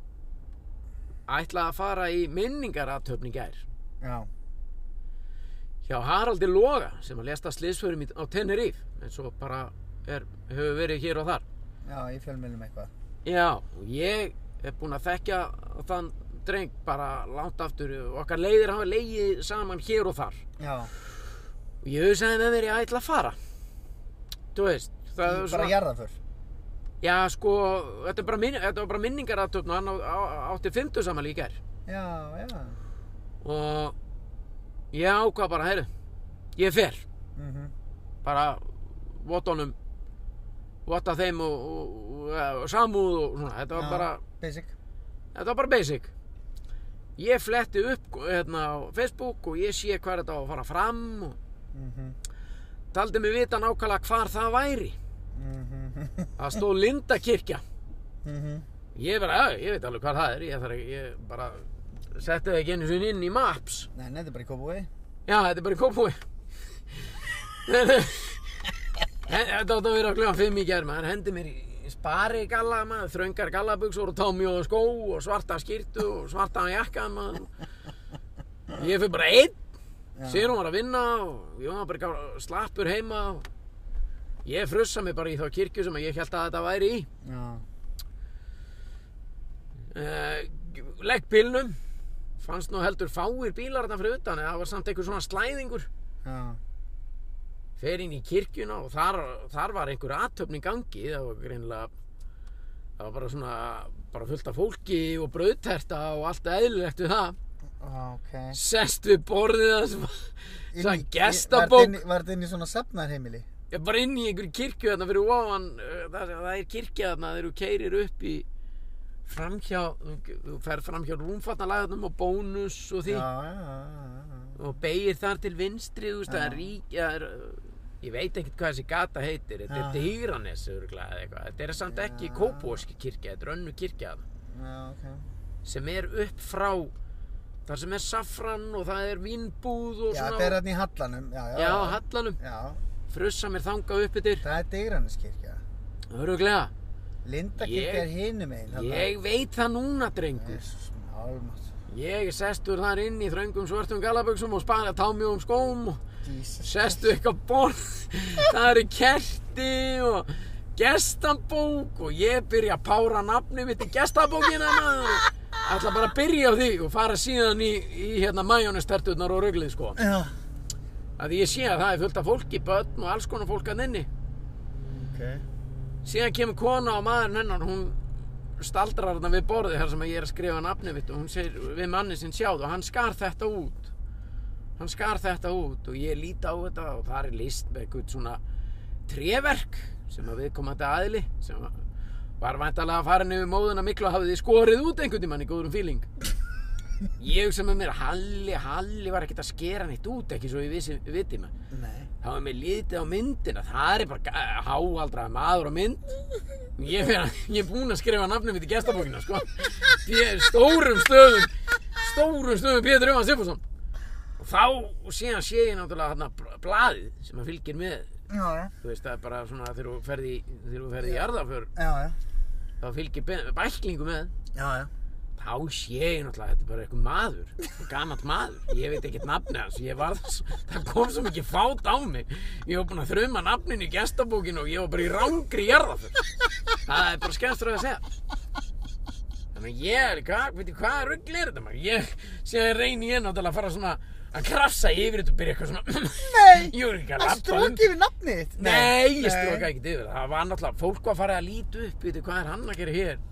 Speaker 1: ætla að fara í minningaratöfni gær
Speaker 2: Já,
Speaker 1: hjá Haraldi Loga sem að lesta sliðsförum á Tenerife en svo bara er, hefur verið hér og þar.
Speaker 2: já, ég fjölmjölum eitthvað.
Speaker 1: Já, og ég hef búin að þekkja þann dreng bara langt aftur og okkar leiðir hafa leiðið saman hér og þar.
Speaker 2: Já,
Speaker 1: Og ég hugsaði með mér ég ætla að fara. Þú veist, það
Speaker 2: bara
Speaker 1: er
Speaker 2: svona... jarðaför.
Speaker 1: Já, sko, þetta, er bara minn, þetta var bara minningaratöfn og hann á, á, átti 50 saman líka er.
Speaker 2: Já, já,
Speaker 1: Og ég ákvað bara, heyrðu, ég fer.
Speaker 2: mhm,
Speaker 1: Bara votunum, votta þeim og, og, og, og samúð og svona. Þetta var
Speaker 2: Já.
Speaker 1: bara,
Speaker 2: basic.
Speaker 1: þetta var bara basic. Ég fletti upp hérna á Facebook og ég sé hvað þetta á að fara fram og
Speaker 2: Mhm,
Speaker 1: taldi mig vita nákvæmlega hvar það væri.
Speaker 2: mhm,
Speaker 1: Það stóð Lindakirkja Ég bara, já, ég veit alveg hvað það er, ég þarf ekki, ég bara setti það ekki einu sinni inn í Maps.
Speaker 2: Nei, nei, þetta er bara í Kópavogi.
Speaker 1: Já, þetta er bara í Kópúi. þetta átt að vera klukkan fimm í gerð, maður hendi mér í spari galla, maður, þröngar gallabuxur og tómi og skó og svarta skýrtu og svarta jakka, maður. Ég fyrir bara einn, Sigrún var að vinna og Jón var bara eitthvað slappur heima og ég frussa mig bara í þá kirkju sem ég held að þetta væri í.
Speaker 2: Já.
Speaker 1: uh, legg bílnum fannst nú heldur fáir bílar þarna fyrir utan en það var samt einhver svona slæðingur
Speaker 2: Já.
Speaker 1: fer inn í kirkjuna og þar, þar var einhver aðtöfn í gangi það var greinlega það var bara svona bara fullt af fólki og brauðterta og allt eðlilegt við það
Speaker 2: Ok.
Speaker 1: sest við borðið það sem
Speaker 2: Inn
Speaker 1: svona
Speaker 2: í-
Speaker 1: gestabók.
Speaker 2: Var þetta inn í- var þetta inn í svona safnarheimili?
Speaker 1: ég bara inn í einhver kirkju þarna fyrir ofan uh, það, sem- það er kirkja þarna þegar þú keirir upp í framhjá þú, þú fer framhjá rúmfattnalæðunum og bónus og því
Speaker 2: Já, já, já, já, já.
Speaker 1: og beigir þar til vinstri þú veist, það
Speaker 2: Já.
Speaker 1: er rík það er, uh, ég veit ekkert hvað þessi gata heitir þetta
Speaker 2: Já.
Speaker 1: er Dýranes örugglega eða eitthvað þetta er samt ekki
Speaker 2: Já.
Speaker 1: Kópóski kirkja þetta er önnu kirkja þarna,
Speaker 2: Já, ok.
Speaker 1: sem er upp frá þar sem er safran og það er vínbúð og
Speaker 2: Já,
Speaker 1: svona
Speaker 2: þetta er hérna í Hallanum. Já, já.
Speaker 1: já, hallanum,
Speaker 2: Já,
Speaker 1: frussa mér þanga upp yfir
Speaker 2: það er Degranuskirkja.
Speaker 1: öruglega,
Speaker 2: Lindakirkja
Speaker 1: Ég-
Speaker 2: er hinum einn.
Speaker 1: ég veit það núna drengur,
Speaker 2: Jésús, álmátt.
Speaker 1: ég er sestur þar inn í þröngum svörtum galabuxum og spara támjóum skóm og
Speaker 2: Jesus.
Speaker 1: sestu eitthvað borð það eru kerti og gestabók og ég byrja að pára nafni mitt í gestabókina maður ætla bara að byrja á því og fara síðan í, í hérna majónesterturnar og ruglið sko
Speaker 2: Já.
Speaker 1: að því ég sé að það er fullt af fólki, börn og alls konar fólk að inni
Speaker 2: Ok.
Speaker 1: síðan kemur kona og maðurinn hennar hún staldrar þarna við borðið þar sem ég er að skrifa nafni mitt og hún segir við manni sinn sjáð og hann skar þetta út hann skar þetta út og ég líti á þetta og það er list með eitthvað svona treverk sem að viðkomandi aðili sem að var væntalega farin yfir móðuna miklu og hafið þið skorið út einhvern tímann í góðurum fíling ég sem með mér Halli, Halli var ekkert að skera neitt út ekki svo ég vissi, viti maður
Speaker 2: Nei.
Speaker 1: þá er mér litið á myndina það er bara ga- háaldraður maður á mynd ég, fer að- ég er búinn að skrifa nafnum mitt í gestabókina sko. Ég er stórum stöðum stórum stöðum Pétur Jóhann Sifursson og þá síðan sé ég náttúrulega þarna bl- blaðið sem að fylgir með
Speaker 2: Já, já.
Speaker 1: þú veist það er bara svona þegar þú ferði þegar þú ferði í jarðaför
Speaker 2: Já, já.
Speaker 1: þá fylgir be- bæklingu með
Speaker 2: Já, já.
Speaker 1: þá sé ég náttúrulega þetta er bara eitthvað maður gammalt maður, ég veit ekkert nafni hans ég var þess, það kom svo mikið fát á mig ég var búinn að þruma nafnin í gestabókinu og ég var bara í rángri jarðaför það er bara skemmstur að segja þannig að ég er hvað, veitir hvað rugl er þetta maður ég, síðan reyni ég náttúrulega að fara svona að krafsa yfir þetta og byrja eitthvað svona
Speaker 2: Nei.
Speaker 1: ég er ekki að
Speaker 2: Það
Speaker 1: labba um
Speaker 2: strókið við nafnið þitt.
Speaker 1: Nei, ég stróka ekkert yfir það. Það var náttúrulega, fólk var farið að líta upp, veitu, hvað er hann að gera hér?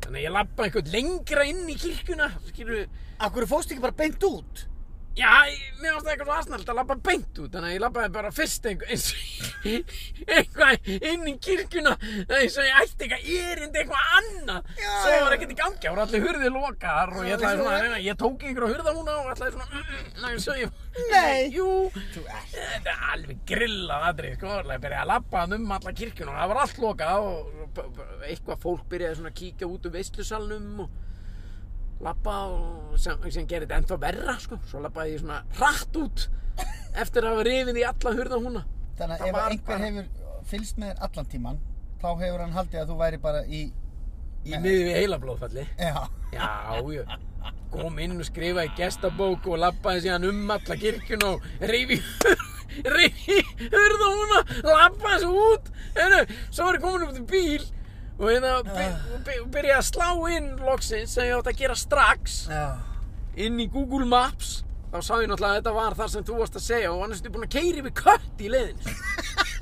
Speaker 1: Þannig að ég labba einhvern lengra inn í kirkjuna, skilur við.
Speaker 2: Akkur fóst ekki bara beint út?
Speaker 1: Já, ég- mér varst það eitthvað svo aðsnælt að labba beint út, þannig að ég labbaði bara fyrst einhver, eins og eitthvað inn í kirkjuna, eins og ég ætti eitthvað erindi, eitthvað annað.
Speaker 2: Já,
Speaker 1: Svo var
Speaker 2: já.
Speaker 1: ekkert í gangi, það voru allir hurðið lokaðar og ég ætlaði svona að reyna, ég tók einhverja hurða núna og ætlaði svona, mm, mm, næ, svo ég,
Speaker 2: Nei.
Speaker 1: jú,
Speaker 2: Þú ert.
Speaker 1: Þetta er alveg grillað aðrið, sko, ég byrjaði að labba hann um alla kirkjuna og það var allt lokað og b- b- eitthvað fólk byrjaði svona að kíkja út um veislusalnum og labba og sem, sem gerir þetta ennþá verra, sko, svo labbaði ég svona hratt út eftir að hafa rifið í alla hurða húna.
Speaker 2: Þannig að
Speaker 1: Það
Speaker 2: ef
Speaker 1: var
Speaker 2: einhver
Speaker 1: bara-
Speaker 2: hefur fylgst með þér allan tíman, þá hefur hann haldið að þú væri bara í...
Speaker 1: Í miðju við heilablóðfalli.
Speaker 2: Já.
Speaker 1: Já, já, kom inn og skrifaði gestabók og labbaði síðan um alla kirkjuna og reyfi, reyfi, hurða húna, labbaði svo út, hérna, svo var ég komin upp til bíl og hérna, by- by- byrjaði að slá inn loksins sem ég átti að gera strax
Speaker 2: Já.
Speaker 1: inn í Google Maps þá sá ég náttúrulega að þetta var þar sem þú varst að segja og annars ertu búin að keiri við kött í leiðin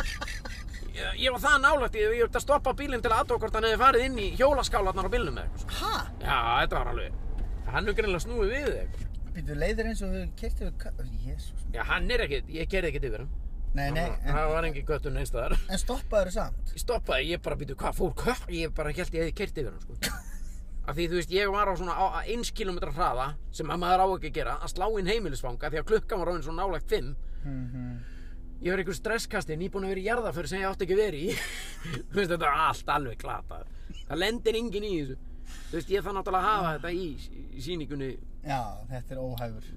Speaker 1: ég, ég var það nálægt ég, ég var að stoppa bílinn til aðtók hvort hann hefði farið inn í hjólaskálarnar á bílnum eða eitthvað svo.
Speaker 2: Hæ?
Speaker 1: já, þetta var alveg hann er greinlega snúið við eða eitthvað
Speaker 2: Býtu leiðir eins og hefur kert yfir... ka- Jésús.
Speaker 1: já, hann er ekkert, ég kerði ekkert yfir hann
Speaker 2: Nei, nei,
Speaker 1: Hann-
Speaker 2: en,
Speaker 1: það var engin köttun neins þar
Speaker 2: en stoppaður samt.
Speaker 1: ég stoppaði, ég bara býtu hvað fór kött ég bara held ég hefði kert yfir hann sko. af því þú veist, ég var á svona á, á eins kilometra hraða sem að maður á ekki að gera að slá inn heimilisfanga því að klukkan var á svona nálægt fimm
Speaker 2: Mhm.
Speaker 1: ég var í einhver stresskasti nýbúin að vera í jarðaför sem ég átti ekki að vera í þú veist þetta er allt alveg glatað það lendir enginn í þessu þú veist ég þarf náttúrulega að hafa þetta í, í síningunni
Speaker 2: Já, þetta er óhæfur.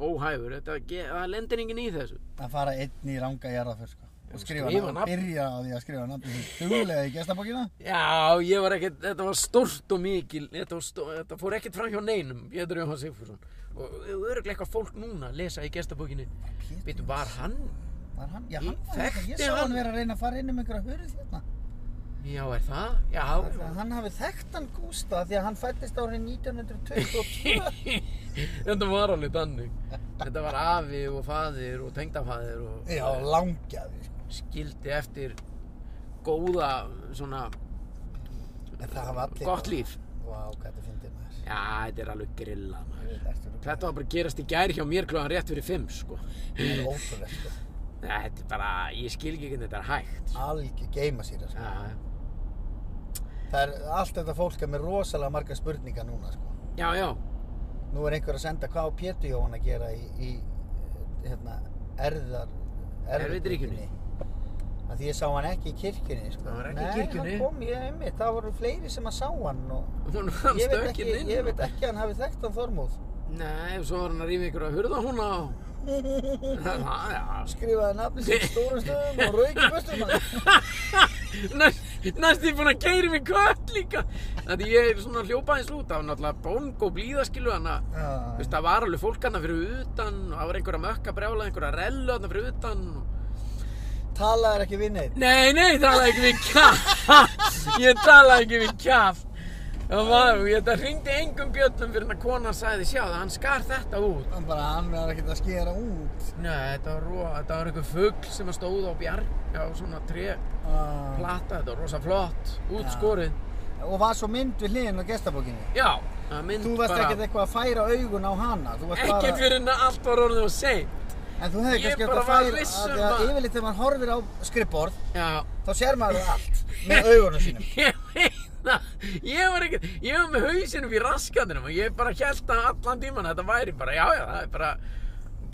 Speaker 1: óhæfur þetta, ge- það lendir enginn í þessu
Speaker 2: Að fara einn í ranga jarðaför, sko. Og skrifa
Speaker 1: skrifa
Speaker 2: nafn.
Speaker 1: nafn.
Speaker 2: Byrja á því að skrifa nafn. Duglega í gestabókina.
Speaker 1: já ég var ekkert þetta var stórt og mikil þetta, var stó, þetta fór ekkert fram hjá neinum Pétur Jóhann Sigfússon og öruglega eitthvað fólk núna lesa í gestabókinni
Speaker 2: Pétur
Speaker 1: býtu var hann
Speaker 2: Var hann? Já,
Speaker 1: Ég
Speaker 2: hann var þetta. Ég
Speaker 1: þekkti
Speaker 2: sá hann
Speaker 1: hann.
Speaker 2: vera að reyna að fara inn um einhverja hurð hérna.
Speaker 1: já er það já
Speaker 2: Að Hann hafi þekkt hann Gústa því að hann fættist árið 1922.
Speaker 1: þetta var alveg þannig þetta var afi og faðir og tengdafaðir og
Speaker 2: Já, langjaði, sko.
Speaker 1: skildi eftir góða svona
Speaker 2: En það hafa allir...
Speaker 1: gott líf
Speaker 2: Vá, hvað þetta fyndið maður.
Speaker 1: já þetta er alveg grilla maður
Speaker 2: Þetta er svo-
Speaker 1: Þetta var bara að gerast í gær hjá mér klúðan rétt fyrir 5 sko.
Speaker 2: þetta er ótrúlegt, sko.
Speaker 1: Nei, þetta er bara, ég skil ekki hvernig þetta er hægt.
Speaker 2: Algjör geima sér, sko.
Speaker 1: Já,
Speaker 2: Það er allt þetta fólk er með rosalega marga spurningar núna, sko.
Speaker 1: já, já,
Speaker 2: Nú er einhver að senda hvað á Pétur Jóhann að gera í, í hérna, erðar,
Speaker 1: Erfidrykkjunni.
Speaker 2: Af Því ég sá hann ekki í kirkjunni, sko.
Speaker 1: Hann var ekki í
Speaker 2: Nei,
Speaker 1: kirkjunni.
Speaker 2: hann kom, ég einmitt, það voru fleiri sem að sá hann og
Speaker 1: hún hann
Speaker 2: ég veit ekki,
Speaker 1: stökkinn inn.
Speaker 2: ég veit ekki að hann hafi þekkt hann Þormóð.
Speaker 1: Nei, og svo var hann að rýfa ykkur að hurða hún á. Það, já,
Speaker 2: Skrifaði nafni sér stórum stöðum og rauk í bustum hann.
Speaker 1: Næst- næst ég búinn að keiri mig kött líka. Þannig ég er svona hljópað eins út af náttúrulega bóng og blíðaskilu hann að, þú
Speaker 2: Ah,
Speaker 1: veist, það var alveg fólk hann fyrir utan og það var einhverja mökka brjála, einhverja rellu hann fyrir utan og...
Speaker 2: Talaði ekki við neitt.
Speaker 1: Nei, nei, ég talaði ekki við kjaft Ég talaði ekki við kjaft Það var, og ég þetta hringdi engum bjöllum fyrir hann að konan sagði sjá það, hann skar þetta út
Speaker 2: Hann bara, hann er ekkert að skera út.
Speaker 1: Nei, þetta var ró, þetta var einhver fugl sem að stóð á bjarg Já, svona tre
Speaker 2: Ah.
Speaker 1: plata, þetta var rosa flott, útskorið
Speaker 2: Og var svo mynd við hliðin á gestabókinni.
Speaker 1: Já, það mynd
Speaker 2: Þú varst ekkert
Speaker 1: bara
Speaker 2: eitthvað að færa augun á hana. Þú varst bara...
Speaker 1: Ekkert fyrir henni að allt var orðið og seint
Speaker 2: En þú hefði
Speaker 1: Ég
Speaker 2: kannski átt að
Speaker 1: bara var
Speaker 2: færa
Speaker 1: viss
Speaker 2: að
Speaker 1: um
Speaker 2: því að
Speaker 1: að-
Speaker 2: yfirleitt þegar maður horfir á skrippborð
Speaker 1: Já,
Speaker 2: þá sér maður allt með augunum sínum.
Speaker 1: ég veit það ég var ekkert, ég var með hausinum í raskatinum og ég bara held að allan tíman þetta væri bara, já já, það er bara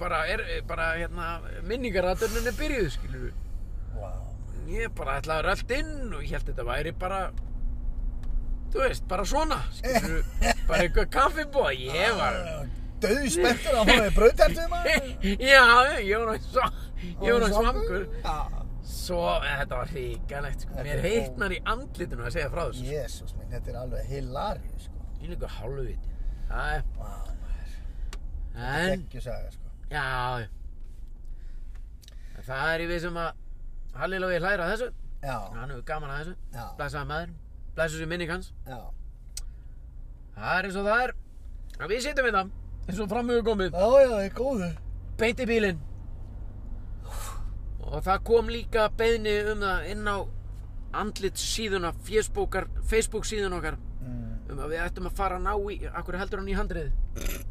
Speaker 1: bara, er, bara hérna minningaraturninu byrjuðu, skilur ég bara ætlaði að rölt inn og ég held þetta væri bara þú veist, bara svona skilur bara eitthvað kaffibóð ég var
Speaker 2: Döðu spenntur Ah, að hún hefði brauðtertuð maður.
Speaker 1: já, ég var náttúrulega svo ég var náttúrulega svangur
Speaker 2: Já,
Speaker 1: svo, eh, þetta var hrikalegt sko.
Speaker 2: Þetta
Speaker 1: mér
Speaker 2: er
Speaker 1: heitnar í andlitinu að segja frá þessu
Speaker 2: Jésús minn, þetta er alveg hilarið sko.
Speaker 1: Ég líka hálfviti. Það er,
Speaker 2: Vá, maður.
Speaker 1: en,
Speaker 2: Ekki saga sko.
Speaker 1: já, já. En Það er í við sem að Halli Lói hlæra að þessu.
Speaker 2: Já,
Speaker 1: Hann hefur gaman að þessu.
Speaker 2: Já.
Speaker 1: Blessaði maður. Blessuð sér minning hans.
Speaker 2: já.
Speaker 1: Það er eins og það er. En við sittum við það. Eins og fram hefur komið.
Speaker 2: Já, já, það er góðu.
Speaker 1: Beint í bílinn. Og það kom líka beðni um það inn á andlit síðuna, Facebook síðun okkar.
Speaker 2: Mm,
Speaker 1: um að við ættum að fara að ná í akkur heldur hann í handriði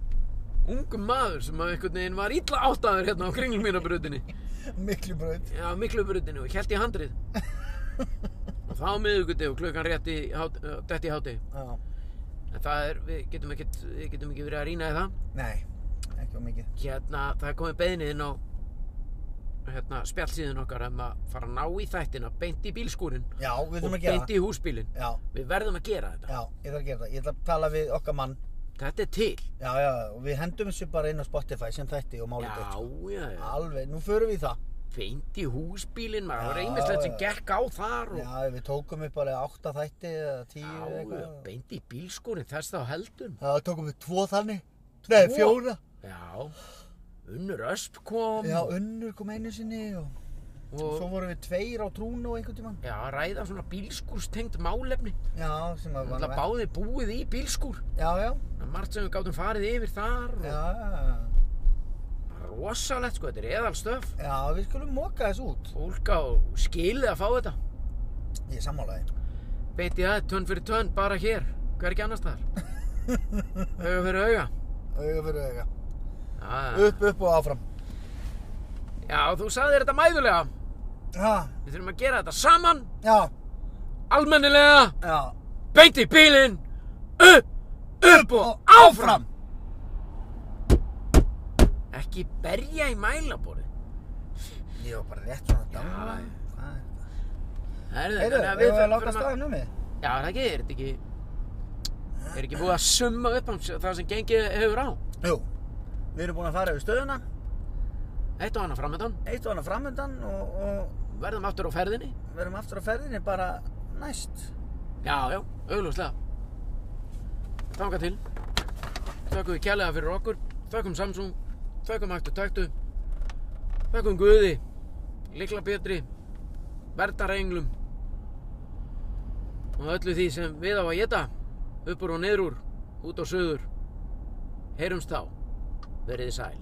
Speaker 1: ungu maður sem að einhvern veginn var illa áttaður hérna á kringlum mína brutinni
Speaker 2: miklu brauð.
Speaker 1: já, miklu brutinu og held í handrið og þá miðugundi og klukkan rétt í hát- eh, dett í háti
Speaker 2: Já,
Speaker 1: en það er, við getum ekkert við getum ekki verið að rýna í það
Speaker 2: nei, ekki á mikið.
Speaker 1: hérna, það er komið beiðni inn á hérna, spjallsíðin okkar um að fara að ná í þættina beint í bílskúrin
Speaker 2: Já, við
Speaker 1: og
Speaker 2: þurfum að gera
Speaker 1: beint
Speaker 2: það.
Speaker 1: í húsbílin
Speaker 2: Já,
Speaker 1: við verðum að gera þetta
Speaker 2: já, ég þarf að gera það. Ég ætla að tala við okkar mann.
Speaker 1: þetta er til
Speaker 2: Já, já, og við hendum þessu bara inn á Spotify sem þætti og málið
Speaker 1: já, já, já
Speaker 2: Alveg, nú förum við í það.
Speaker 1: beint í húsbílinn, maður var
Speaker 2: Já,
Speaker 1: einmislegt sem
Speaker 2: já.
Speaker 1: gekk á þar og já,
Speaker 2: Já, við tókum upp bara átta þætti eða tíu eða
Speaker 1: já,
Speaker 2: eitthvað.
Speaker 1: beint í bílskúrin þess þá heldum
Speaker 2: Já, tókum við tvo þannig. Nei,
Speaker 1: Tvo?
Speaker 2: fjóra.
Speaker 1: já, unnur ösp kom
Speaker 2: Já, unnur kom einu sinni og svo
Speaker 1: og
Speaker 2: vorum við tveir á trúnu og einhvern tímann.
Speaker 1: já, ræða svona bílskúrstengt málefni
Speaker 2: Já, sem að
Speaker 1: það báði búið í bílskúr
Speaker 2: Já, já,
Speaker 1: það er margt sem við gátum farið yfir þar og
Speaker 2: já,
Speaker 1: rosalegt sko, þetta er eðal stöf
Speaker 2: já, við skulum moka þessu út.
Speaker 1: fólk á skilið að fá þetta
Speaker 2: Ég sammálaði.
Speaker 1: beint í það, tönn fyrir tönn, bara hér hver ekki annars þar auga fyrir auga
Speaker 2: Auga fyrir auga.
Speaker 1: Ah.
Speaker 2: Upp, upp og áfram.
Speaker 1: já, þú sagðir þetta mæðulega
Speaker 2: Já,
Speaker 1: við þurfum að gera þetta saman
Speaker 2: já,
Speaker 1: almennilega,
Speaker 2: já.
Speaker 1: beint í bílinn, upp, upp og áfram. Ekki berja í mælaborið.
Speaker 2: Ég var bara rétt svona að dála.
Speaker 1: já.
Speaker 2: Hvað er þetta? Heyrðu,
Speaker 1: Herðu, þannig að
Speaker 2: við
Speaker 1: við
Speaker 2: höfum að láta
Speaker 1: förum að-
Speaker 2: staðið numið.
Speaker 1: Já, er það ekki, er þetta ekki... Er ekki búið að summa upp hans það sem gengið hefur á?
Speaker 2: Jú. Við erum búin að fara yfir stöðuna,
Speaker 1: Eitt og annað framöndan.
Speaker 2: eitt og annað framöndan og, og
Speaker 1: Verðum aftur á ferðinni.
Speaker 2: verum aftur á ferðinni bara næst.
Speaker 1: Já, já, augljóslega. Þanga til. Þökkum við kjærlega fyrir okkur. Þökkum Samsung. Þökkum Hættu Taktu. Þökkum Guði. Likla Pétri. Verdarenglum. Og öllu því sem við á að geta. Uppur og niður úr. Út og söður. Heyrumst þá. Verið þið sæl.